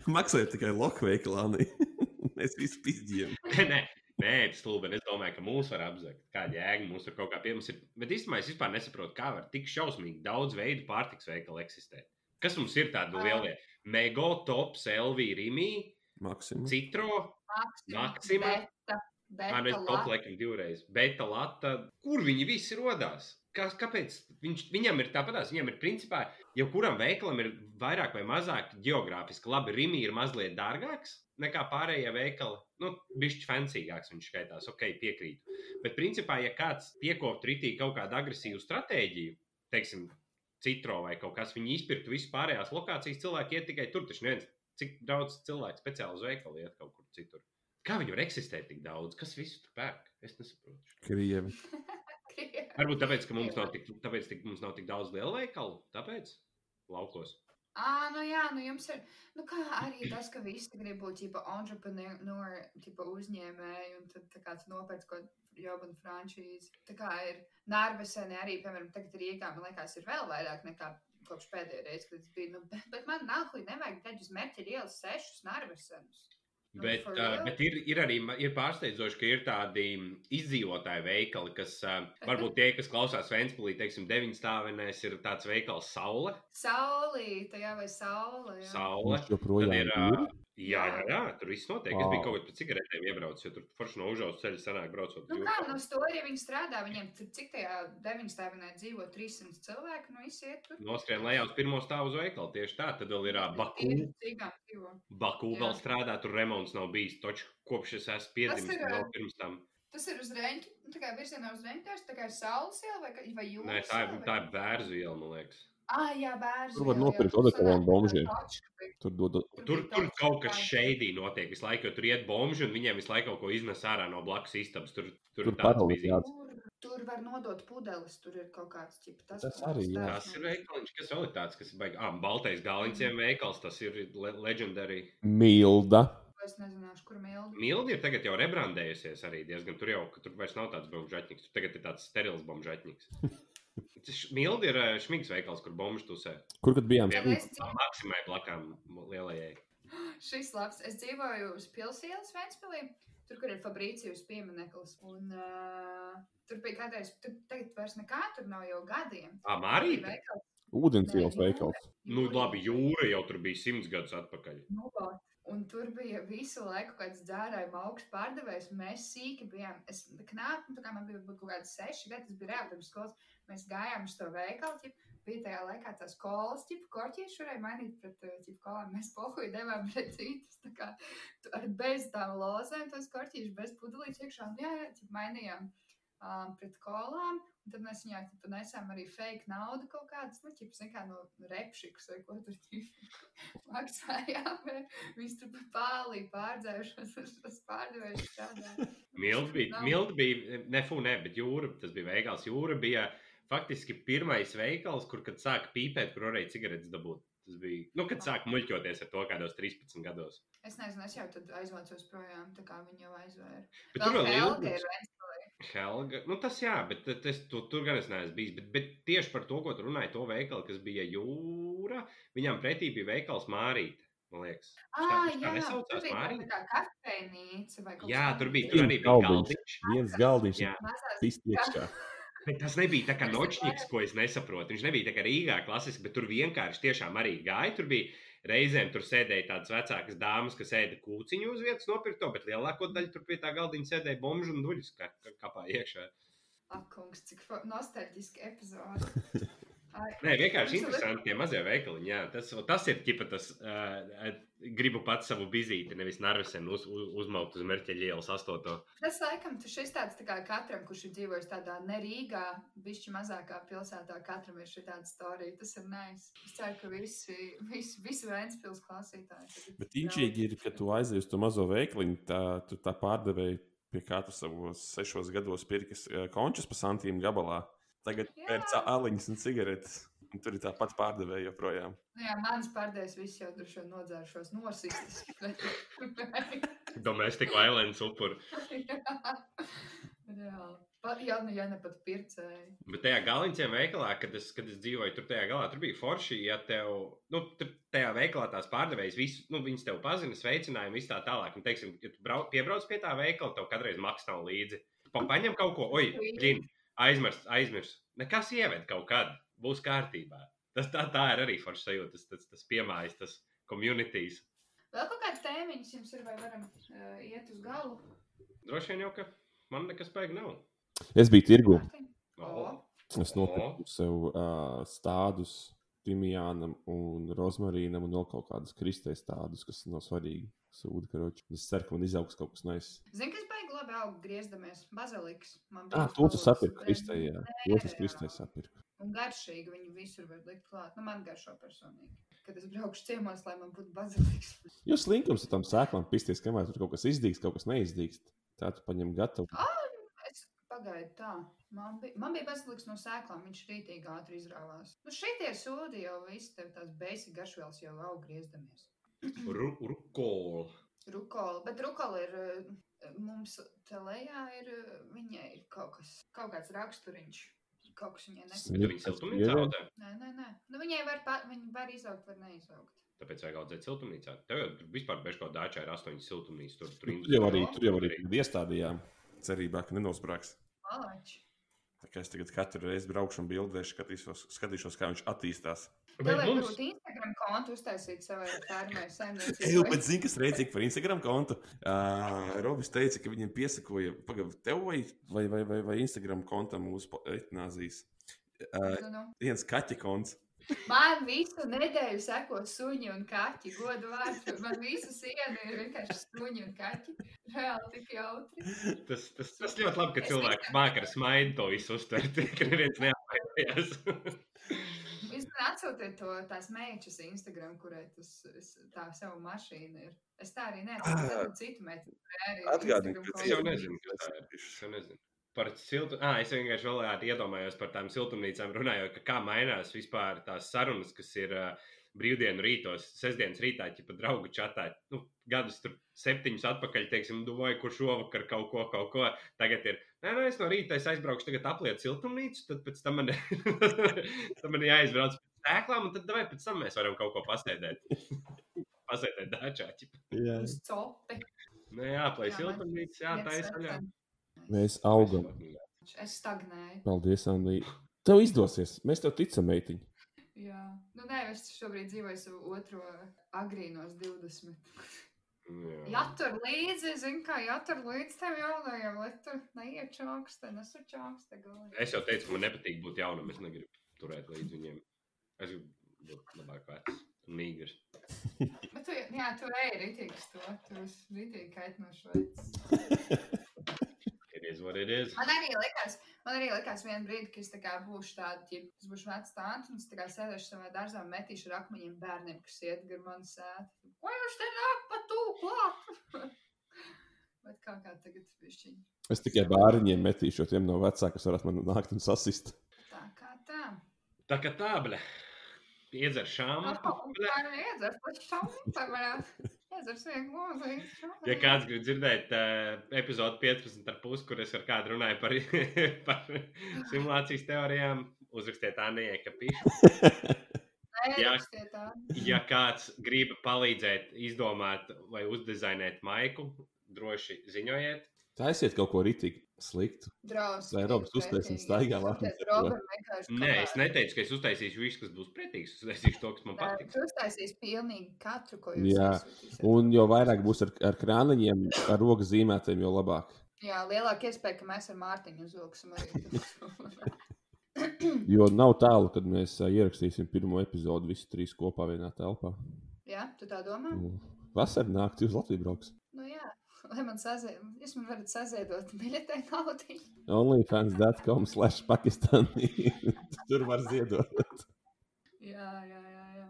Speaker 4: Maksāja tikai lokveiklā. Mēs visi pizdījām.
Speaker 1: Nē, nē, tas stulbi. Es domāju, ka mūs var apzakt. Kāda jēga mums ir kaut kā pie mums ir. Bet īstenībā es vispār nesaprotu, kā var tik šausmīgi daudz veidu pārtiks veikalu eksistēt. Kas mums ir tādi
Speaker 3: Ah.
Speaker 1: lielie? Mego, Tops, Elvija, Rimī,
Speaker 4: Maksimums.
Speaker 1: Citro. Maksima?
Speaker 3: Maksima, Beta, Beta,
Speaker 1: Ar vienu
Speaker 3: Lata.
Speaker 1: topu laikam divreiz. Beta lata. Kur viņi visi rodās? Kā, kāpēc? Viņš, viņam ir tāpatās, viņam ir principā, jau kuram veikalam ir vairāk vai mazāk geogrāfiski. Labi, Rimi ir mazliet dārgāks nekā pārējie veikali. Nu, bišķi fancīgāks viņš skaitās, ok, piekrītu. Bet principā, ja kāds piekoptu ritīgi kaut kādu agresīvu stratēģiju, teiksim, citro vai kaut kas, viņi izpirktu visu pārējās lokācijas, cilvēki iet tikai tur, taču neviens, cik daudz cilvēku speciāli uz veikalu iet kaut kur citur. Kā viņi var eksistēt tik daudz? Kas visu tur pērk? Es nesaprotu.
Speaker 2: Krievi.
Speaker 1: Varbūt tāpēc, ka mums nav tik, tāpēc, tik, mums nav tik daudz lielveikalu. Tāpēc laukos.
Speaker 3: Ā, nu jā, nu jums ir, nu kā arī tas, ka visi grib būt, tipa, entrepreneur, tipa, uzņēmēji, un tad, tā kā, tu nopērc kaut jobanu frančīzi. Tā kā ir Nārvesēni arī, piemēram, tagad Rīgā, man liekas, ir vēl vairāk nekā kopš pēdējā reize, kad es biju, nu, bet, bet man nākuj nevajag teģi uz mērķi ielas sešus Nārvesenus. Nu,
Speaker 1: Bet,
Speaker 3: for
Speaker 1: uh,
Speaker 3: real?
Speaker 1: bet ir, ir arī ma- ir pārsteidzoši, ka ir tādi izdzīvotāji veikali, kas uh, varbūt tie, kas klausās Vēnspīlī, teiksim, deviņstāvenēs, ir tāds veikals Saula.
Speaker 3: Saulīte, jā, vai saula, jā.
Speaker 1: Saula.
Speaker 2: Viņš joprojām
Speaker 1: Tad ir,
Speaker 2: ir.
Speaker 1: Jā, jā, jā, tur viss notiek. Wow. Es
Speaker 2: Vau.
Speaker 1: biju kaut kādā pēc cigaretēm iebraucis, jo tur forši no užauga ceļa sanāk braucot.
Speaker 3: Nu,
Speaker 1: jūrā.
Speaker 3: kā no stūra viņi strādā? Viņiem tur cik tajā deviņstāvinē dzīvo 300 cilvēku, nu izsiet tur.
Speaker 1: Noskrien lejā uz pirmo stāvu uz veikalu. Tieši tā, tad vēl Nu, ir ā, Baku.
Speaker 3: Tieši cigām dzīvo.
Speaker 1: Baku
Speaker 3: Jā.
Speaker 1: vēl strādā, tur remonts nav bijis. Taču kopš es esmu piedzimis,
Speaker 3: ir,
Speaker 1: tur vēl
Speaker 3: ā,
Speaker 1: pirms tam.
Speaker 3: Tas ir uz rēņķa, nu, tā kā virzienā uz rēņķa, tas tā kā ir saules iela vai, ka- vai jūras.
Speaker 1: Nē, tā ir,
Speaker 3: iela vai-
Speaker 1: tā ir bērzu iela, man liekas.
Speaker 3: Ah, jā, bērns.
Speaker 2: Tur var nopirkt odekalam bombžiem. Tur dod
Speaker 1: Tur, tur kaut kas šeidī notiek visu laiku, jo tur iet bomži un viņiem visu laiku kaut ko iznes ārā no blakus istabas. Tur, tur,
Speaker 2: Tur
Speaker 1: tur tāds
Speaker 2: paroli
Speaker 1: bija.
Speaker 2: jāatdod.
Speaker 3: Tur, tur var nodot pudeles, tur ir kaut kāds tips.
Speaker 2: Tas arī, jā.
Speaker 1: Tas ir veikaliņš, kas vēl ir tāds, kas baigs. Ah, Baltais
Speaker 3: Mhm.
Speaker 1: gāliņciem veikals, tas ir le legendary.
Speaker 2: milda.
Speaker 3: Es nezināšu, kur mildi.
Speaker 1: Mildi ir tagad jau rebrandējusies arī diezgan. Tur jau tur vairs nav tāds bombžatņiks, tur tagad ir tāds sterils bombžatņiks. Tas š- Mildi ir ā, šmigs veikals, kur bombžu tusē.
Speaker 2: Kur kad bijām?
Speaker 3: Tad
Speaker 1: Mildi.
Speaker 3: es dzīvoju,
Speaker 1: Maksimai blakām m- lielajai.
Speaker 3: šis labs, es dzīvoju uz pilsētas Ventspilī, tur, kur ir Fabrīcijas piemineklis. Un uh, tur bija kādreiz, tur tagad vairs nekā, tur nav jau gadiem.
Speaker 1: Ah, Marīta?
Speaker 3: Veikals,
Speaker 2: Ūdens ielas
Speaker 3: Nē,
Speaker 2: veikals.
Speaker 1: Nu, labi, jūra jau tur bija simts gadus atpakaļ.
Speaker 3: Nu, vot. Un tur bija visu laiku kāds dzērājuma augsts pārdevējs. Mēs sīki bijām. Es knāpu, tā kā man bija būt kaut kādi seši gadi, tas bija reāli pirms skolas. Mēs gājām uz to veikalu. Ķip. Bija tajā laikā tās kolas, tipu korķieši varēja mainīt pret eh, ķip, kolām. Mēs pohuju devām pret citas. tā kā tu- Ar bez tām lozēm tos korķieši, bez pudelīšu iekšā. Un, jā, jā, ķip, mainījām um, pret kolām. Un tad mēs viņā tipu, nesām arī fake naudu kaut kādas, nu, ķip, zin kā no repšikas vai ko tur ķip maksājām. vai Viņš tur bija pārlī pārdzērušos, un tas pārdevējs strādāja.
Speaker 1: Mildi bija,
Speaker 3: Nav.
Speaker 1: mildi bija e, ne fū, ne, bet jūra, tas bija veikals. Jūra bija faktiski pirmais veikals, kur, kad sāka pīpēt, kur varēja cigaretes dabūt. Tas bija, nu, kad sāka muļķoties ar to kādos 13 gados.
Speaker 3: Es nezinu, es jau tad aizvācos projām, tā kā viņi jau aizvēra.
Speaker 1: Bet tur vēl
Speaker 3: Helga
Speaker 1: ilgi.
Speaker 3: ir viens.
Speaker 1: Helga, nu tas jā, bet tas, tu, tur gan es neesmu bijis. Bet, bet tieši par to, ko tu runāji, to veikalu, kas bija jūra, viņam pretī bija veikals Mārīte. Man liekas,
Speaker 3: Ah,
Speaker 1: tā
Speaker 3: jā,
Speaker 1: nesaucās,
Speaker 3: tur bija
Speaker 1: Mārija?
Speaker 3: tā kā kafejnīca vai kaut
Speaker 1: jā,
Speaker 3: kas
Speaker 1: tur bija
Speaker 3: tāds.
Speaker 1: tur arī bija
Speaker 2: Galdiņš.
Speaker 1: galdiņš.
Speaker 2: Viens galdiņš
Speaker 1: Jā.
Speaker 3: Mazās
Speaker 2: pist iekšā.
Speaker 1: Bet tas nebija tā kā nošķīgs, ko es nesaprotu. Viņš nebija tā kā Rīgā klasiski, bet tur vienkārši tiešām arī gāja. Tur bija reizēm tur sēdēja tādas vecākas dāmas, kas ēda kūciņu uz vietas nopirkto, bet lielāko daļu tur pie tā galdiņa sēdēja bomžu un duļus kā, kā, kāpā iekšā.
Speaker 3: Akungs, cik fo- nostalģiski epizode. Ai,
Speaker 1: Nē, vienkārši
Speaker 3: Mums ir
Speaker 1: interesanti tie mazie veikaliņi. Jā, tas, tas ir tipa tas, uh, gribu pats savu vizīti, nevis narvesen uz, uz, uzmaukt uz mērķa ielas astoto.
Speaker 3: Tas laikam tu- šis tāds tā kā katram, kurš ir dzīvojis tādā nerīgā, bišķi mazākā pilsētā, katram ir šī tāda storija. Tas ir nice. Es ceru, ka visi, visi, visi Vēnspils klausītāji. tagad
Speaker 2: Bet
Speaker 3: ir
Speaker 2: inčīgi ir, ka tu aizies uz to mazo veikliņu, tā, tu tā pārdevēji pie kā tu savos sešos gados pirkas eh, končus pa santīm gabalā. Tagad
Speaker 3: Jā.
Speaker 2: pērc aliņas un cigaretes. Un tur ir tāpat pārdevēja joprojām.
Speaker 3: Nu jā, manas pārdēļas viss jau droši vien nodzēršos, nosistas. Jā.
Speaker 1: Domestic violence upuri.
Speaker 3: Reāli. Pat jau nu, ja ne pat pircēji.
Speaker 1: Bet tajā galvenajā veikalā, kad es, kad es dzīvoju tur, tajā galā, tur bija forši. Ja tev, nu, tur tajā veikalā tās pārdevējas, visu, nu, viņas tev pazina, sveicināja, un viss tā tālāk. Un, teiksim, ja tu brau, piebrauc pie tā veikala, tev kādreiz maksā nav līdzi. Pa, paņem kaut ko, oi, ģin, aizmirs, aizmirs. Nekas ieved kaut kad, būs kārtībā. Tas tā, tā ir arī forši sajūta, tas, tas, tas piemājas, tas komunitīs.
Speaker 3: Vēl kaut kāds tēmiņš jums ir, vai varam uh, iet uz galu?
Speaker 1: Droši vien jau, ka man nekas spēka nav.
Speaker 2: Es biju tirgu.
Speaker 3: Mārtiņ?
Speaker 1: Oh.
Speaker 2: Es nopirku sev uh, stādus timijānam un rozmarīnam un vēl kaut kādus kristēs stādus, kas nav svarīgi. Sūdkaroči. Es ceru, ka man izaugs kaut kas nais.
Speaker 3: Zini, kas baigi labi aug griezdamies? Baziliks. Man
Speaker 2: Ah,
Speaker 3: bija
Speaker 2: to tu
Speaker 3: palicis
Speaker 2: sapirki
Speaker 3: brand-
Speaker 2: kristē, jā. To tas kristē sapirku.
Speaker 3: Un garšīgi viņu visur var likt klāt. Nu, man garšo personīgi. Kad es braukšu ciemos, lai man būtu baziliks.
Speaker 2: Jo slinkums ir tam sēklām pisties, kamēr tur kaut kas izdīgs, kaut kas neizdīgs. Tā tu paņem gatavu.
Speaker 3: Es pagaidu tā. Man bija, man bija bezliks no sēklām, viņš rītīgi ātri izrāvās. Nu, šeit ir sūdi jau viss, tev tās beisi garšvielas jau aug griezdamies.
Speaker 1: Ru, rukola.
Speaker 3: Rukola, bet rukola ir, eh, mums te lejā ir, eh, viņai ir kaut kas, kaut kāds raksturiņš. Kaut kas viņai nekas.
Speaker 1: Viņa siltumnīcā audzē.
Speaker 3: Nē, nē, nē. Nu, viņai var, pa- viņa var izaugt, var neizaugt.
Speaker 1: Tāpēc vajag audzēt siltumnīcā. Tev jau tur vispār bez kaut kāda dāča ir astoņas siltumnīcas. Tur, tur,
Speaker 2: Tur jau arī, tur jau arī iestādījām. Cerībā, ka nenosprāgs.
Speaker 3: Malači.
Speaker 2: Tā kā es tagad katru reizi braukšu un bildēšu, skatīšos, skatīšos, kā viņš attīstās.
Speaker 3: Tev
Speaker 1: Bet
Speaker 3: vajag
Speaker 1: mums,
Speaker 3: būt Instagram Instagram kontu uztaisīt savai fermai
Speaker 4: Ej,
Speaker 3: saimniecībai.
Speaker 4: bet zini, kas reizē par Instagram kontu. Uh, Robis teica, ka viņam piesakoja, pagaidi, tev vai, vai, vai, vai, vai Instagram kontam uz etnāzijas. Uh,
Speaker 3: Nu, nu.
Speaker 4: viens kaķa konts.
Speaker 3: Man visu nedēļu seko suņi un kaķi. Godu vārdu. Man visu sienu ir vienkārši suņi un kaķi. Reāli tik jautri.
Speaker 1: Tas, tas, tas ļoti labi, ka
Speaker 3: Es
Speaker 1: cilvēks māca ar smaidu to visu uztvert. Ka neviens neapmainījās.
Speaker 3: Jūs man atsūtiet to tās meitas Instagram, kurai tas es, tā savu mašīnu ir. Es tā arī
Speaker 4: Ah.
Speaker 3: neatsūtu citu meitu.
Speaker 4: Atgādini, ka
Speaker 1: Es jau
Speaker 4: cieši-
Speaker 1: nezinu, kas tā ir. Es jau nezinu. Par siltu... à, es vienkārši vēl ātri iedomājos par tām siltumnīcām, runājot, ka kā mainās vispār tās sarunas, kas ir ā, brīvdienu rītos, sestdienas rītā, ja pat draugu čatā. Nu, gadus tur septiņus atpakaļ, teiksim, domāju, kur šovakar kaut ko, kaut ko. Tagad ir, nē, nē, es no rīta es aizbraukšu, tagad aplieku siltumnīcu, tad pēc tam man, tad man jāizbrauc pēc tēklām, un tad vai pēc tam mēs varam kaut ko pasēdēt. pasēdēt dāčā. ķip.
Speaker 2: Jā.
Speaker 3: Uz copi.
Speaker 1: Nu, jā,
Speaker 3: Jā,
Speaker 1: plēs
Speaker 3: man-
Speaker 1: siltumnīca, jā, tā ir. Jā.
Speaker 2: Mēs augam.
Speaker 3: Es stagnēju.
Speaker 2: Paldies, Anna. Tev izdosies. Mēs tev ticam, meitiņ.
Speaker 3: Jā, nu nē, es šobrīd dzīvoju savu otro agrīnos 20.
Speaker 1: Jā.
Speaker 3: Jātur līdzi, zin kā, jātur līdzi tam jaunajam, lai tur neiet čāks, te nesur čāks, te galā.
Speaker 1: Es jau teicu, ka man nepatīk būt jaunam. Es negribu turēt līdzi viņiem. Es gribu būt labāk vecs, nīgrs.
Speaker 3: Bet tu, jā, tu ej rītīgs to, tu esi rītīgi kaitinošs veids.
Speaker 1: Ir izvarījies.
Speaker 3: Man arī likās, man arī likās vienu brīdi, ka es tā kā būšu tāda, ja es būšu vecs tāds, un es tā kā sēdēšu savā dārzā un metīšu ar akmeņiem bērniem, kas iet gar mani sēdi. Ko jūs te nāk pa tū klāt? Bet kā kā tagad višķiņ.
Speaker 2: Es tikai bērniem metīšu, jo tiem no vecākiem varētu man nākt un sasist.
Speaker 3: Tā kā tā.
Speaker 1: Tā kā tā, blē. Iedzer šāmu.
Speaker 3: Tā ir iedzers, tas šaunis, tā varētu. Iedzers vienkārši mūzika. šaunis.
Speaker 1: Ja kāds grib dzirdēt uh, epizodi 15,5, kur es ar kādu runāju par, par simulācijas teorijām, uzrakstiet Anijai, ka pīšu. Jā.
Speaker 3: Nerakstiet tā.
Speaker 1: ja kāds grib palīdzēt izdomāt vai uzdizainēt maiku, droši ziņojiet.
Speaker 2: Taisiet kaut ko rītīgi sliktu.
Speaker 3: Drausmas.
Speaker 2: Vai Robs uztaisīs staigā lepni?
Speaker 1: Nē, es neteicu, ka es uztaisīšu visu, kas būs pretīgs. Es uztaisīšu to, kas man patiks.
Speaker 3: Jūs uztaisīs pilnīgi katru, ko jūs
Speaker 2: Jā.
Speaker 3: iesūtīsiet.
Speaker 4: um
Speaker 2: Un jo vairāk būs ar, ar krāniņiem, ar rokas zīmētiem, jo labāk.
Speaker 3: Jā, lielāka iespēja, ka mēs ar Mārtiņu uzvilksim arī.
Speaker 2: Jo nav tālu, kad mēs ā, ierakstīsim pirmo epizodi visi trīs kopā vienā telpā.
Speaker 3: jā, tu tā domā?
Speaker 2: Un Vasarā naktī uz Latviju brauks.
Speaker 3: Nu jā, lai man saziedot, jūs man varat saziedot biļetē naudu.
Speaker 2: OnlyFans.com slash Pakistāni. Tur var ziedot.
Speaker 3: Jā, jā, jā, jā.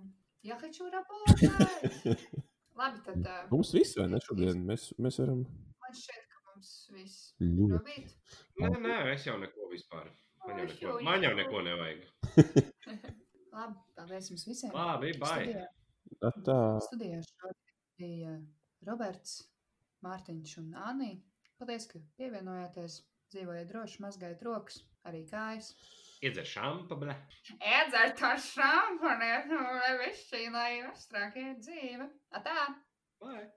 Speaker 3: Jā, хочу работать! Labi, tad ā,
Speaker 4: Nu.
Speaker 2: Mums viss, vai ne? Šodien mēs, mēs varam
Speaker 3: man šķiet, ka mums viss.
Speaker 4: Hm.
Speaker 2: ļoti.
Speaker 3: Robīt,
Speaker 1: Nē, nē, es jau neko vispār. Man jau
Speaker 3: Ai,
Speaker 1: neko,
Speaker 3: šaujiet.
Speaker 1: man jau neko nevajag.
Speaker 3: Labi, paldies jums visiem.
Speaker 1: Labi, bye!
Speaker 3: Studijā,
Speaker 2: Tā,
Speaker 3: studijā šodien bija eh, Roberts, Mārtiņš un Anī. Paldies, ka pievienojāties. Dzīvojiet droši, mazgājiet rokas, arī kājas.
Speaker 1: Iedzer šāmu, blē.
Speaker 3: Ēdzēt ar šāpaniet, un lai viss šī lai astrākie dzīve. Atā!
Speaker 1: Bye!